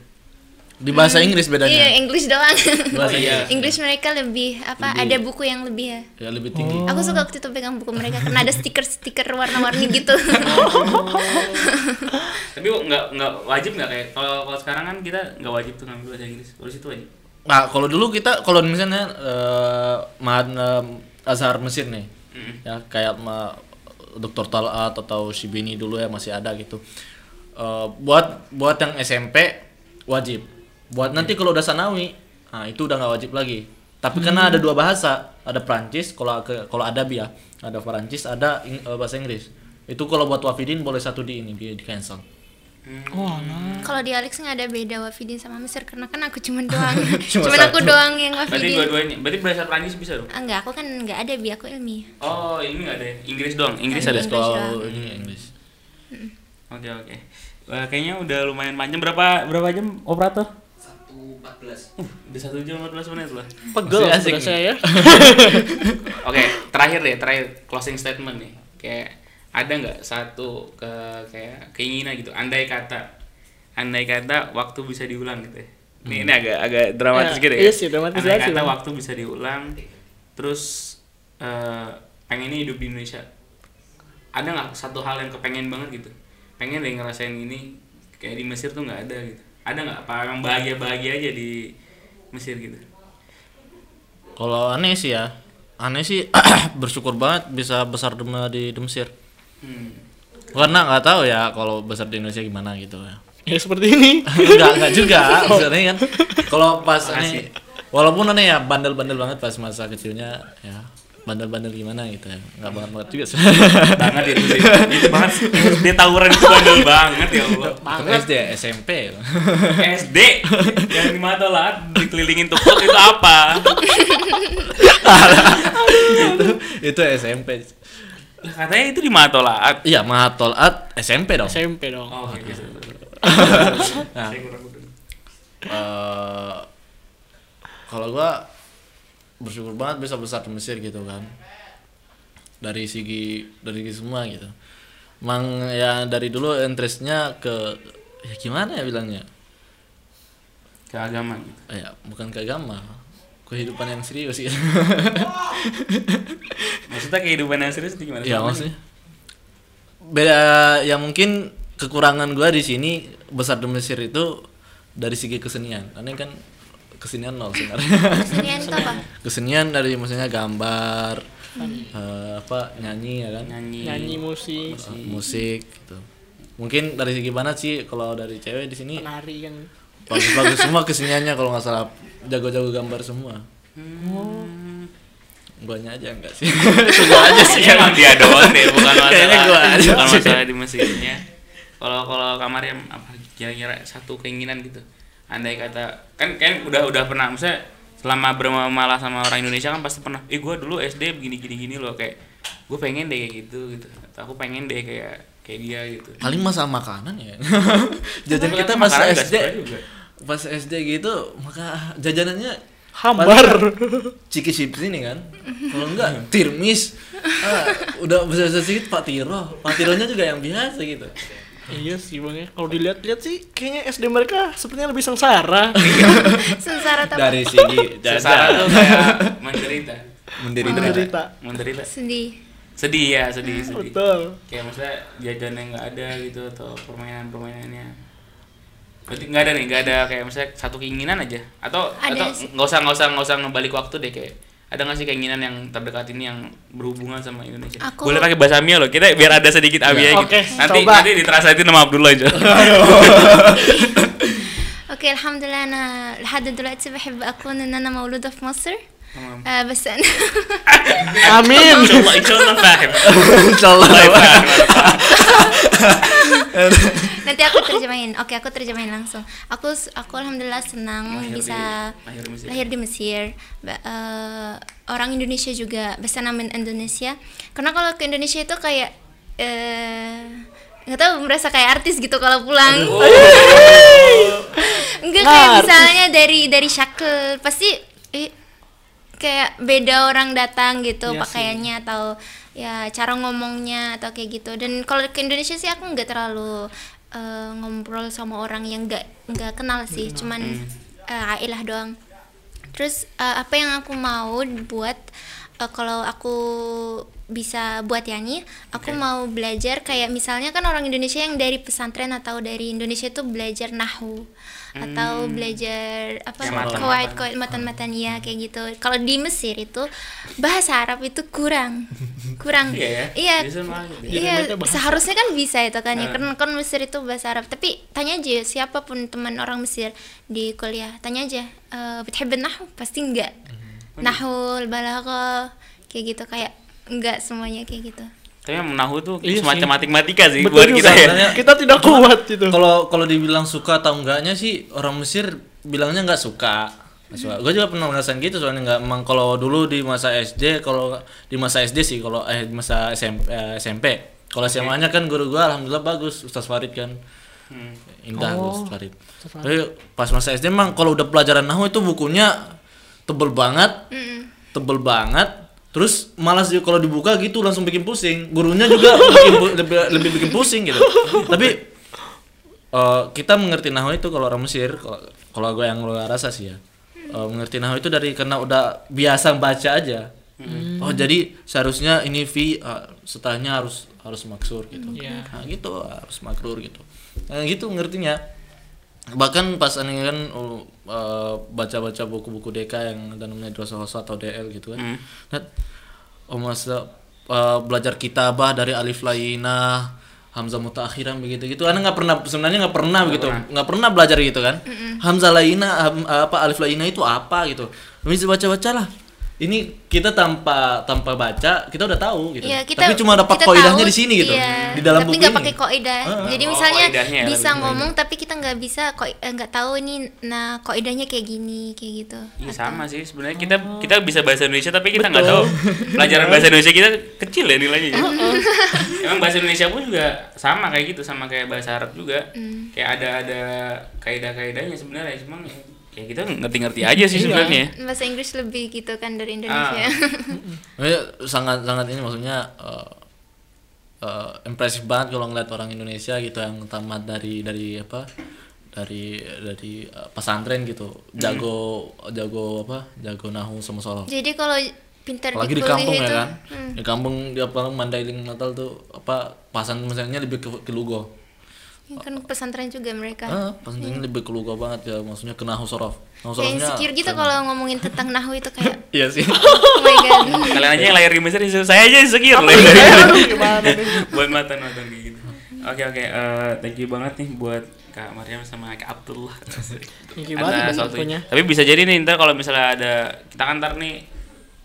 Speaker 3: Di bahasa Inggris
Speaker 8: Iya,
Speaker 3: bedanya.
Speaker 8: English doang.
Speaker 3: Bahasa Inggris.
Speaker 8: English mereka lebih apa?
Speaker 3: Lebih-
Speaker 8: Ada buku yang lebih ya.
Speaker 3: Ya lebih
Speaker 6: Oh.
Speaker 3: tinggi.
Speaker 8: Aku suka waktu itu pegang buku mereka karena ada stiker-stiker warna-warni gitu.
Speaker 6: Tapi nggak nggak wajib nggak kayak kalau kalau sekarang kan kita nggak wajib tuh ngambil bahasa Inggris. Kalau di situ wajib.
Speaker 3: Nah, kalau dulu kita kalau misalnya eh mahan eh, Azhar Mesir nih.
Speaker 7: Hmm.
Speaker 3: Ya kayak ma, Dr. Talat atau Shibini dulu ya masih ada gitu. Eh, buat buat yang SMP wajib. Buat nanti kalau udah sanawi, nah itu udah nggak wajib lagi. Tapi
Speaker 7: Hmm.
Speaker 3: karena ada dua bahasa, ada Prancis kalau ke- kalau ada ya, ada Prancis, ada Ing- eh, bahasa Inggris. Itu kalau buat wafidin boleh satu di ini di, di cancel.
Speaker 6: Hmm.
Speaker 8: Kalau di Alex nggak ada beda Wafidin sama Mesir karena kan aku cuman doang.
Speaker 3: Cuma
Speaker 8: cuman aku
Speaker 3: satu.
Speaker 8: doang yang
Speaker 6: Berarti
Speaker 8: Wafidin.
Speaker 6: dua-duanya. Berarti bahasa Prancis bisa dong?
Speaker 8: Ah, enggak, aku kan enggak ada bi aku ilmiah.
Speaker 6: Oh, ini nggak ada. ya? Inggris doang. Inggris ada.
Speaker 8: Ada.
Speaker 3: Iya.
Speaker 6: Oke
Speaker 3: Kalau ini Inggris.
Speaker 6: oke. Wah, kayaknya udah lumayan panjang. Berapa berapa jam operator? 1.14 uh, Udah 1 jam 14 menit lah
Speaker 7: Pegel
Speaker 3: Masih asik
Speaker 7: sudah
Speaker 3: nih.
Speaker 7: saya ya.
Speaker 6: Oke, terakhir deh, terakhir closing statement nih. Kayak ada nggak satu ke kayak keinginan gitu? Andai kata, andai kata waktu bisa diulang gitu. ya. Ini, ini agak agak dramatis
Speaker 7: Ya,
Speaker 6: gitu ya.
Speaker 7: Hmm. iya sih, dramatis
Speaker 6: Andai
Speaker 7: banget sih,
Speaker 6: kata
Speaker 7: Bang.
Speaker 6: waktu bisa diulang, terus eh, pengen ini hidup di Indonesia. Ada nggak satu hal yang kepengen banget gitu? Pengen deh ngerasain ini kayak di Mesir tuh nggak ada gitu. Ada nggak? Apa emang bahagia bahagia aja di Mesir gitu?
Speaker 3: Kalau aneh sih ya, aneh sih bersyukur banget bisa besar di, di, di Mesir.
Speaker 6: Hmm.
Speaker 3: karena nggak tahu ya kalau besar di Indonesia gimana gitu ya
Speaker 7: ya seperti ini
Speaker 3: nggak nggak juga
Speaker 6: Oh.
Speaker 3: maksudnya kan kalau pas ini walaupun aneh ya bandel-bandel banget pas masa kecilnya ya bandel-bandel gimana gitu ya nggak banget banget juga sih
Speaker 6: banget itu sih itu banget dia tawuran itu bandel banget ya Allah
Speaker 3: Untuk SD SMP
Speaker 6: SD yang di Matolat dikelilingin tukul itu apa
Speaker 3: itu, itu SMP
Speaker 6: Lah, katanya itu di Matolat
Speaker 3: iya mahatolaat SMP dong
Speaker 7: SMP dong
Speaker 6: oh, oke, oke.
Speaker 3: nah,
Speaker 6: Saya kurang- kurang.
Speaker 3: eh, kalau gua bersyukur banget bisa besar di Mesir gitu kan dari segi dari segi semua gitu mang ya dari dulu interestnya ke ya gimana ya bilangnya
Speaker 6: keagamaan gitu.
Speaker 3: Eh, ya bukan ke agama kehidupan yang serius gitu
Speaker 6: maksudnya kehidupan yang serius itu gimana
Speaker 3: ya
Speaker 6: Sama-
Speaker 3: maksudnya beda ya mungkin kekurangan gua di sini besar di Mesir itu dari segi kesenian karena kan kesenian nol sebenarnya
Speaker 8: Kesenian itu apa?
Speaker 3: kesenian dari maksudnya gambar eh, apa nyanyi ya kan
Speaker 6: nyanyi
Speaker 7: nyanyi musik
Speaker 3: Eh, musik gitu mungkin dari segi mana sih kalau dari cewek di sini
Speaker 7: penari kan
Speaker 3: bagus-bagus semua keseniannya kalau nggak salah jago-jago gambar semua
Speaker 6: Hmm.
Speaker 3: guanya aja enggak sih Itu gua aja sih gitu.
Speaker 6: Kayaknya emang dia doang deh ya, bukan
Speaker 3: Kayaknya
Speaker 6: masalah
Speaker 3: gua aja
Speaker 6: bukan
Speaker 3: sih.
Speaker 6: masalah di mesinnya kalau kalau kamar yang apa kira-kira satu keinginan gitu andai kata kan kan udah udah pernah misalnya selama bermalah sama orang Indonesia kan pasti pernah eh gue dulu SD begini gini gini loh kayak gue pengen deh kayak gitu gitu atau aku pengen deh kayak kayak dia gitu
Speaker 3: paling masalah makanan ya jajan kita
Speaker 6: Makanan
Speaker 3: pas
Speaker 6: nggak
Speaker 3: SD
Speaker 6: sesuai juga.
Speaker 3: pas SD gitu maka jajanannya
Speaker 7: hambar
Speaker 3: ciki chips ini kan kalau enggak tirmis Ah, udah besar besar sedikit pak tiro pak tironya juga yang biasa gitu
Speaker 7: iya sih bang ya. kalau dilihat-lihat sih kayaknya SD mereka sepertinya lebih sengsara
Speaker 8: Iya, Sengsara tapi
Speaker 3: dari segi
Speaker 6: Sengsara tuh kayak menderita
Speaker 3: mendiri
Speaker 7: menderita
Speaker 6: menderita
Speaker 8: sedih.
Speaker 6: sedih ya sedih sedih
Speaker 7: betul
Speaker 6: kayak maksudnya jajan yang nggak ada gitu atau permainan permainannya berarti nggak ada nih nggak ada kayak misalnya satu keinginan aja atau
Speaker 8: Ada
Speaker 6: atau
Speaker 8: sih.
Speaker 6: nggak usah nggak usah nggak usah ngebalik waktu deh kayak ada nggak sih keinginan yang terdekat ini yang berhubungan sama Indonesia
Speaker 8: Aku-
Speaker 6: boleh pakai bahasa Mia loh kita biar ada sedikit Amia gitu
Speaker 7: Oke,
Speaker 6: nanti
Speaker 7: coba.
Speaker 6: nanti ditranslatein sama Abdullah aja
Speaker 8: اوكي الحمد لله انا لحد دلوقتي بحب اكون ان انا مولودة في مصر آه بس انا
Speaker 7: Eh, amin
Speaker 6: insyaallah insyaallah fahim
Speaker 3: insyaallah
Speaker 8: nanti aku terjemahin oke aku terjemahin langsung aku s- aku alhamdulillah senang
Speaker 6: Lahir di-
Speaker 8: bisa
Speaker 6: lahir di Mesir.
Speaker 8: lahir di Mesir Ba- eh, orang Indonesia juga bisa namen Indonesia karena kalau ke Indonesia itu kayak eh, nggak tahu merasa kayak artis gitu kalau pulang enggak kayak
Speaker 7: Artis.
Speaker 8: misalnya dari dari shakel pasti eh, kayak beda orang datang gitu
Speaker 7: Iya sih.
Speaker 8: pakaiannya atau ya cara ngomongnya atau kayak gitu dan kalau ke Indonesia sih aku nggak terlalu eh, ngobrol sama orang yang nggak nggak kenal sih
Speaker 7: Hmm.
Speaker 8: cuman eh, Ailah doang terus eh, apa yang aku mau buat eh, kalau aku bisa buat nyanyi aku mau belajar kayak misalnya kan orang Indonesia yang dari pesantren atau dari Indonesia itu belajar nahu atau
Speaker 7: Hmm.
Speaker 8: belajar apa
Speaker 6: matan-matan.
Speaker 8: kawaid kawaid matan-matan ya kayak gitu kalau di Mesir itu bahasa Arab itu kurang kurang
Speaker 6: Iya ya?
Speaker 8: iya
Speaker 6: Biasanya malah gitu ya.
Speaker 8: Iya,
Speaker 7: Jadi mereka bahasa.
Speaker 8: seharusnya kan bisa itu kan
Speaker 6: Nah.
Speaker 8: ya. Karena kan Mesir itu bahasa Arab. Tapi tanya aja siapapun teman orang Mesir di kuliah, tanya aja, eh "Btahib nahwu?" Pasti enggak.
Speaker 6: Hmm.
Speaker 8: Nahul, balaghah, kayak gitu kayak enggak semuanya kayak gitu.
Speaker 6: tapi yang menahu tuh
Speaker 7: Iya
Speaker 6: semacam
Speaker 7: sih.
Speaker 6: matematika sih
Speaker 7: betul
Speaker 6: buat
Speaker 7: juga
Speaker 6: kita ya
Speaker 3: Sebenarnya-
Speaker 7: kita tidak kuat gitu
Speaker 3: kalau kalau dibilang suka atau enggaknya sih orang Mesir bilangnya nggak suka Nggak suka gue juga pernah ngerasain gitu soalnya nggak emang kalau dulu di masa SD kalau di masa SD sih kalau eh di masa SMP eh, SMP kalau SMA nya kan guru gue alhamdulillah bagus Ustaz Farid kan indah Oh, Ustaz Farid tapi pas masa SD emang kalau udah pelajaran nahu itu bukunya tebel banget tebel banget terus malas juga kalau dibuka gitu langsung bikin pusing gurunya juga bikin pu- lebih, lebih bikin pusing gitu tapi eh, kita mengerti nahu itu kalau orang Mesir kalau- kalau gue yang lo rasa sih ya eh, mengerti nahu itu dari karena udah biasa baca aja oh jadi seharusnya ini fi eh, setelahnya harus harus maksur gitu
Speaker 7: Iya.
Speaker 3: Nah, gitu harus makrur gitu nah, gitu ngertinya bahkan pas aneh kan uh, uh, baca-baca buku-buku DK yang ada namanya dosa hosa atau DL gitu kan eh, Lihat, oh masa uh, belajar kitabah dari alif lainah Hamzah Mutaakhiran begitu gitu karena nggak pernah sebenarnya nggak pernah begitu nggak pernah belajar gitu kan Hamzah Laina Ham- eh, apa Alif Laina itu apa gitu habis baca bacalah ini kita tanpa tanpa baca kita udah tahu gitu
Speaker 8: Iya, kita
Speaker 3: tapi cuma dapat
Speaker 8: kita
Speaker 3: koidahnya
Speaker 8: tahu,
Speaker 3: di sini gitu
Speaker 8: iya,
Speaker 3: di dalam
Speaker 8: tapi
Speaker 3: buku
Speaker 8: nggak
Speaker 3: ini Ah,
Speaker 8: pakai koidah jadi
Speaker 6: Oh,
Speaker 8: misalnya
Speaker 6: koidahnya ya,
Speaker 8: bisa
Speaker 6: lebih
Speaker 8: ngomong tapi kita nggak bisa koi- eh, nggak tahu nih nah koidahnya kayak gini kayak gitu
Speaker 6: Iya sama sih sebenarnya kita kita bisa bahasa Indonesia tapi kita nggak tahu pelajaran bahasa Indonesia kita kecil ya nilainya. ya. Emang bahasa Indonesia pun juga sama kayak gitu sama kayak bahasa Arab juga kayak ada ada kaidah-kaidahnya sebenarnya cuma ya kita ngerti-ngerti aja sih sebenarnya.
Speaker 8: bahasa Inggris lebih gitu kan dari
Speaker 6: Ah.
Speaker 8: Indonesia
Speaker 3: Makanya sangat sangat ini maksudnya eh, eh, impresif banget kalau ngeliat orang Indonesia gitu yang tamat dari dari apa dari dari eh, pesantren gitu jago jago apa jago nahu sama sorof
Speaker 8: jadi gitu. kalau pintar
Speaker 3: apalagi di
Speaker 8: dikuliah
Speaker 3: kampung ya
Speaker 8: itu,
Speaker 3: kan
Speaker 8: Hmm.
Speaker 3: di kampung di apa Mandailing Natal tuh apa pasan misalnya lebih ke, ke Lugo
Speaker 8: ya kan pesantren juga mereka
Speaker 3: ah, pesantrennya lebih ke Lugo banget ya maksudnya ke nahu sorof nahu
Speaker 8: Hmm. Kayak
Speaker 3: sorofnya
Speaker 8: insecure gitu kalau ngomongin tentang nahu itu kayak
Speaker 3: iya sih
Speaker 8: oh my god
Speaker 6: Kalian aja yang lahir di Mesir insecure. saya aja insecure lahir dari buat mata nonton kayak gitu. Oke oke eh, thank you banget nih buat Kak Mariam sama Kak Abdullah.
Speaker 7: Thank you banget
Speaker 6: Ada
Speaker 7: nih
Speaker 6: suatu-
Speaker 7: infonya.
Speaker 6: Tapi bisa jadi nih ntar kalau misalnya ada kita kan ntar nih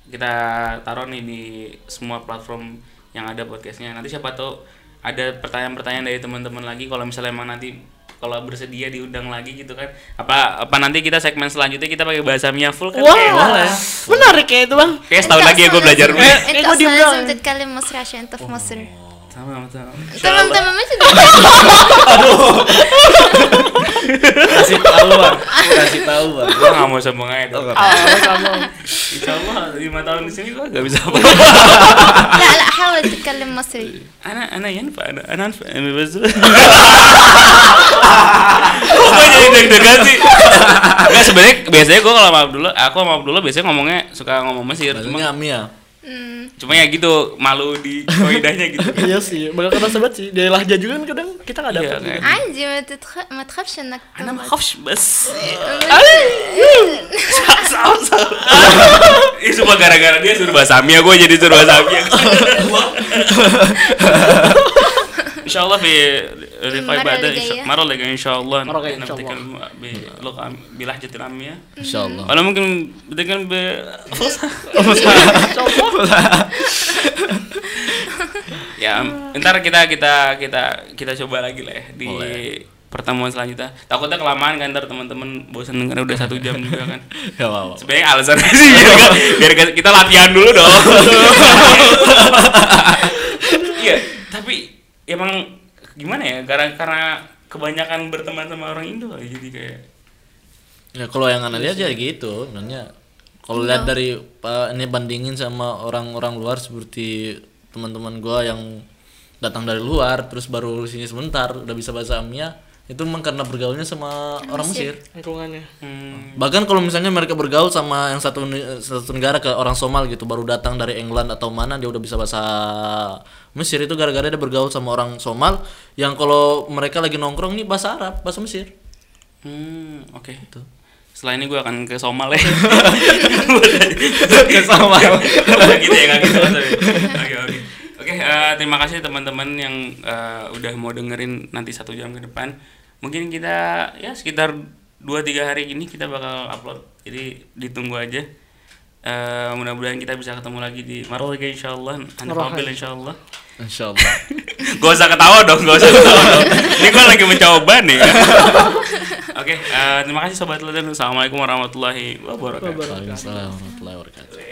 Speaker 6: kita taruh nih di semua platform yang ada podcastnya. Nanti siapa tahu ada pertanyaan-pertanyaan dari teman-teman lagi kalau misalnya emang nanti kalau bersedia diundang lagi gitu kan apa apa nanti kita segmen selanjutnya kita pakai bahasa Mia full kan
Speaker 7: Wah,
Speaker 6: kayak
Speaker 7: menarik ya itu bang.
Speaker 6: kayak setahun lagi ya gue belajar nih
Speaker 3: Eh,
Speaker 8: itu
Speaker 7: gua diem doang.
Speaker 8: asal kalian mau serasian
Speaker 3: Oh,
Speaker 8: tuh monster
Speaker 6: sama sama
Speaker 8: teman-teman masih
Speaker 3: kasih tahu bang kasih tahu bang
Speaker 6: gue gak mau sombong aja tuh Insya Allah 5 tahun di sini gue gak bisa apa
Speaker 8: لا لا حاول تتكلم مصري
Speaker 6: Anak anak yanfa anak anak yanfa Anak bas- Kok gue jadi deg-degan sih Gak sebenernya biasanya gue kalau sama Abdullah Aku sama Abdullah biasanya ngomongnya suka ngomong Mesir Cuma,
Speaker 3: Maksudnya Mia
Speaker 6: cuma ya gitu malu di koidahnya gitu
Speaker 7: Iya sih, bakal kerasa banget sih. Dari lahja juga kan kadang kita nggak
Speaker 6: Iya
Speaker 7: dapet. gitu.
Speaker 6: kayak
Speaker 8: عادي ما, تتخ... ما تخافش انك
Speaker 6: Anak
Speaker 8: تنبط.
Speaker 6: khofs bas Salah salah Ini cuma gara-gara dia suruh bahasa Amia Gue jadi suruh bahasa Amia Insya Allah في رفاع
Speaker 8: المرة
Speaker 6: بعد
Speaker 8: اللي جاية.
Speaker 6: مرة اللي جاية إن شاء الله
Speaker 7: مرة جاية إن شاء الله.
Speaker 6: نتكلم بلغة عام- بلهجة العامية
Speaker 3: insyaallah
Speaker 6: ولا ممكن بتكلم بفصحى ya ntar kita kita kita kita coba lagi lah ya di pertemuan selanjutnya takutnya kelamaan kan ntar teman-teman bosan dengar udah satu jam juga kan
Speaker 3: gak apa-apa
Speaker 6: sebenarnya alasan sih biar, kan- biar kan- kita latihan dulu dong iya tapi emang gimana ya karena karena kebanyakan berteman sama orang Indo lah, jadi kayak
Speaker 3: Ya kalau yang anak lihat ya gitu, sebenarnya kalau lihat dari uh, ini bandingin sama orang-orang luar seperti teman-teman gua yang datang dari luar terus baru di sini sebentar udah bisa bahasa Amia itu memang karena bergaulnya sama orang Mesir.
Speaker 7: Lingkungannya.
Speaker 6: hmm.
Speaker 3: Bahkan kalau misalnya mereka bergaul sama yang satu ne- satu negara ke orang Somal gitu baru datang dari England atau mana dia udah bisa bahasa Mesir itu gara-gara dia bergaul sama orang Somal yang kalau mereka lagi nongkrong nih bahasa Arab, bahasa Mesir.
Speaker 6: Hmm, oke. Setelah ini gue akan ke Somal ya.
Speaker 3: Ke Somal.
Speaker 6: Nggak gitu ya, nggak gitu. Tapi- Oke, oke. Oke, eh, terima kasih teman-teman yang eh, udah mau dengerin nanti satu jam ke depan. Mungkin kita ya sekitar 2-3 hari ini kita bakal upload. Jadi ditunggu aja. Eh, mudah-mudahan kita bisa ketemu lagi di Marwaka insya Allah, Anfabil insya Allah.
Speaker 3: Insyaallah.
Speaker 6: Gak usah ketawa dong, gak usah ketawa dong. Ini gue lagi mencoba nih. Oke, eh, terima kasih sobat Leden. Assalamualaikum warahmatullahi wabarakatuh.
Speaker 3: Waalaikumsalam warahmatullahi wabarakatuh.